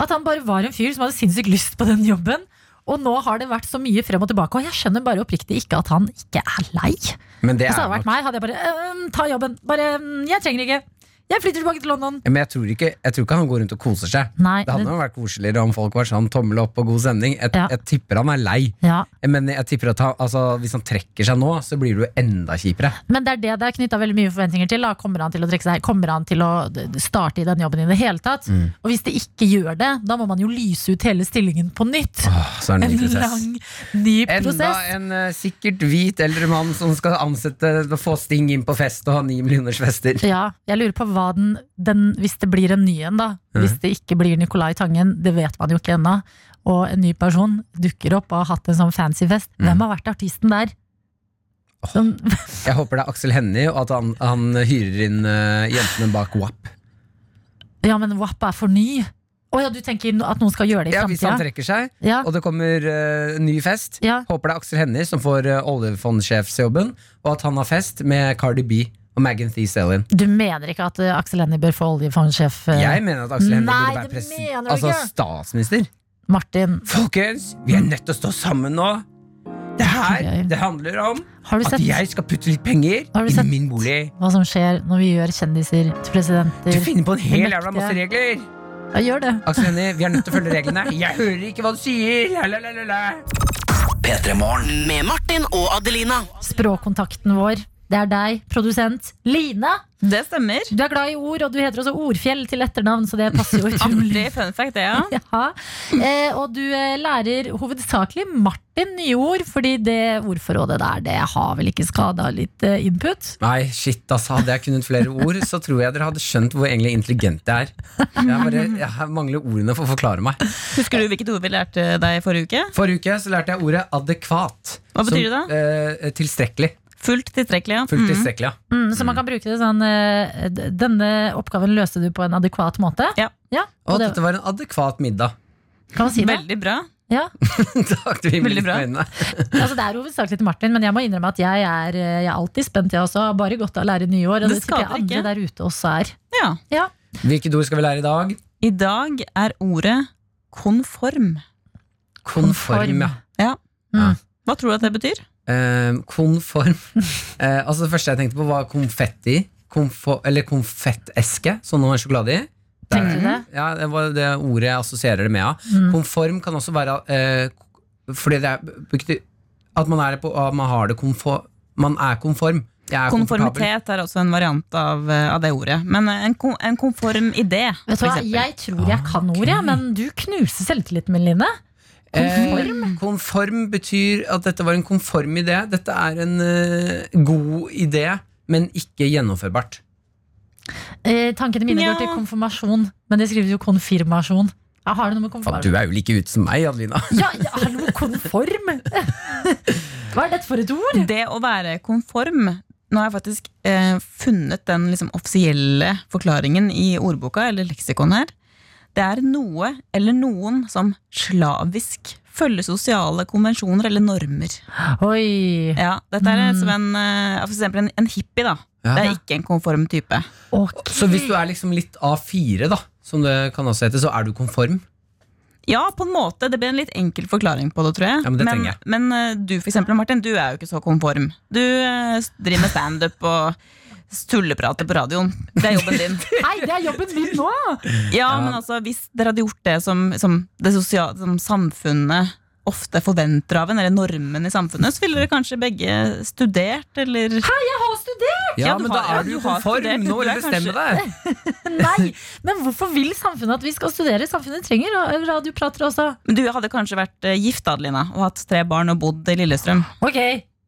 Speaker 2: at han bare var en fyr som hadde sinnssykt lyst på den jobben. Og nå har det vært så mye frem og tilbake, og jeg skjønner bare oppriktig ikke at han ikke er lei.
Speaker 3: Men det
Speaker 2: altså, hadde
Speaker 3: er
Speaker 2: det vært
Speaker 3: nok-
Speaker 2: meg, hadde jeg bare «Øhm, ta jobben. Bare, «Øhm, jeg trenger ikke. Jeg flytter tilbake til London.
Speaker 3: Ja, Men jeg tror, ikke, jeg tror ikke han går rundt og koser seg.
Speaker 2: Nei,
Speaker 3: det hadde
Speaker 2: det-
Speaker 3: jo vært koseligere om folk var sånn tommel opp og god stemning. Jeg, jeg tipper han er lei.
Speaker 2: Ja.
Speaker 3: Men jeg tipper at han, altså, hvis han trekker seg nå, så blir det jo enda kjipere.
Speaker 2: Men det er det det er knytta veldig mye forventninger til. Da. Kommer han til å trekke seg? Kommer han til å d- d- starte i den jobben i det hele tatt?
Speaker 3: Mm.
Speaker 2: Og hvis det ikke gjør det, da må man jo lyse ut hele stillingen på nytt.
Speaker 3: så er det en ny
Speaker 2: en
Speaker 3: prosess.
Speaker 2: lang, ny
Speaker 3: Enda
Speaker 2: prosess.
Speaker 3: en eh, sikkert hvit eldre mann som skal ansette få Sting inn på fest og ha ni millioners fester.
Speaker 2: Ja, jeg lurer på hva den, den Hvis det blir en ny en, da. Hvis
Speaker 3: Mhm.
Speaker 2: det ikke blir Nicolai Tangen, det vet man jo ikke ennå. Og en ny person dukker opp og har hatt en sånn fancy fest.
Speaker 3: Mm.
Speaker 2: Hvem har vært artisten der? Som,
Speaker 3: Jeg håper det er Aksel Hennie, og at han, han hyrer inn eh, jentene bak WAP.
Speaker 2: ja, men WAP er for ny. Å ja, du tenker at noen skal gjøre det i
Speaker 3: Ja, hvis han
Speaker 2: framtida?
Speaker 3: trekker seg,
Speaker 2: Ja.
Speaker 3: og det kommer eh, ny fest. Håper det er Aksel Hennie som får uh, oljefondsjefsjobben, og at han har fest med Cardi B og Megan Thee Stallion.
Speaker 2: Du mener ikke at eh, Aksel Hennie bør få oljefondsjef? eh?
Speaker 3: Jeg mener at Aksel Hennie
Speaker 2: Nei,
Speaker 3: burde være
Speaker 2: det
Speaker 3: pres-
Speaker 2: mener du
Speaker 3: altså
Speaker 2: ikke.
Speaker 3: statsminister.
Speaker 2: Martin.
Speaker 3: Folkens, vi er nødt til å stå sammen nå! Det her det handler om
Speaker 2: Har du
Speaker 3: at
Speaker 2: sett-
Speaker 3: jeg skal putte litt penger
Speaker 2: Har du
Speaker 3: i
Speaker 2: sett-
Speaker 3: min bolig.
Speaker 2: Hva som skjer når vi gjør kjendiser til presidenter.
Speaker 3: Du finner på en hel
Speaker 2: til mektige.
Speaker 3: jævla masse regler!
Speaker 2: Ja, gjør det.
Speaker 3: Aksel Hennie, vi er nødt til å følge reglene. Jeg hører ikke hva du sier! La, la, la, la, la.
Speaker 5: Med Martin og Adelina.
Speaker 2: Språkkontakten vår. Det er deg, produsent Line.
Speaker 11: Det stemmer.
Speaker 2: Du er glad i ord, og du heter også Ordfjell til etternavn, så det
Speaker 11: [LAUGHS]
Speaker 2: passer jo utrolig.
Speaker 11: Artig fun fact, det, ja.
Speaker 2: [LAUGHS] Ja. Eh, og du eh, lærer hovedsakelig Martin nye ord, fordi det ordforrådet der, det har vel ikke skada litt eh, input?
Speaker 3: Nei, shit, altså. Hadde jeg kunnet flere ord, så tror jeg dere hadde skjønt hvor egentlig intelligent jeg er. Jeg, bare, jeg mangler ordene for å forklare meg.
Speaker 11: Husker du hvilket ord vi lærte deg forrige uke?
Speaker 3: Forrige uke så lærte jeg ordet adekvat.
Speaker 11: Hva betyr
Speaker 3: som, det? Eh, tilstrekkelig.
Speaker 11: Fullt tilstrekkelig, ja.
Speaker 3: Fullt
Speaker 11: Mhm.
Speaker 3: tilstrekkelig, ja.
Speaker 2: Mm, så man kan bruke det sånn eh, d- Denne oppgaven løste du på en adekvat måte?
Speaker 11: Ja.
Speaker 2: og
Speaker 3: Og
Speaker 2: det,
Speaker 3: dette var en adekvat middag. [LAUGHS]
Speaker 2: kan man si det?
Speaker 11: Veldig bra.
Speaker 2: Ja.
Speaker 3: Takk, du himmel på øynene.
Speaker 2: Altså, det er hovedsakelig til Martin, men jeg må innrømme at jeg er, eh, jeg er alltid spent, jeg også. Har bare godt av å lære nye år, og det,
Speaker 11: Det
Speaker 2: tipper jeg
Speaker 11: skader
Speaker 2: andre
Speaker 11: ikke.
Speaker 2: der ute også er.
Speaker 11: Ja.
Speaker 3: Hvilket ord skal vi lære i dag?
Speaker 11: I dag er ordet konform.
Speaker 3: Konform, ja.
Speaker 11: Ja. Hva tror du at det betyr?
Speaker 3: Eh, konform.
Speaker 11: [LAUGHS]
Speaker 3: Eh, altså Det første jeg tenkte på, var konfetti. Konfo, eller konfetteske, som nå er sjokolade i. Der-
Speaker 2: Tenkte du det?
Speaker 3: Ja, det var det ordet jeg assosierer det med. Ja.
Speaker 2: Mm.
Speaker 3: Konform kan også være eh, Fordi det er brukte- At man, er på, at man har det konfor, Man er konform. Jeg er komfortabel.
Speaker 11: Konformitet er også en variant av, eh, av det ordet. Men eh, en, kon- en konform idé,
Speaker 2: Vet du
Speaker 11: for
Speaker 2: hva,
Speaker 11: eksempel.
Speaker 2: Jeg tror jeg kan ordet, jeg, men du knuser selvtilliten min, Line. Konform.
Speaker 3: Eh, konform betyr at dette var en konform idé. Dette er en eh, god idé, men ikke gjennomførbart.
Speaker 2: Eh, tankene mine
Speaker 11: Ja.
Speaker 2: går til konfirmasjon, men det skrives jo konfirmasjon. Jeg har det noe med
Speaker 3: Faen, du
Speaker 2: konfirmasjon.
Speaker 3: er jo like ute som meg, Adelina.
Speaker 2: Ja, ja, hallo, konform!
Speaker 3: [LAUGHS]
Speaker 2: Hva er dette for et ord?
Speaker 11: Det å være konform Nå har jeg faktisk eh, funnet den liksom, offisielle forklaringen i ordboka, eller leksikon her. Det er noe eller noen som slavisk følger sosiale konvensjoner eller normer.
Speaker 2: Oi.
Speaker 11: Ja, dette er som en, eh, for eksempel en, en hippie, da.
Speaker 3: Ja.
Speaker 11: Det er ikke en konform type.
Speaker 3: Så hvis du er liksom litt A4, da, som det kan også hete, så er du konform.
Speaker 11: Ja, på en måte. Det ble en litt enkel forklaring på det, tror jeg.
Speaker 3: Ja, men det trenger jeg.
Speaker 11: men, eh, du, for eksempel, Martin, du er jo ikke så konform. Du eh, driver med standup og tulleprater på radioen. Det er jobben din.
Speaker 2: Hei, det er jobben min nå!
Speaker 11: Ja, men altså, hvis dere hadde gjort det som, som det sosiale, som samfunnet ofte forventer av en, eller normen i samfunnet, så ville dere kanskje begge studert, eller
Speaker 2: Hei, jeg har studert!
Speaker 3: Ja,
Speaker 11: du
Speaker 3: men
Speaker 11: har-
Speaker 3: da er du jo
Speaker 11: har
Speaker 3: konform.
Speaker 11: studert,
Speaker 3: Nå
Speaker 11: du er
Speaker 3: vil jeg bestemme deg.
Speaker 2: [LAUGHS] Nei, men hvorfor vil samfunnet at vi skal studere? Samfunnet trenger radioprater også.
Speaker 11: Men du hadde kanskje vært eh, gift, Adelina, og hatt tre barn og bodd i Lillestrøm.
Speaker 2: Ok,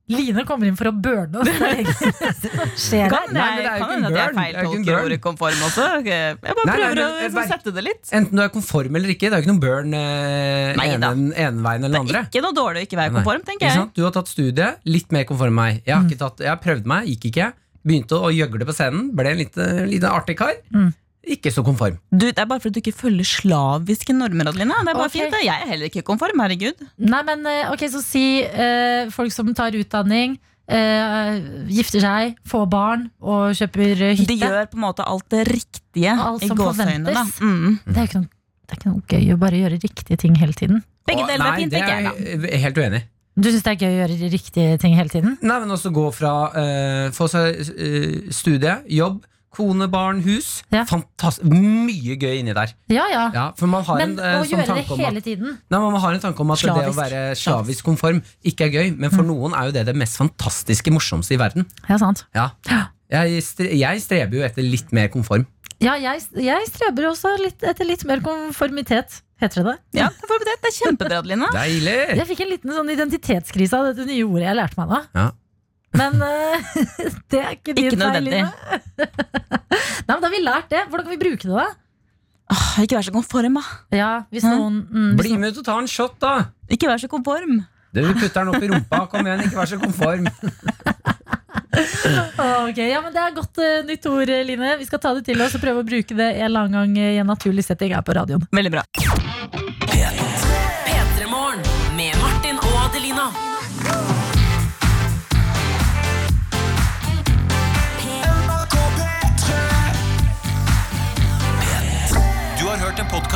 Speaker 2: Line kommer inn for å burne [LAUGHS] oss. Det er egentlig det som skjer
Speaker 11: Kan
Speaker 2: her.
Speaker 3: Nei, men det
Speaker 11: jeg,
Speaker 3: er jo
Speaker 11: kan
Speaker 3: ikke
Speaker 11: hende
Speaker 3: en
Speaker 11: at jeg
Speaker 3: burn. Det er jo ikke en
Speaker 11: feiltolker
Speaker 3: burn.
Speaker 11: ordet konform også. Ok, Jeg bare
Speaker 3: Nei, nei,
Speaker 11: prøver
Speaker 3: men,
Speaker 11: å
Speaker 3: eh,
Speaker 11: liksom,
Speaker 3: bare-
Speaker 11: sette det litt.
Speaker 3: Enten du er konform eller ikke. Det er jo ikke noen burn eh,
Speaker 11: Nei da.
Speaker 3: ene ene veien eller den andre.
Speaker 11: Ikke noe dårlig å ikke være
Speaker 3: Nei.
Speaker 11: konform, tenker
Speaker 3: Ikke
Speaker 11: jeg.
Speaker 3: sant? Du har tatt studie, litt mer konform enn meg.
Speaker 2: Mm.
Speaker 3: Jeg har, ikke tatt, jeg har prøvd meg, gikk ikke. Begynte å gjøgle på scenen, ble en liten, liten artig kar.
Speaker 2: Mm.
Speaker 3: Ikke så konform.
Speaker 11: Du, det er bare fordi du ikke følger slaviske normer, Adelina. Det er bare
Speaker 2: Ok.
Speaker 11: fint. det. Jeg er heller ikke konform, herregud.
Speaker 2: Nei, men eh, ok, så si eh, folk som tar utdanning, eh, gifter seg, får barn og kjøper eh, hytte.
Speaker 11: De gjør på en måte alt det riktige
Speaker 2: Alt
Speaker 11: i
Speaker 2: som
Speaker 11: gåseøynene. da.
Speaker 2: forventes.
Speaker 11: Mm.
Speaker 2: det, er jo ikke noe, det er ikke noe gøy å bare gjøre riktige ting hele tiden.
Speaker 11: Begge
Speaker 3: Å,
Speaker 11: deler
Speaker 3: nei,
Speaker 11: er fint,
Speaker 3: det
Speaker 11: tenker jeg. da.
Speaker 3: er jeg helt uenig i.
Speaker 2: Du syns det er gøy å gjøre riktige ting hele tiden?
Speaker 3: Nei, men også gå fra eh, få seg eh, studie, jobb, kone, barn, hus.
Speaker 2: Ja.
Speaker 3: Fantastisk. Mye gøy inni der.
Speaker 2: Ja ja.
Speaker 3: Ja, for man har
Speaker 2: Men
Speaker 3: en, eh,
Speaker 2: å
Speaker 3: sånn
Speaker 2: gjøre det
Speaker 3: tanke om
Speaker 2: hele
Speaker 3: at
Speaker 2: tiden
Speaker 3: Nei, men Man har en tanke om at det å
Speaker 2: Slavisk.
Speaker 3: være slavisk Mm. konform ikke er gøy, men for noen er jo det det mest fantastiske, morsomste i verden.
Speaker 2: Ja, sant.
Speaker 3: Ja. Jeg, stre jeg streber jo etter litt mer konform.
Speaker 2: Ja, jeg, jeg streber også litt etter litt mer konformitet, heter det det?
Speaker 11: Ja, konformitet. Det er kjempebra, Adelina.
Speaker 3: Deilig!
Speaker 2: Jeg fikk en liten sånn identitetskrise av dette nye ordet jeg lærte meg nå.
Speaker 3: Ja.
Speaker 2: Men eh, [LAUGHS] det er ikke din
Speaker 11: Ikke
Speaker 2: feil,
Speaker 11: nødvendig.
Speaker 2: Line. Nei, men da har vi lært det. Hvordan kan vi bruke det, da?
Speaker 11: Åh, ikke vær så konform, da.
Speaker 2: Ja, hvis noen mm, hvis
Speaker 3: Bli med ut og ta en shot, da!
Speaker 11: Ikke vær så konform.
Speaker 3: Du putter den opp i rumpa. Kom igjen, ikke vær så konform.
Speaker 2: noen- Ok, ja, men Det er godt eh, nytt ord, eh, Line. Vi skal ta det til oss og prøve å bruke det en eller annen gang eh, i en naturlig setting her på radioen.
Speaker 11: Veldig bra.
Speaker 5: P3morgen med Martin og Adelina.
Speaker 1: Du har hørt en